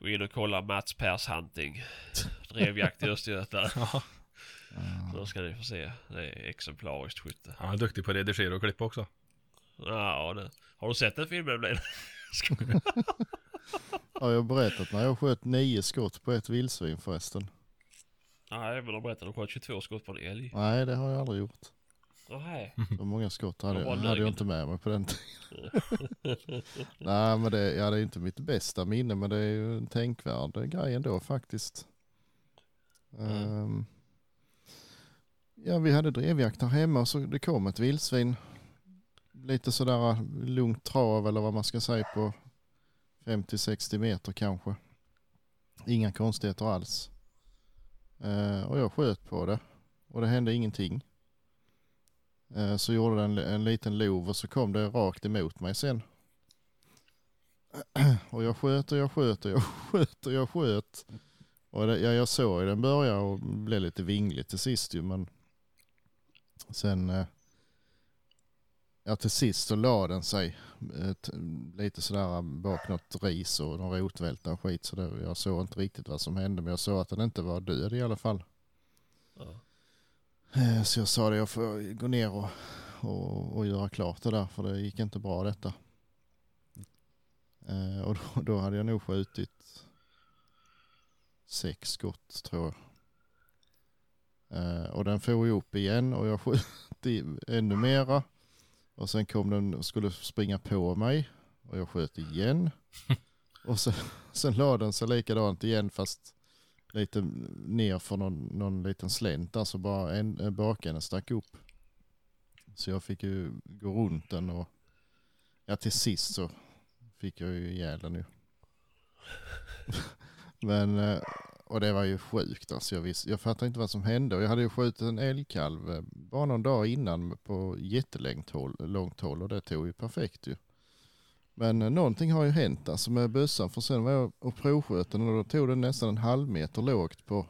Speaker 2: Gå in och kolla Mats Pers hunting. Drevjakt i Östergötland. Då ska ni få se. Det är exemplariskt skytte.
Speaker 5: Han är duktig på att redigera och klippa också.
Speaker 2: Ja, det. Har du sett den filmen Blin?
Speaker 4: Har jag berättat när jag sköt nio skott på ett vildsvin förresten?
Speaker 2: Nej, men de berättade att de sköt 22 skott på en älg.
Speaker 4: Nej, det har jag aldrig gjort.
Speaker 2: Nej.
Speaker 4: Så många skott hade,
Speaker 2: Vad var
Speaker 4: jag, hade jag
Speaker 2: läget?
Speaker 4: inte med mig på den tiden. Nej, men det, ja, det är inte mitt bästa minne, men det är ju en tänkvärd grej ändå faktiskt. Ehm, ja, vi hade drevjakt här hemma och så det kom ett vildsvin. Lite sådär eh, lugnt trav eller vad man ska säga på 50-60 meter kanske. Inga konstigheter alls. Ehm, och jag sköt på det och det hände ingenting. Eh, Så gjorde den en liten lov och så kom det rakt emot mig sen. Och jag sköt och jag sköt och jag sköt och jag sköt. Och det, jag, jag såg ju den börja och blev lite vinglig till sist ju men sen eh, ja till sist så la den sig eh, t- lite sådär eh, bak något ris och någon rotvälta och skit så det, jag såg inte riktigt vad som hände men jag såg att den inte var död i alla fall.
Speaker 2: Ja.
Speaker 4: Eh, Så jag sa det, jag får gå ner och, och, och göra klart det där för det gick inte bra detta. Eh, Och då, då hade jag nog skjutit sex skott tror jag. Eh, Och den for ju upp igen och jag sköt i ännu mera. Och sen kom den och skulle springa på mig och jag sköt igen. Och sen, sen la den sig likadant igen fast lite ner för någon, någon liten slänt där så bara en, en bakänden stack upp. Så jag fick ju gå runt den och ja till sist så fick jag ju ihjäl den ju. Men eh, och det var ju sjukt alltså jag visste, jag fattade inte vad som hände och jag hade ju skjutit en älgkalv eh, bara någon dag innan på jättelångt håll, långt håll och det tog ju perfekt ju. Men eh, någonting har ju hänt alltså med bössan för sen var jag och provsköt den och då tog den nästan en halv meter lågt på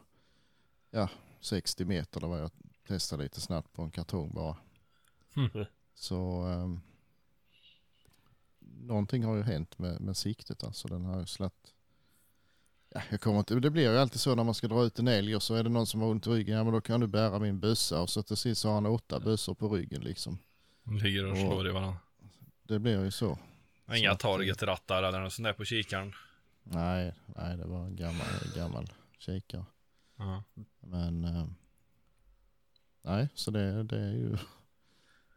Speaker 4: ja, 60 meter. Det var jag testade lite snabbt på en kartong bara.
Speaker 2: Mm.
Speaker 4: Så ehm, någonting har ju hänt med, med siktet alltså. Den har ju slatt. Ja, jag kommer inte, det blir ju alltid så när man ska dra ut en älg och så är det någon som har ont i ryggen. Ja men då kan du bära min bössa och så till sist har han åtta bössor på ryggen liksom.
Speaker 5: De ligger och slår i varandra.
Speaker 4: Det blir ju så.
Speaker 5: Inga targetrattar eller något sånt där på kikaren.
Speaker 4: Nej, nej det var en gammal, gammal kikare.
Speaker 5: Ja.
Speaker 4: Men eh, nej, så det, det är ju...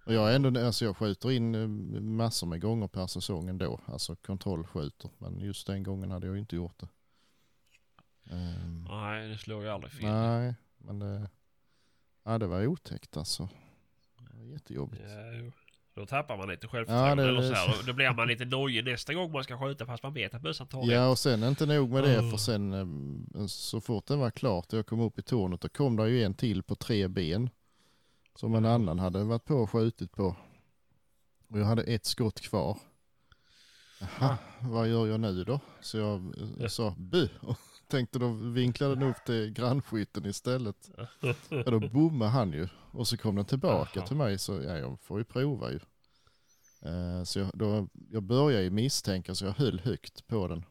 Speaker 4: Och jag, är ändå, alltså jag skjuter in eh, massor med gånger per säsong ändå. Alltså kontrollskjuter. Men just den gången hade jag ju inte gjort det. Ehm,
Speaker 2: Nej, det slår ju aldrig fel.
Speaker 4: nej, men det, ja, det var otäckt alltså. Det var jättejobbigt.
Speaker 2: Ja, jo. Då tappar man lite självförtroende
Speaker 4: Ja, det-
Speaker 2: eller så här. Då blir man lite nojig nästa gång man ska skjuta fast man vet att bössan tar
Speaker 4: Ja och sen inte nog med det
Speaker 2: Oh.
Speaker 4: för sen eh, så fort den var klart och jag kom upp i tornet då kom det ju en till på tre ben. Som en annan hade varit på och skjutit på. Och jag hade ett skott kvar. Aha, vad gör jag nu då? Så jag eh, sa bu. Och tänkte då vinklade den upp till grannskytten istället. Ja, då bommade han ju. Och så kom den tillbaka
Speaker 2: Aha.
Speaker 4: till mig så ja, jag får ju prova ju. Eh, Så jag, då, jag började ju misstänka så jag höll högt på den.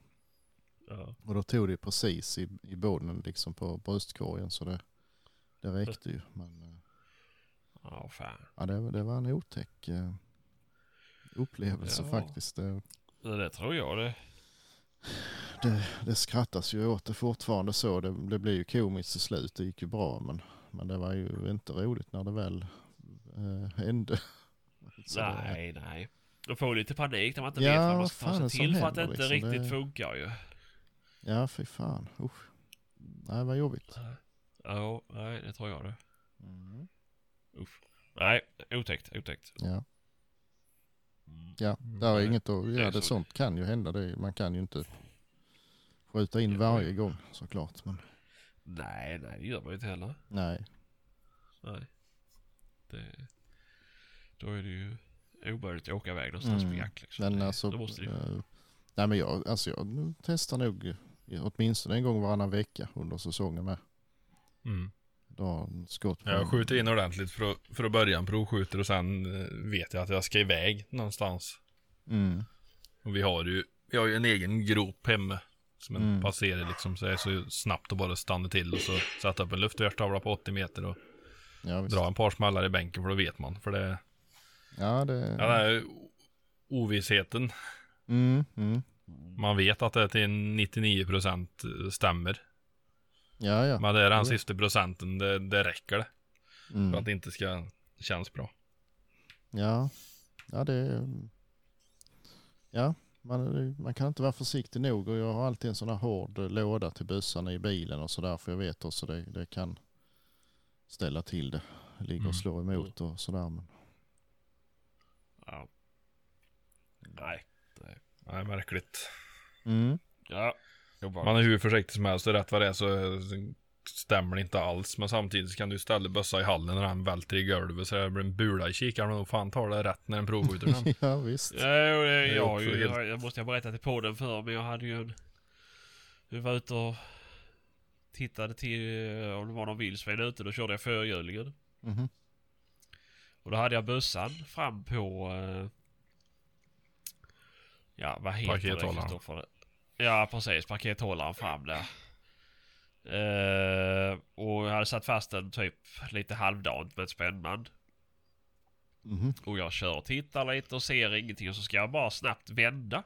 Speaker 2: Ja.
Speaker 4: Och då tog det precis i, i boden liksom på bröstkorgen så det, det räckte ju. Men eh,
Speaker 2: Ja, fan.
Speaker 4: ja, det, det var en otäck eh, upplevelse
Speaker 2: Ja.
Speaker 4: faktiskt. Det,
Speaker 2: Det, det tror jag det.
Speaker 4: det, det skrattas ju åt det fortfarande så. Det, det blev ju komiskt till slut. Det gick ju bra men, men det var ju inte roligt när det väl eh, hände. Så det-
Speaker 2: nej, nej. Då får du lite panik när man inte
Speaker 4: Ja,
Speaker 2: vet vad man
Speaker 4: vad
Speaker 2: ska
Speaker 4: fan
Speaker 2: ta
Speaker 4: det
Speaker 2: sig
Speaker 4: som
Speaker 2: till för att det
Speaker 4: händer,
Speaker 2: inte
Speaker 4: liksom.
Speaker 2: riktigt
Speaker 4: Det-
Speaker 2: funkar ju.
Speaker 4: Ja, fy fan. Usch. Nej, vad jobbigt.
Speaker 2: Ja, nej, det tror jag det. Mm. Uff. Nej, otäckt, otäckt.
Speaker 4: Ja.
Speaker 2: Mm.
Speaker 4: Ja, där är
Speaker 2: Nej,
Speaker 4: inget att
Speaker 2: det är
Speaker 4: göra. Det
Speaker 2: så.
Speaker 4: sånt kan ju hända. Det, man kan ju inte skjuta in
Speaker 2: Ja.
Speaker 4: varje gång såklart. Men
Speaker 2: Nej, nej, det gör man ju inte heller.
Speaker 4: nej,
Speaker 2: Nej. Det... Då är det ju omöjligt att åka iväg någonstans
Speaker 4: Mm.
Speaker 2: med jakt liksom.
Speaker 4: men
Speaker 2: det,
Speaker 4: alltså.
Speaker 2: då måste det ju...
Speaker 4: eh, nej men jag, alltså jag testar nog eh, åtminstone en gång varannan vecka under säsongen med.
Speaker 5: Mm.
Speaker 4: Då har en skott på en-
Speaker 5: Jag skjuter in ordentligt för att, för att börja en provskjuter och sen eh, vet jag att jag ska iväg någonstans.
Speaker 4: Mm.
Speaker 5: Och vi har ju, vi har ju en egen grop hemma. Som en
Speaker 4: Mm.
Speaker 5: passerar liksom, så det är så snabbt att bara stanna till och så sätta upp en luftgevärstavla på 80 meter och
Speaker 4: Ja, visst.
Speaker 5: dra en par smällar i bänken för då vet man. För det,
Speaker 4: Ja, det.
Speaker 5: ja, det är ju ovissheten.
Speaker 4: Mm, mm.
Speaker 5: Man vet att det till 99% stämmer.
Speaker 4: Ja, ja.
Speaker 5: Men det är den
Speaker 4: Mm.
Speaker 5: sista procenten, det, det räcker det. För
Speaker 4: Mm.
Speaker 5: att det inte ska kännas bra.
Speaker 4: Ja, ja det är- Ja, man, man kan inte vara försiktig nog och jag har alltid en sån här hård eh, låda till bussarna i bilen och sådär för jag vet också det, det kan ställa till det. Ligger
Speaker 5: Mm.
Speaker 4: och slår emot och sådär. Men,
Speaker 2: Ja. Nej.
Speaker 5: Nej, märkligt.
Speaker 4: mm.
Speaker 2: Ja. Jobbar.
Speaker 5: Man är hur försiktig som helst och rätt vad det är så stämmer det inte alls. Men samtidigt så kan du ställa bössa i hallen och den välter i golvet så det blir en bula i kikaren och nog fan tar det rätt när den provskjuter den.
Speaker 4: ja, visst.
Speaker 2: Ja, jo, det,
Speaker 5: är
Speaker 2: jag, har
Speaker 5: också
Speaker 2: ju,
Speaker 5: helt-
Speaker 2: jag, jag måste jag berätta till podden för men jag hade ju en... Vi var ute och tittade till eh, om det var någon vildsvin ute. Då körde jag förhjulingen.
Speaker 4: Mhm.
Speaker 2: Och då hade jag bössan fram på... Eh, ja, vad heter
Speaker 5: Pakethållaren.
Speaker 2: det? Kristoffer? Ja, precis. Pakethållaren fram där. Eh, och jag hade satt fast den typ lite halvdant med ett spännband.
Speaker 4: Mhm.
Speaker 2: Och jag kör och tittar lite och ser ingenting och så ska jag bara snabbt vända.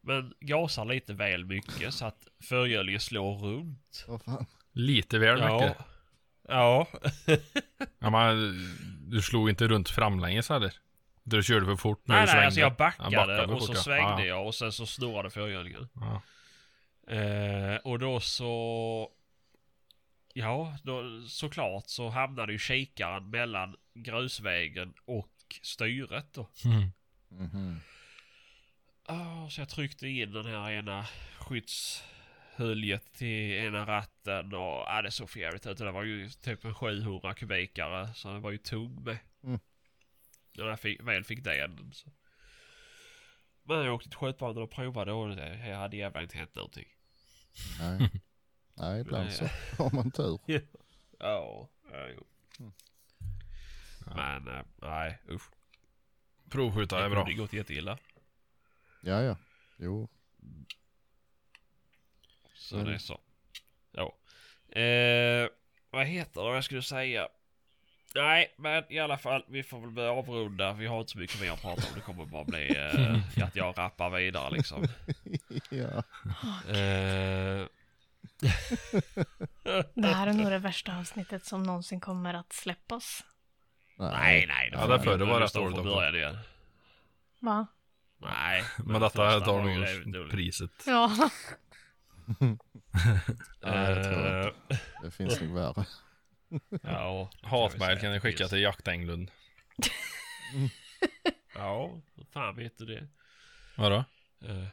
Speaker 2: Men gasar lite väl mycket så att förhjulingen slår runt.
Speaker 4: Vad fan.
Speaker 5: Lite väl mycket.
Speaker 2: Ja.
Speaker 5: Ja, men, du slog inte runt framlänges heller? Du körde för fort när
Speaker 2: Nej,
Speaker 5: du
Speaker 2: nej,
Speaker 5: svängde?
Speaker 2: alltså jag backade,
Speaker 5: Ja, backade för
Speaker 2: och så
Speaker 5: fort, ja.
Speaker 2: svängde
Speaker 5: Ja,
Speaker 2: jag och sen så snurrade förhjulingen.
Speaker 5: Ja.
Speaker 2: Eh, och då så... Ja, då, såklart så hamnade ju kikaren mellan grusvägen och styret då.
Speaker 5: Mm.
Speaker 4: Mhm.
Speaker 2: Ah, så jag tryckte in den här ena skyddshöljet till ena ratten och ah, det såg för jävligt ut. Det var ju typ en 700 kubikare så den var ju tung med.
Speaker 4: Mm.
Speaker 2: När jag fick, väl fick den. Så. Men jag åkte till skjutbanan och provade och det här hade jävlar inte hänt någonting.
Speaker 4: Nej. Nej, ibland så har man tur.
Speaker 2: Ja, ja jo.
Speaker 4: Mm.
Speaker 2: Men eh, nej usch.
Speaker 5: Provskjuta är bra.
Speaker 2: Det gått jätteilla.
Speaker 4: Ja, ja. Jo.
Speaker 2: Så
Speaker 4: Mm.
Speaker 2: det är så. Ja. Eh, vad heter det jag skulle säga? Nej, men i alla fall, vi får väl börja avrunda. Vi har inte så mycket mer att prata om. Det kommer bara bli eh, att jag rappar vidare liksom.
Speaker 4: Ja.
Speaker 2: Eh,
Speaker 1: Det här är nog det värsta avsnittet som någonsin kommer att släppas.
Speaker 2: nej, nej.
Speaker 5: Ja, därför det var rätt dåligt
Speaker 2: dåligt.
Speaker 5: också.
Speaker 2: Början igen.
Speaker 1: Va?
Speaker 2: Nej.
Speaker 5: Men detta
Speaker 2: första
Speaker 5: tar
Speaker 2: var ju jävligt
Speaker 5: nog
Speaker 2: dåligt.
Speaker 5: priset.
Speaker 1: Ja.
Speaker 4: Nej, det tror jag
Speaker 2: Eh,
Speaker 4: Det finns nog värre.
Speaker 2: Ja.
Speaker 5: Hatmejl kan ni skicka till jaktenglund.
Speaker 2: Ja, fan vet du det?
Speaker 5: Vadå?
Speaker 2: Eh,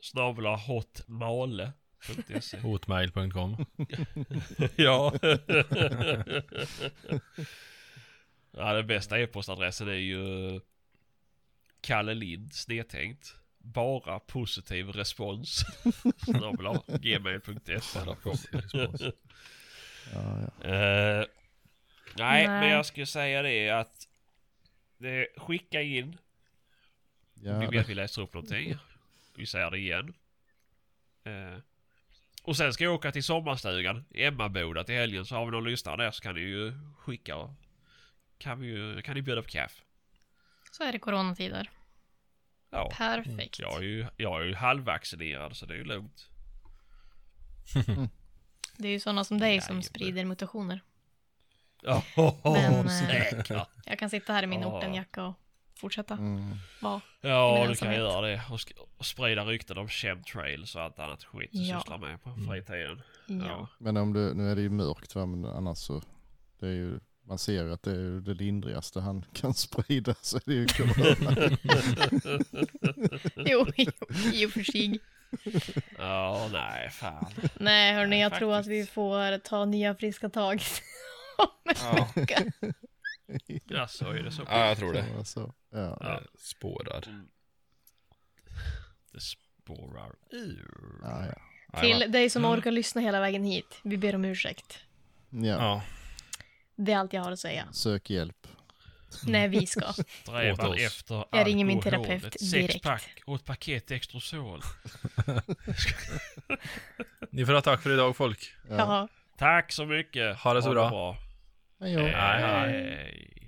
Speaker 2: snabla hotmale.se
Speaker 5: Hotmail.com.
Speaker 2: Ja. ja, den bästa e-postadressen är ju Kalle Lind, snedtänkt. Bara positiv respons. Snabel-a, gmail.se.
Speaker 4: Ja, ja.
Speaker 2: Eh,
Speaker 1: Nej.
Speaker 2: nej, men jag skulle säga det att det, skicka in.
Speaker 4: ja
Speaker 2: Vi vet vi läser upp någonting. Vi säger det igen. Eh, och sen ska jag åka till sommarstugan i Emmaboda till helgen. Så har vi någon lyssnare där så kan ni ju skicka och kan, vi ju, kan ni bjuda på kaffe.
Speaker 1: Så är det coronatider.
Speaker 2: Ja.
Speaker 1: Perfekt.
Speaker 2: Jag är ju, jag är ju halvvaccinerad så det är ju lugnt.
Speaker 1: Det är ju sådana som dig som
Speaker 2: Jajamän.
Speaker 1: sprider mutationer.
Speaker 2: Ja,
Speaker 1: Men, eh,
Speaker 2: säkert.
Speaker 1: Jag kan sitta här i min
Speaker 2: Ja.
Speaker 1: ortenjacka och fortsätta
Speaker 4: Mm.
Speaker 1: vara.
Speaker 2: Ja, du kan
Speaker 1: ensamhet.
Speaker 2: göra det. Och, sk- och sprida rykten om chemtrails och allt annat skit du
Speaker 1: Ja.
Speaker 2: sysslar med på fritiden.
Speaker 1: Ja.
Speaker 4: Men om du, nu är det ju mörkt va, men annars så, det är ju, man ser ju att det är ju det lindrigaste han kan sprida så är det ju corona.
Speaker 1: Jo, jo, i och för sig.
Speaker 2: Ja, nej, fan.
Speaker 1: Nej, hörni,
Speaker 2: Nej,
Speaker 1: jag tror att
Speaker 2: faktiskt.
Speaker 1: vi får ta nya friska tag om en
Speaker 5: Ja.
Speaker 1: vecka.
Speaker 2: Ja, så Alltså, är det så.
Speaker 5: Ja, jag tror det.
Speaker 4: Så, så, ja.
Speaker 2: Ja.
Speaker 5: Spårar.
Speaker 2: Det spårar ur.
Speaker 4: Ja, ja.
Speaker 5: Jajamän.
Speaker 1: Till dig som orkar lyssna hela vägen hit, vi ber om ursäkt.
Speaker 4: ja.
Speaker 5: Ja,
Speaker 1: Det är allt jag har att säga.
Speaker 4: Sök hjälp.
Speaker 1: Nej, vi ska.
Speaker 5: Åt
Speaker 2: Strävan
Speaker 5: oss.
Speaker 2: efter
Speaker 1: Jag ringer min
Speaker 2: alkohol,
Speaker 1: terapeut
Speaker 2: ett
Speaker 1: direkt.
Speaker 2: Sexpack och ett paket Extrosol.
Speaker 5: ni får ha tack för idag folk.
Speaker 1: Jaha.
Speaker 2: Tack så mycket.
Speaker 5: Ha det så bra.
Speaker 4: Hej då.
Speaker 2: Hej.